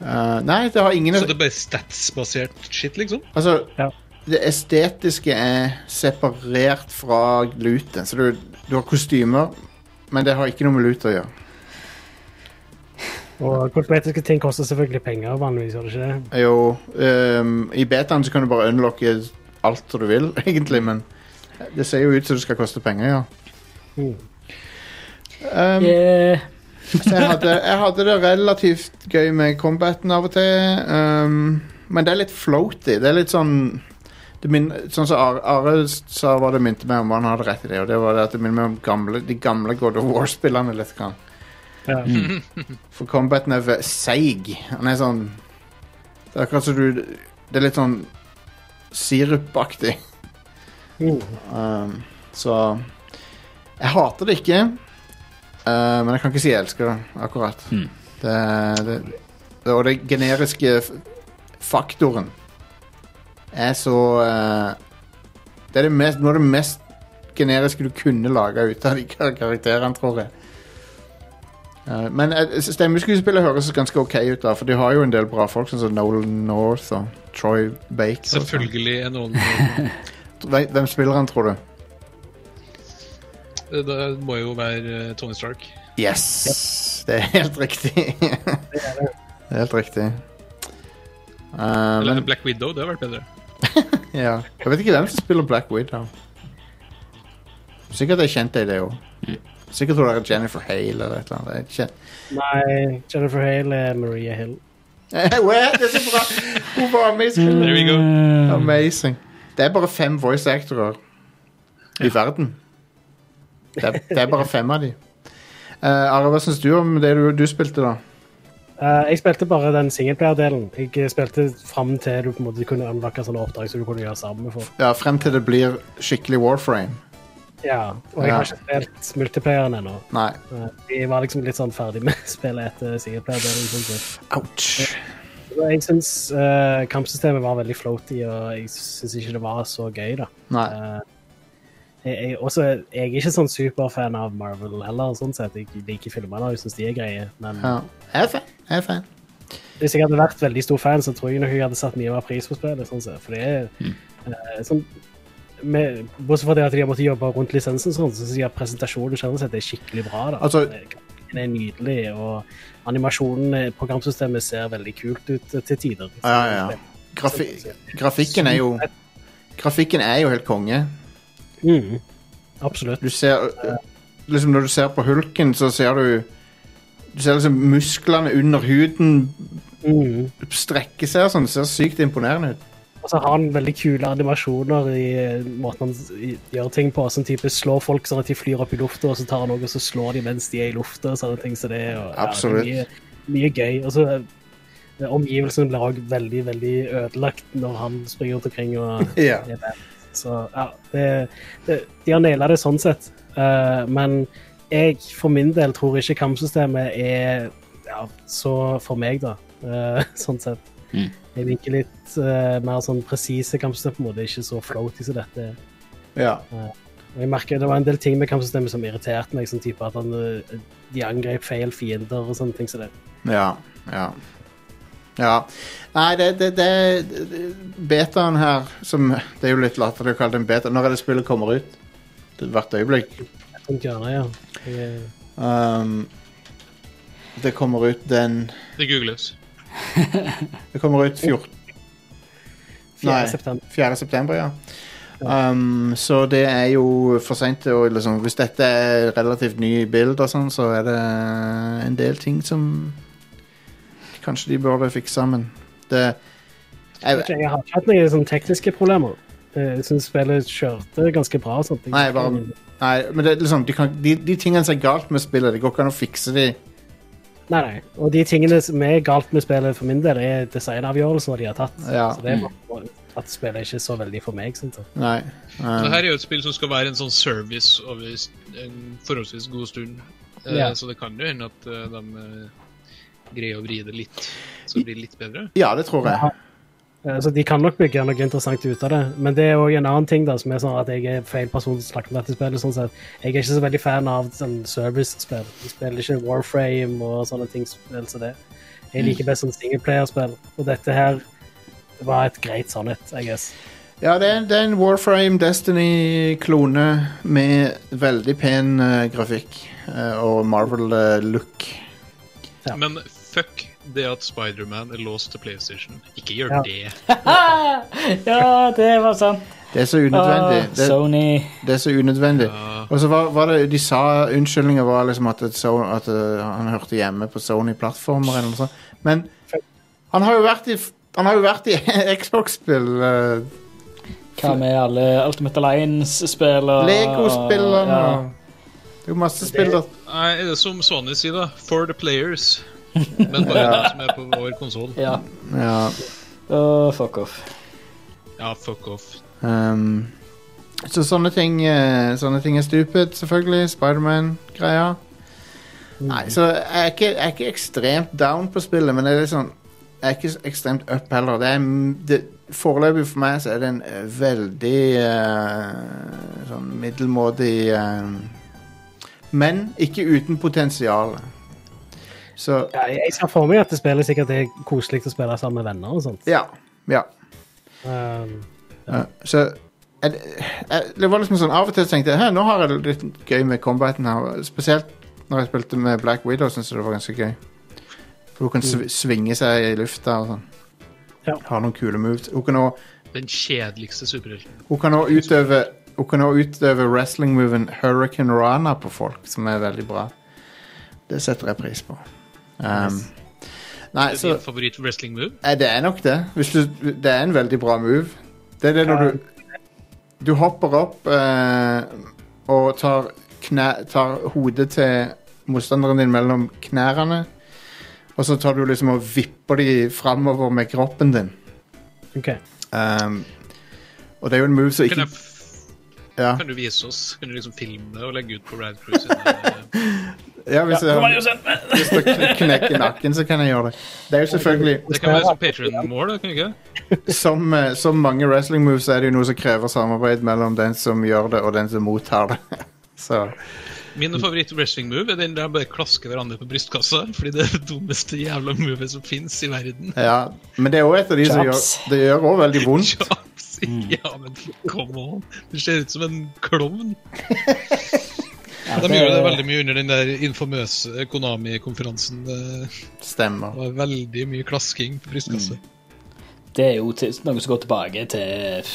Speaker 1: Eh, nei, det har ingen
Speaker 4: Så det er bare statsbasert shit, liksom?
Speaker 1: Altså,
Speaker 5: Ja.
Speaker 1: det estetiske er separert fra looten. Så du, du har kostymer, men det har ikke noe med loot å gjøre.
Speaker 5: Og kosmetiske ting koster selvfølgelig penger, vanligvis, gjør det ikke det?
Speaker 1: Jo, ehm, I betaen så kan du bare unlocke alt du vil, [LAUGHS] egentlig, men det ser jo ut som det skal koste penger, ja.
Speaker 5: Mm.
Speaker 1: Ehm,
Speaker 2: Yeah.
Speaker 1: så jeg hadde, jeg hadde det relativt um, gøy med combaten av og til. ehm, men det er litt floaty. Det er litt sånn det min, Sånn som Are, Are sa hva det minte meg om, han hadde rett i det, og det var det at det minner meg om gamle, de gamle God of War-spillene litt. Grann.
Speaker 5: Ja.
Speaker 2: Mm.
Speaker 1: For combaten er ve- seig. Han er sånn Det er akkurat som du Det er litt sånn sirupaktig.
Speaker 5: Mm.
Speaker 1: Um, så Jeg hater det ikke, uh, men jeg kan ikke si jeg elsker det, akkurat.
Speaker 2: Mm.
Speaker 1: Det, det, det, og det generiske f- faktoren er så uh, Det er det mest, noe av det mest generiske du kunne lage ut av de kar- karakterene, tror jeg. Uh, men uh, stemmeskuespillet høres ganske ok ut, da, for de har jo en del bra folk, sånn som Nolan North og Troy Baker. og sånn.
Speaker 3: Selvfølgelig er noen
Speaker 5: [LAUGHS]
Speaker 1: Hvem hvem spiller han, tror du?
Speaker 3: Det Eh, må jo være eh, Tony Stark.
Speaker 1: Yes! Det er helt riktig. det er helt riktig. Uh,
Speaker 3: Eller
Speaker 1: men,
Speaker 3: Black Widow, det har vært bedre.
Speaker 1: ja. Jeg vet ikke hvem som spiller Black Widow. Sikkert jeg kjente det òg.
Speaker 3: Mm.
Speaker 1: Sikkert tror det er Jennifer Hale eller et eller annet. Jeg kjen- [LAUGHS]
Speaker 5: Nei, Jennifer Hale er Maria Hill.
Speaker 1: Wow, det er så bra! Hun var
Speaker 5: Mm.
Speaker 1: amazing.
Speaker 3: There we go.
Speaker 4: Mm.
Speaker 1: amazing. Det er bare fem voice actorer i verden. Det er, det er bare fem av de. Uh, Are, hva syns du om det du, du spilte, da?
Speaker 5: Eh, jeg spilte bare den singleplayer-delen. Jeg eh, spilte fram til du på en måte kunne anlage sånne oppdrag som du kunne gjøre sammen med folk.
Speaker 1: Ja, Frem til det blir skikkelig Warframe.
Speaker 5: Ja, Og jeg
Speaker 1: Ja.
Speaker 5: har ikke spilt multiplayeren ennå.
Speaker 1: Nei.
Speaker 5: Eh, Jeg var liksom litt sånn ferdig med [LAUGHS] spillet etter singleplayer-delen. sånn sett.
Speaker 1: Ouch.
Speaker 5: Så Jeg syns eh, kampsystemet var veldig floaty, og jeg syns ikke det var så gøy, da.
Speaker 1: Nei.
Speaker 5: Eh, jeg, jeg, også, jeg er ikke sånn superfan av Marvel heller, sånn sett. Jeg liker filmene og jeg syns de er greie, men
Speaker 1: Ja. Jeg er fan. Jeg er fan.
Speaker 5: hvis jeg hadde vært veldig stor fan, så tror jeg nok jeg hadde satt mye mer pris på spillet. Sånn sett. For det er
Speaker 1: Mm.
Speaker 5: eh, sånn med, Bortsett fra det at de har måttet jobbe rundt lisensen, sånn, så syns jeg at presentasjonen generelt sett er skikkelig bra. da.
Speaker 1: Altså-
Speaker 5: den er nydelig, og animasjonen, eh, programsystemet, ser veldig kult ut eh, til tider.
Speaker 1: Ja, ja, ja. Grafi grafikken er jo Grafikken er jo helt konge.
Speaker 5: Mm, absolutt.
Speaker 1: Du ser øh, liksom Når du ser på hulken, så ser du Du ser liksom musklene under huden
Speaker 5: Mm.
Speaker 1: strekke seg og sånn. Det ser sykt imponerende ut.
Speaker 5: Og så har han veldig kule animasjoner i eh, måten han s- i- gjør ting på. Sånn type slår folk sånn at de flyr opp i lufta, og så tar han noe og så slår de mens de er i lufta. og sånne ting som det. er, Og,
Speaker 1: Absolutt.
Speaker 5: Ja, det er mye, mye gøy. Og så eh, omgivelsene blir òg veldig, veldig ødelagt når han springer rundt omkring og
Speaker 1: Ja.
Speaker 5: er bad. Så ja, det, det, de har naila det sånn sett. Eh, men jeg for min del tror ikke kampsystemet er ja, så for meg, da. Eh, [LAUGHS] sånn sett.
Speaker 2: Mm.
Speaker 5: Jeg liker litt eh, mer sånn presise kampsystem, på en måte. Ikke så floaty som dette. er.
Speaker 1: ja.
Speaker 5: Og jeg merker Det var en del ting med kampsystemet som irriterte meg, sånn type at han, eh, de angrep feil fiender og sånne ting som det.
Speaker 1: Ja, ja. Ja. Nei, det, det, det, det Betaen her, som Det er jo litt latterlig å kalle det en beta. Når er det spillet kommer ut? Det er Hvert øyeblikk.
Speaker 5: Rundt hjørnet, ja. Jeg,
Speaker 1: Um, det kommer ut den
Speaker 3: Det googles.
Speaker 1: Det kommer ut 14.
Speaker 5: 4.
Speaker 1: Nei.
Speaker 5: september.
Speaker 1: 4. september, ja. Um, så det er jo for seint. Liksom, hvis dette er relativt nye bilder, og sånn, så er det en del ting som kanskje de burde fikse sammen. Det jeg,
Speaker 5: Jeg har ikke hatt noen sånne tekniske problemer. Eh, Jeg syns spillet kjørte ganske bra. og sånt. Jeg-
Speaker 1: Nei, bare, nei men det, er liksom, de, kan, de, de tingene som er galt med spillet, det går ikke an å fikse de.
Speaker 5: Nei, nei. Og de tingene som er galt med spillet for min del, er designavgjørelser de har tatt.
Speaker 1: Ja.
Speaker 5: Så det er bare at spillet er ikke så veldig for meg. Sånn. sett.
Speaker 1: Nei.
Speaker 3: Det
Speaker 1: Um,
Speaker 3: her er jo et spill som skal være en sånn service over s- en forholdsvis god stund. Eh,
Speaker 5: Ja.
Speaker 3: Så det kan jo hende at eh, de eh, greier å vri det litt, så det blir litt bedre.
Speaker 1: ja, det tror jeg.
Speaker 5: Eh, Så de kan nok bygge noe interessant ut av det. Men det er òg en annen ting da, som er sånn at jeg er feil person som snakker om dette spillet. sånn sett. Jeg er ikke så veldig fan av sånn service-spill. Jeg spiller ikke Warframe og sånne ting. spill som det. Jeg
Speaker 1: Mm.
Speaker 5: liker best sånn singleplayerspill. Og dette her var et greit sånn et, I guess.
Speaker 1: Ja, det er, det er en Warframe Destiny-klone med veldig pen eh, grafikk eh, og eh, Marvel-look.
Speaker 5: Ja.
Speaker 3: Men fuck det at Spiderman er låst til PlayStation. Ikke gjør
Speaker 5: Ja.
Speaker 3: det.
Speaker 2: Eh, Ja, det var sant.
Speaker 1: det er så unødvendig.
Speaker 2: Ah,
Speaker 1: Det,
Speaker 2: Sony
Speaker 1: det er så unødvendig. Og så var, var det, De sa unnskyldninger var liksom at, et so- at eh, han hørte hjemme på Sony-plattformer eller noe sånt. Men [LAUGHS] han har jo vært i, f- han har jo vært i Xbox-spill. eh,
Speaker 2: Hva med alle Ultimate Alliance-spill og
Speaker 1: Lego-spillene
Speaker 2: Ah, Ja.
Speaker 1: og Det er jo masse spill der.
Speaker 4: Nei, er det som Sony sier, da? For the players. Men
Speaker 1: [LAUGHS]
Speaker 4: bare de som er på vår konsoll.
Speaker 2: Ja.
Speaker 1: Ja.
Speaker 2: Åh, fuck off.
Speaker 4: Ja, fuck off.
Speaker 1: ehm, så sånne ting, eh, sånne ting er stupid, selvfølgelig. Spiderman-greia. Nei, så jeg er, ikke, jeg er ikke ekstremt down på spillet, men det er litt sånn jeg er ikke så ekstremt up heller. Det er, m- det, foreløpig for meg så er det en eh, veldig eh, sånn middelmådig eh, Men ikke uten potensial. Så
Speaker 5: Ja, jeg ser for meg at det spillet sikkert er koselig å spille sammen med venner og sånt.
Speaker 1: ja. Ja.
Speaker 5: Um,
Speaker 1: Ja, Så jeg, jeg, det var liksom sånn, Av og til tenkte jeg «Hæ, nå har jeg det litt gøy med combaten. her Spesielt når jeg spilte med Black Widow, syntes jeg det var ganske gøy. For hun kan
Speaker 4: Mm.
Speaker 1: sv svinge seg i lufta og sånn.
Speaker 5: Ja.
Speaker 1: Har noen kule moves. Hun kan også,
Speaker 4: Den kjedeligste superhelten.
Speaker 1: hun kan også utøve Hun kan også utøve wrestling-moven Hurricane Rana på folk, som er veldig bra. Det setter jeg pris på. Um, Nei,
Speaker 4: Det er
Speaker 1: så
Speaker 4: din favoritt-wrestling-move.
Speaker 1: Nei, det er nok det. Hvis du, det er en veldig bra move. Det er det når du Du hopper opp eh, og tar, knæ, tar hodet til motstanderen din mellom knærne. Og så tar du liksom og vipper de framover med kroppen din.
Speaker 5: ok.
Speaker 1: Ehm, og det er jo en move som
Speaker 4: Kan,
Speaker 1: ikke
Speaker 4: jeg f-
Speaker 1: Ja,
Speaker 4: kan du vise oss? Kan du liksom filme det og legge ut på Rad
Speaker 1: [LAUGHS]
Speaker 4: Cruise? sine-
Speaker 1: ja hvis jeg har lyst til å kn- knekke nakken, så kan jeg gjøre det. Det er jo selvfølgelig
Speaker 4: Det kan være som Patron-mål, kan det ikke?
Speaker 1: som, eh, som mange wrestling moves er det jo noe som krever samarbeid mellom den som gjør det, og den som mottar det. [LAUGHS] Så
Speaker 4: Min favoritt-wrestling-move er den der de bare klasker hverandre på brystkassa. Fordi det er det dummeste jævla movet som fins i verden.
Speaker 1: Ja, men det er også et av de som gjør
Speaker 2: Chaps.
Speaker 1: Det gjør også veldig
Speaker 4: [LAUGHS]
Speaker 1: vondt.
Speaker 4: Jobs.
Speaker 1: Mm.
Speaker 4: Ja, men come on! Du ser ut som en klovn. De gjorde det veldig mye under den der infamøse Konami-konferansen. eh, Det
Speaker 1: Stemmer.
Speaker 4: var veldig mye klasking på brystkassa.
Speaker 2: Mm. Det er jo til, noe som går tilbake til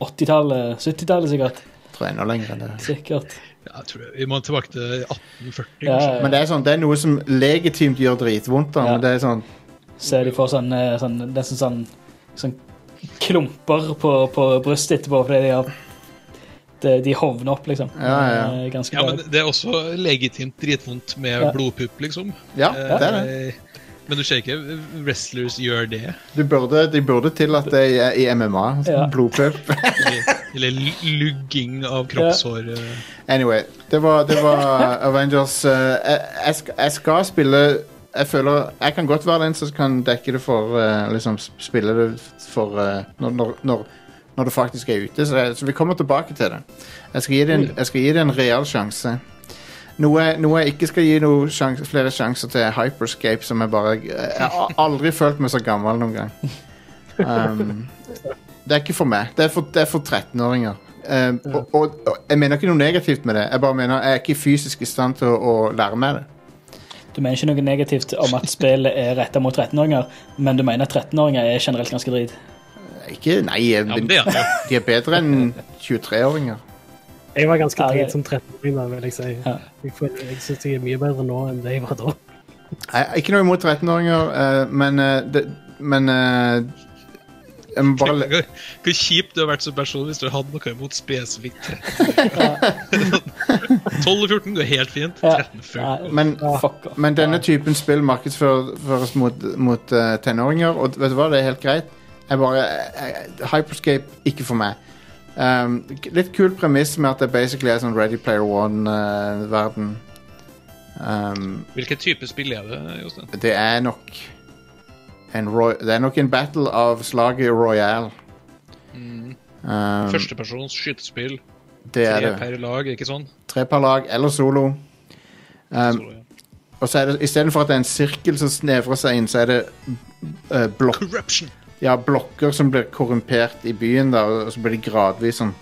Speaker 2: 80-tallet, 70-tallet sikkert.
Speaker 1: Jeg tror enda lenger enn det.
Speaker 2: Sikkert.
Speaker 4: Ja, jeg tror Vi må tilbake til 1840.
Speaker 2: Ja,
Speaker 4: kanskje.
Speaker 1: Men det er sånn, det er noe som legitimt gjør dritvondt. da,
Speaker 2: Ja.
Speaker 1: Men det er sånn
Speaker 2: Så de får sånn, eh, sånn, nesten sånn, sånn klumper på, på brystet etterpå, fordi de har de, de hovner opp, liksom.
Speaker 1: Ja, ja,
Speaker 2: Eh, Ganske
Speaker 4: Ja,
Speaker 2: bra.
Speaker 4: men det er også legitimt dritvondt med
Speaker 2: Ja.
Speaker 4: blodpupp, liksom.
Speaker 1: Ja, det er det.
Speaker 4: Eh, Men du ser ikke wrestlers gjør det.
Speaker 1: Du burde, de burde tillatt det i, i MMA.
Speaker 2: Ja.
Speaker 1: Blodpupp.
Speaker 4: Eller l- lugging av kroppshår. eh.
Speaker 1: Anyway, det var, det var Avengers. eh, jeg, jeg, skal, jeg skal spille Jeg føler Jeg kan godt være den som kan dekke det for eh, Liksom spille det for eh, når, når, når, når det faktisk er ute. Så, jeg, så vi kommer tilbake til det. Jeg skal gi det en, jeg skal gi det en real sjanse. Noe, noe jeg ikke skal gi noe sjans, flere sjanser til, er Hyperscape, som jeg bare Jeg har aldri følt meg så gammel noen gang. Um, det er ikke for meg. Det er for, det er for 13-åringer. Um, og, og, og jeg mener ikke noe negativt med det. Jeg bare mener jeg er ikke fysisk i stand til å, å lære meg det.
Speaker 2: Du mener ikke noe negativt om at spillet er retta mot 13-åringer, men du mener at 13-åringer er generelt ganske drit.
Speaker 1: Ikke, nei, jeg,
Speaker 4: Ja, men det er det. jo.
Speaker 1: de er bedre enn 23-åringer.
Speaker 5: Jeg var ganske
Speaker 2: Ja, det-
Speaker 5: drit som 13-åring, da, vil jeg si.
Speaker 2: Ja.
Speaker 5: Jeg, får- jeg syns jeg er mye bedre nå enn det jeg var da.
Speaker 1: Jeg, ikke noe imot 13-åringer, eh, men, eh, det, men eh, jeg må bare le-
Speaker 4: Hvor hvor kjipt du har vært som person hvis du hadde noe imot spesifikt [LAUGHS] 12 og 14 går helt fint.
Speaker 2: Ja.
Speaker 4: 13 og 14
Speaker 1: men,
Speaker 2: Fuck off.
Speaker 1: men denne typen spill markedsføres mot, mot eh, tenåringer, og vet du hva, det er helt greit. Jeg bare, jeg, jeg- Hyperscape, ikke for meg. Um, k- litt kul premiss med at det basically er sånn Ready Player eh, One-verden. um,
Speaker 4: Hvilken type spill er det, Jostein?
Speaker 1: det er nok en roy Det er nok en battle av slaget Royal. Um,
Speaker 4: Førstepersons skytespill.
Speaker 1: det er
Speaker 4: Mm. Tre
Speaker 1: det.
Speaker 4: per lag, ikke sånn?
Speaker 1: Tre per lag eller solo. Um,
Speaker 4: Så, ja.
Speaker 1: og så er det istedenfor at det er en sirkel som snevrer seg inn, så er det eh, blokk,
Speaker 4: Corruption!
Speaker 1: ja, blokker som blir korrumpert i byen, da, og så blir de gradvis sånn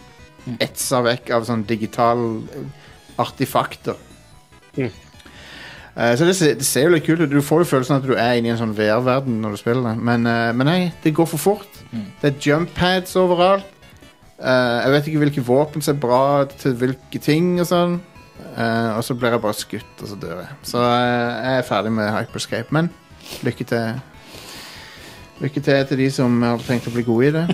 Speaker 1: etsa vekk av sånn eh, digitale artifakter. Eh, så det ser, det ser jo litt kult ut. Du får jo følelsen av at du er inne i en sånn VR-verden når du spiller det, men, eh, men nei, det går for fort. Det er jump pads overalt. Eh, jeg vet ikke hvilke våpen som er bra til hvilke ting og sånn. Eh, og så blir jeg bare skutt, og så dør jeg. Så eh, jeg er ferdig med Hyperscape, men lykke til. Lykke til til de som har tenkt å bli gode i det.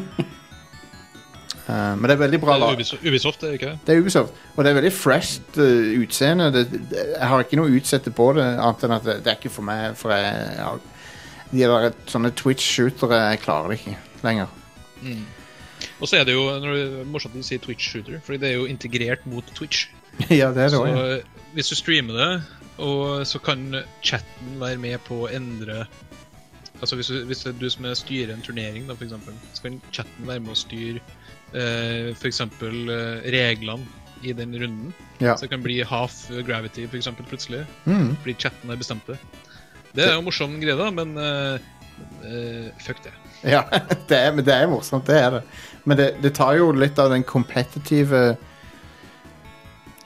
Speaker 1: Eh, men det er veldig bra
Speaker 4: Det
Speaker 1: lag.
Speaker 4: er Ubisoft, Ubisoft, er det ikke det?
Speaker 1: Det er Ubisoft, og det er veldig fresh eh, utseende. Det, det, jeg har ikke noe å utsette på det, annet enn at det, det er ikke for meg. For jeg, jeg har- de der sånne Twitch-shootere jeg klarer det ikke lenger.
Speaker 4: Og så er det jo når du, morsomt at du sier Twitch Shooter, fordi det er jo integrert mot Twitch.
Speaker 1: [LAUGHS] ja, det er det
Speaker 4: Så eh,
Speaker 1: også, ja.
Speaker 4: hvis du streamer det, og så kan chatten være med på å endre Altså hvis du, hvis det er du som er styrer en turnering, da, for eksempel, så kan chatten være med å styre eh, f.eks. Eh, reglene i den runden.
Speaker 1: Ja.
Speaker 4: Så det kan bli half gravity, for eksempel, plutselig.
Speaker 1: Mm.
Speaker 4: Fordi chatten har bestemt det. Det er jo en morsom greie, da, men eh, eh, fuck det.
Speaker 1: [LAUGHS] Ja, det er, men det er morsomt, det er det. Men det, det tar jo litt av den kompetitive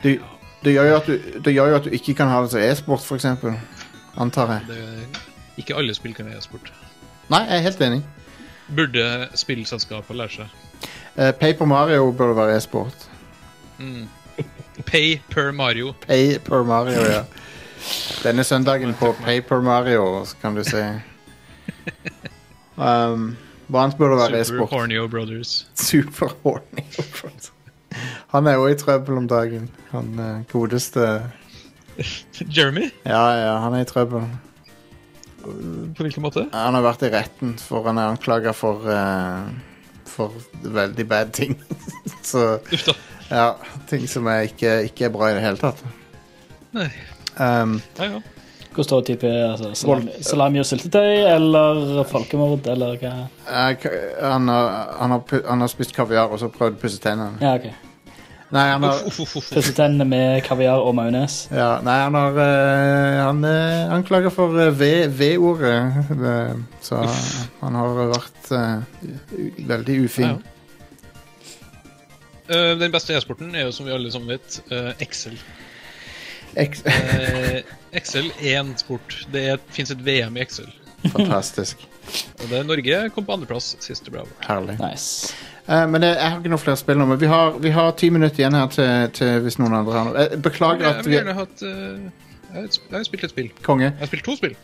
Speaker 1: det, det, gjør jo at du, det gjør jo at du ikke kan ha det som e-sport, for eksempel. Antar jeg.
Speaker 4: det ikke alle spill kan være e-sport.
Speaker 1: Nei, jeg er helt enig.
Speaker 4: Burde spillselskaper lære seg?
Speaker 1: Eh, Paper Mario burde være e-sport.
Speaker 4: Pay per Mario.
Speaker 1: Paper Mario, ja. Denne søndagen på Paper Mario, så kan du se. Um, hva annet burde være
Speaker 4: Super
Speaker 1: e-sport?
Speaker 4: Hornio Brothers.
Speaker 1: [LAUGHS] Super horny. Han er jo i trøbbel om dagen. Han eh, godeste
Speaker 4: Jeremy?
Speaker 1: Ja, ja, han er i trøbbel.
Speaker 4: På hvilken måte?
Speaker 1: Han har vært i retten, for han er anklaga for eh, For veldig bad ting. [LAUGHS] Så
Speaker 4: Uff da.
Speaker 1: ja, ting som er ikke, ikke er bra i det hele tatt.
Speaker 4: Nei.
Speaker 1: Um,
Speaker 4: Ja, ja.
Speaker 2: Hvor står type altså, salami, salami og syltetøy, eller folkemord, eller hva?
Speaker 1: eh, k- han, har, han, har, pu- han har spist kaviar og så prøvd å pusse tennene.
Speaker 2: Ja, ok.
Speaker 1: Nei, han har,
Speaker 4: Uff, uff, uff.
Speaker 2: Pusse tennene med kaviar og majones.
Speaker 1: ja, nei, han har eh, Han er anklaga for eh, V- V-ordet. eh, så han har vært eh, u- veldig
Speaker 4: Ja,
Speaker 1: ufin.
Speaker 4: ja. Eh, den beste e-sporten er jo, som vi alle sammen vet, eh, Excel.
Speaker 1: Ex- [LAUGHS]
Speaker 4: Eh, Excel er en sport. Det fins et VM i Excel.
Speaker 1: Fantastisk.
Speaker 4: Og det er Norge kom på andreplass sist det ble avholdt.
Speaker 1: Herlig.
Speaker 2: Nice.
Speaker 1: Eh, men jeg, jeg har ikke noe flere spill nå, men vi har, vi har ti minutter igjen her til, til hvis noen andre har noe. Eh,
Speaker 4: Jeg
Speaker 1: Beklager
Speaker 4: jeg
Speaker 1: at
Speaker 4: vil
Speaker 1: vi
Speaker 4: gjerne ha et eh, jeg har jeg har spilt et spill.
Speaker 1: Konge.
Speaker 4: Jeg har spilt to spill.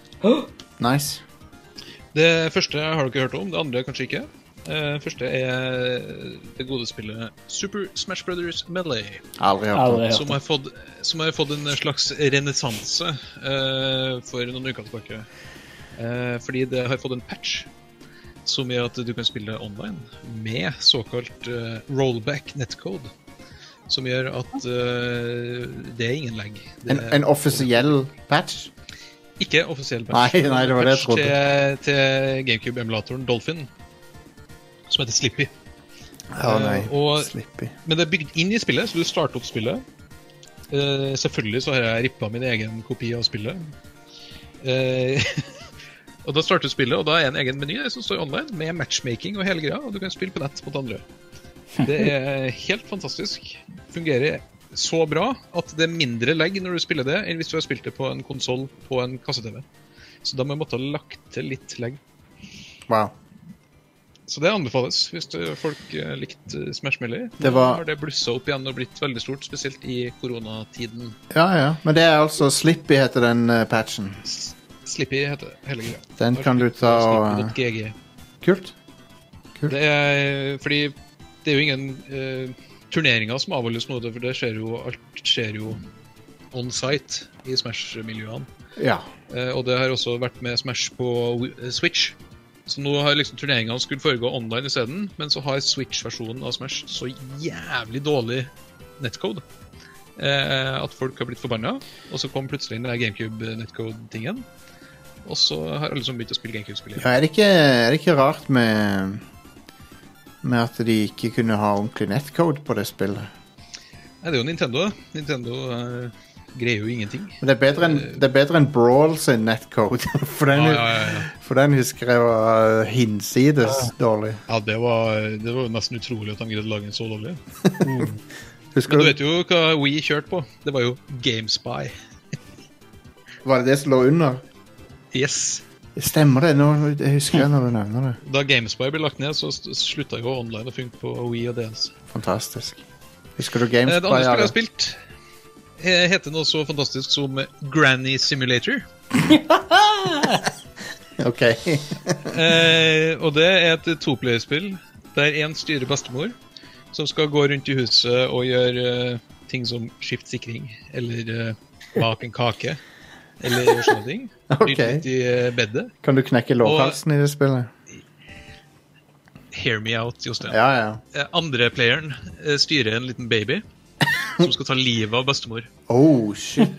Speaker 1: Nice.
Speaker 4: Det første har dere hørt om, det andre kanskje ikke. Eh, første er det gode spillet Super Smash Brothers Melee.
Speaker 1: Aldri hørt om.
Speaker 2: Aldri hørt
Speaker 4: Som har fått, som har fått en slags renessanse eh, for noen uker tilbake. Eh, fordi det har fått en patch som gjør at du kan spille online med såkalt eh, rollback netcode. Som gjør at eh, det er ingen lag.
Speaker 1: En, en offisiell patch?
Speaker 4: Ikke offisiell patch.
Speaker 1: Nei, nei, det var det jeg
Speaker 4: Patch
Speaker 1: trodde.
Speaker 4: Til, til GameCube-emulatoren Dolphin, som heter Slippy.
Speaker 1: Å nei,
Speaker 4: Eh, og-
Speaker 1: Slippy.
Speaker 4: Men det er bygd inn i spillet, så du starter opp spillet. Eh, selvfølgelig så har jeg rippa min egen kopi av spillet. Eh, [LAUGHS] og Da starter du spillet, og da er en egen meny der som står online, med matchmaking og hele greia. Og du kan spille på nett mot andre. Det er helt fantastisk. Fungerer så bra at det er mindre legg når du spiller det, enn hvis du har spilt det på en konsoll på en kasse-TV. Så da må jeg måtte ha lagt til litt legg.
Speaker 1: Wow.
Speaker 4: Så det anbefales hvis det- folk eh, likte eh, Smash Melee.
Speaker 1: Det
Speaker 4: Nå
Speaker 1: var-
Speaker 4: har det blussa opp igjen og blitt veldig stort, spesielt i koronatiden.
Speaker 1: Ja, ja. Men det er altså Slippy heter den eh, patchen.
Speaker 4: S- Slippy heter hele greia.
Speaker 1: Den kan du ta og eh,
Speaker 4: Slippy.gg.
Speaker 1: Kult.
Speaker 4: Det er eh, fordi det er jo ingen eh, turneringer som avholdes nå, for det skjer jo, alt skjer jo on site i Smash-miljøene.
Speaker 1: Ja.
Speaker 4: Eh, og det har også vært med Smash på Wi- eh, Switch. Så nå har liksom turneringene skulle foregå online isteden, men så har Switch-versjonen av Smash så jævlig dårlig netcode eh, at folk har blitt forbanna. Og så kom plutselig den der GameCube-netcode-tingen. Og så har alle som begynt å spille GameCube-spill igjen.
Speaker 1: ja er, det ikke, er det ikke rart med med at de ikke kunne ha ordentlig netcode på det spillet?
Speaker 4: Nei, det er jo Nintendo. Nintendo eh, greier jo ingenting.
Speaker 1: Men det er bedre enn det er bedre enn Brawl sin netcode. [LAUGHS] For den,
Speaker 4: Ja, ja, ja, ja.
Speaker 1: For den husker jeg var eh, hinsides dårlig.
Speaker 4: ja det, var, det var jo nesten utrolig at de greide å lage en så dårlig.
Speaker 1: Husker
Speaker 4: Men du
Speaker 1: du,
Speaker 4: vet jo hva We kjørte på. Det var jo GameSpy.
Speaker 1: Var det det som lå under?
Speaker 4: Yes.
Speaker 1: Stemmer det? Nå, jeg husker det når du nevner det.
Speaker 4: Da GameSpy ble lagt ned, så st- slutta jo online å funke på Wii og DS.
Speaker 1: Fantastisk. Husker du
Speaker 4: Eh, Det
Speaker 1: GameSpy?
Speaker 4: andre spillet jeg har
Speaker 1: Are?
Speaker 4: spilt, eh, heter noe så fantastisk som Granny Simulator.
Speaker 1: Ok. [LAUGHS]
Speaker 4: Eh, og det er et toplayerspill der én styrer bestemor. Som skal gå rundt i huset og gjøre eh, ting som skifte sikring, eller eh, bake en kake, eller gjøre sånne ting.
Speaker 1: [LAUGHS] Ok.
Speaker 4: Rydde litt i eh, bedet.
Speaker 1: Kan du knekke lårhalsen i det spillet?
Speaker 4: Hear me out, Jostein.
Speaker 1: Ja, ja.
Speaker 4: Eh, Andre playeren eh, styrer en liten
Speaker 1: [LAUGHS]
Speaker 4: baby som skal ta livet av bestemor.
Speaker 1: Oh, shit.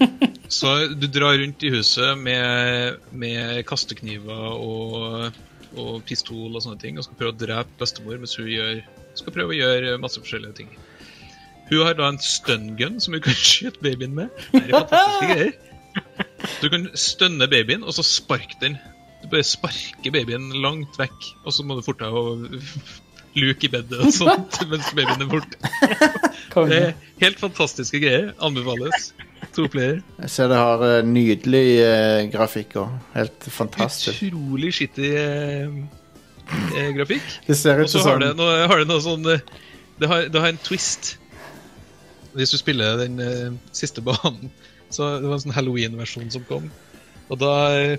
Speaker 4: Så du drar rundt i huset med, med kastekniver og, og pistol og sånne ting og skal prøve å drepe bestemor mens hun gjør, skal prøve å gjøre masse forskjellige ting. Hun har da en stungun som hun kan [LAUGHS] skyte babyen med. Det er fantastiske greier. Du kan stønne babyen, og så sparke den. Du bare sparker babyen langt vekk, og så må du forte deg å [LAUGHS] luke i bedet og sånt [LAUGHS] mens babyen er borte. Det
Speaker 2: Konge.
Speaker 4: er helt fantastiske greier. Anbefales. To player.
Speaker 1: Jeg ser det har eh, nydelig eh, grafikk òg. Helt fantastisk.
Speaker 4: Utrolig skittig eh, eh, grafikk.
Speaker 1: Det ser
Speaker 4: Og
Speaker 1: ut
Speaker 4: så
Speaker 1: som
Speaker 4: har det
Speaker 1: sånn
Speaker 4: noe, har det noe sånn eh, det har, det har en twist. Hvis du spiller den eh, siste [LAUGHS] banen Så Det var en sånn Halloween-versjon som kom. Og da eh,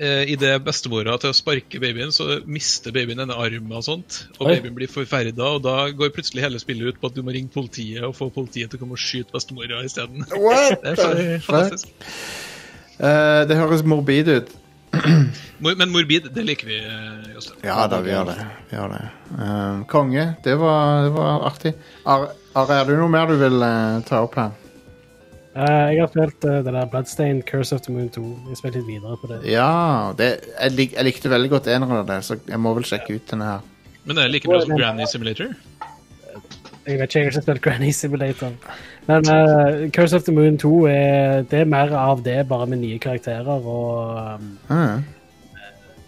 Speaker 4: eh, Idet bestemora til å sparke babyen, så mister babyen en arm og sånt. Og
Speaker 2: Oi.
Speaker 4: babyen blir forferda, og da går plutselig hele spillet ut på at du må ringe politiet og få politiet til å komme og skyte bestemora isteden.
Speaker 1: What
Speaker 4: [LAUGHS] Det er
Speaker 1: the
Speaker 4: fa-
Speaker 1: fuck?
Speaker 4: fantastisk.
Speaker 1: Eh, det høres morbid ut.
Speaker 4: Mor- Men morbid, det liker vi, eh, Jostein.
Speaker 1: Ja da, vi gjør det. Vi gjør det. Eh, konge. Det var, det var artig. Are, Are, er det noe mer du vil eh, ta opp her?
Speaker 5: Eh, jeg har spilt eh, det der Bloodstained Curse of the Moon 2. Jeg spilte litt videre på det.
Speaker 1: Ja. Det, jeg, lik, jeg likte veldig godt eneren av det, så jeg må vel sjekke ut denne her.
Speaker 4: Men det er like bra som Granny Simulator.
Speaker 5: Jeg vet ikke, jeg har ikke spilt Granny Simulator. Men eh, Curse of the Moon 2 er, det er mer av det, bare med nye karakterer. Og um,
Speaker 1: Mm.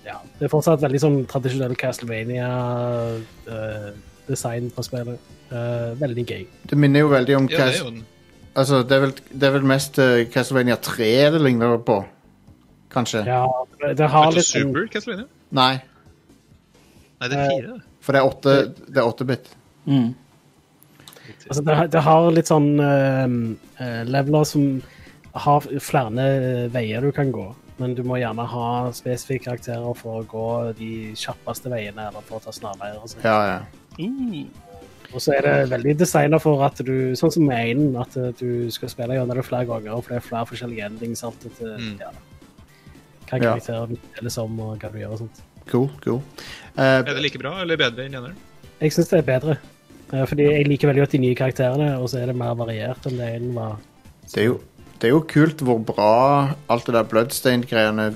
Speaker 5: ja, det er fortsatt veldig sånn tradisjonell Castlevania-design på spillet. Eh, veldig gøy.
Speaker 1: Det minner jo veldig om
Speaker 4: Ja, det er
Speaker 1: Cas-
Speaker 4: jo en
Speaker 1: altså, det, er vel, det er vel mest eh, Castlevania 3 det ligner på. Kanskje.
Speaker 5: Ja, det, det har
Speaker 4: Metal
Speaker 5: litt sånn-
Speaker 4: Super, Castlevania?
Speaker 1: Nei,
Speaker 4: Nei, det er fire. da.
Speaker 1: for det er åtte, det er åtte bit.
Speaker 2: Mm.
Speaker 5: Altså, det, har- det har litt sånn eh, eh, leveler som har flere veier du kan gå. Men du må gjerne ha spesifikke karakterer for å gå de kjappeste veiene eller for å ta snarveier. Og, sånn. sånt.
Speaker 1: Ja, ja.
Speaker 5: og så er det veldig designa for at du, sånn som Einen, at eh, du skal spille gjennom det flere ganger, for det er flere forskjellige endings. Sant? At, eh,
Speaker 4: Mm.
Speaker 5: ja, hva
Speaker 1: Ja.
Speaker 5: karakterer du spiller som, og hva du gjør og sånt.
Speaker 1: Cool, cool. Eh,
Speaker 4: Er det like bra eller bedre enn eneren?
Speaker 5: Jeg syns det er bedre. eh, Fordi jeg liker veldig godt de nye karakterene, og så er det mer variert enn det Einen var.
Speaker 1: det, er jo, det er jo kult hvor bra alt det der Bloodstained-greiene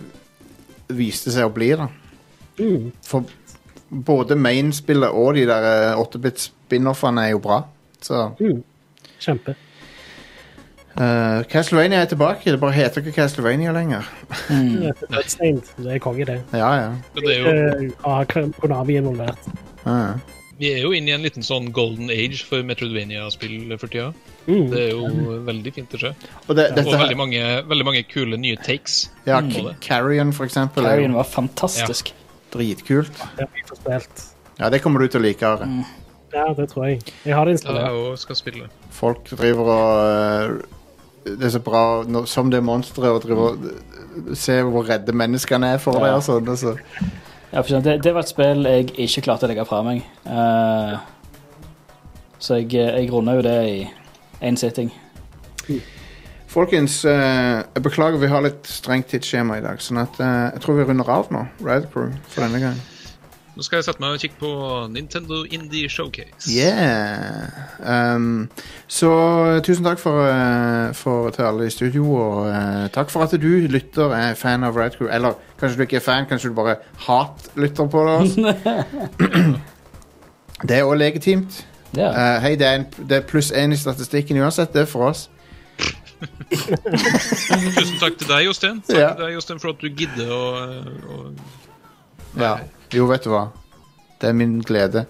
Speaker 1: viste seg å bli, da.
Speaker 5: Mm.
Speaker 1: For både main-spillet og de der eh, 8-bit-spin-offene er jo bra. Så
Speaker 5: Mm. Kjempe.
Speaker 1: eh, Castlevania er tilbake. Det bare heter ikke Castlevania lenger.
Speaker 5: Bloodstained. Det er konge, det.
Speaker 1: Ja, ja.
Speaker 4: Men det er Mm. jo,
Speaker 5: Eh, Av Konami involvert.
Speaker 1: ja, ja.
Speaker 4: vi er jo inne i en liten sånn golden age for Metroidvania-spill for tida.
Speaker 5: Mm.
Speaker 4: Det er jo veldig fint å se.
Speaker 1: Og det,
Speaker 4: Og
Speaker 1: dette her,
Speaker 4: veldig mange, veldig mange kule nye takes.
Speaker 1: ja,
Speaker 4: på
Speaker 1: K-
Speaker 4: det.
Speaker 1: Carrion, for eksempel, er
Speaker 2: Carrion
Speaker 1: jo
Speaker 2: var fantastisk.
Speaker 1: dritkult.
Speaker 5: Det har jeg fått spilt.
Speaker 1: Ja, det kommer du til å like, Are.
Speaker 5: Ja, det tror jeg. Jeg har det
Speaker 4: Ja, jeg
Speaker 5: installert.
Speaker 4: også skal spille.
Speaker 1: Folk driver og eh, Det er så bra nå- som det er monstre, og driver og ser hvor redde menneskene er for det.
Speaker 2: Ja.
Speaker 1: Og sånn, altså.
Speaker 2: Ja, for eksempel, det, det var et spill jeg ikke klarte å legge fra meg. Eh, så jeg, jeg runda jo det i én sitting.
Speaker 1: Folkens, eh, jeg beklager vi har litt strengt tidsskjema i dag, sånn at eh, jeg tror vi runder av nå. Riot Crew for denne gang.
Speaker 4: Nå skal jeg sette meg og kikke på Nintendo Indie Showcase.
Speaker 1: Yeah! Um, så eh, tusen takk for, eh, for til alle i studio, og eh, takk for at du lytter er fan av Riot Crew. Eller kanskje du ikke er fan, kanskje du bare hatlytter på oss. det er òg legitimt.
Speaker 2: Det er
Speaker 1: Eh, Hei, det er, en- det er pluss én i statistikken uansett, det er for oss.
Speaker 4: Tusen takk til deg, Jostein. Takk
Speaker 1: Ja.
Speaker 4: til deg, Jostein, for at du gidder å, å
Speaker 1: Ja. Jo, vet du hva. Det er min glede.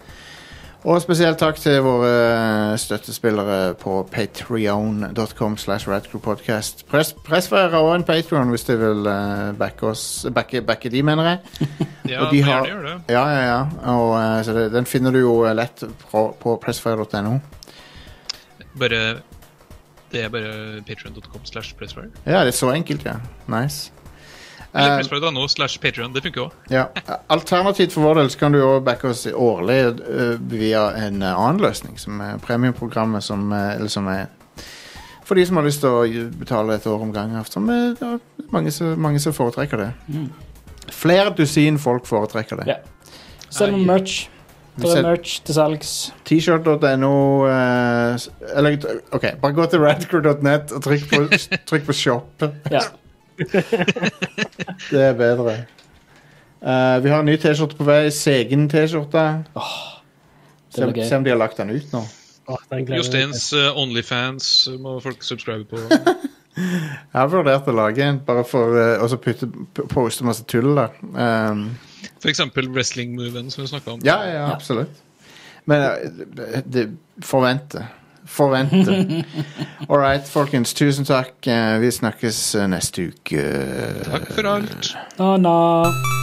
Speaker 1: Og spesielt takk til våre støttespillere på patreon.com slash radcrewpodcast. Press, pressfire og en patreon hvis de vil eh, backe oss Backe, backe de, mener jeg.
Speaker 4: Ja,
Speaker 1: Og de
Speaker 4: må
Speaker 1: har-
Speaker 4: gjerne gjøre det.
Speaker 1: Ja, ja, ja. Og, eh, så det, den finner du jo eh, lett på, på pressfire.no.
Speaker 4: Bare Det er bare patreon.com slash pressfire.
Speaker 1: Ja, det er så enkelt, ja. Nice. Eh,
Speaker 3: Eller pressplay.no slash Patreon. Det funker òg.
Speaker 1: Ja. Alternativt for vår del så kan du jo backe oss årlig eh, via en eh, annen løsning, som er premiumprogrammet som, eh, eller som er for de som har lyst til å gi- betale et år om gangen. Som er, det er mange, som- mange som foretrekker det. Flere dusin folk foretrekker det.
Speaker 2: Ja. Selv om merch. Det
Speaker 1: Selv-
Speaker 2: er merch til salgs.
Speaker 1: T-shirt.no eh, s- Eller OK, bare gå til radcrew.net og trykk på, trykk på shop.
Speaker 2: Ja.
Speaker 1: Det er bedre. Eh, vi har en ny T-skjorte på vei. Segen T-skjorte. Se
Speaker 2: Det
Speaker 1: om-
Speaker 2: blir gøy.
Speaker 1: se om de har lagt den ut nå.
Speaker 5: Åh, den gleder jeg meg til.
Speaker 4: Josteins eh, Onlyfans eh, må folk subscribe på.
Speaker 1: Jeg har vurdert å lage en, bare for eh, og så putte, p- poste masse tull der. Um,
Speaker 4: F.eks. wrestling-moven som vi snakka om.
Speaker 1: ja, ja, ja, absolutt. Men eh, det, forvente.
Speaker 2: [LAUGHS]
Speaker 1: Forvente. All right, folkens. Tusen takk. Eh, Vi snakkes eh, neste uke.
Speaker 4: Takk for alt.
Speaker 2: Na, na.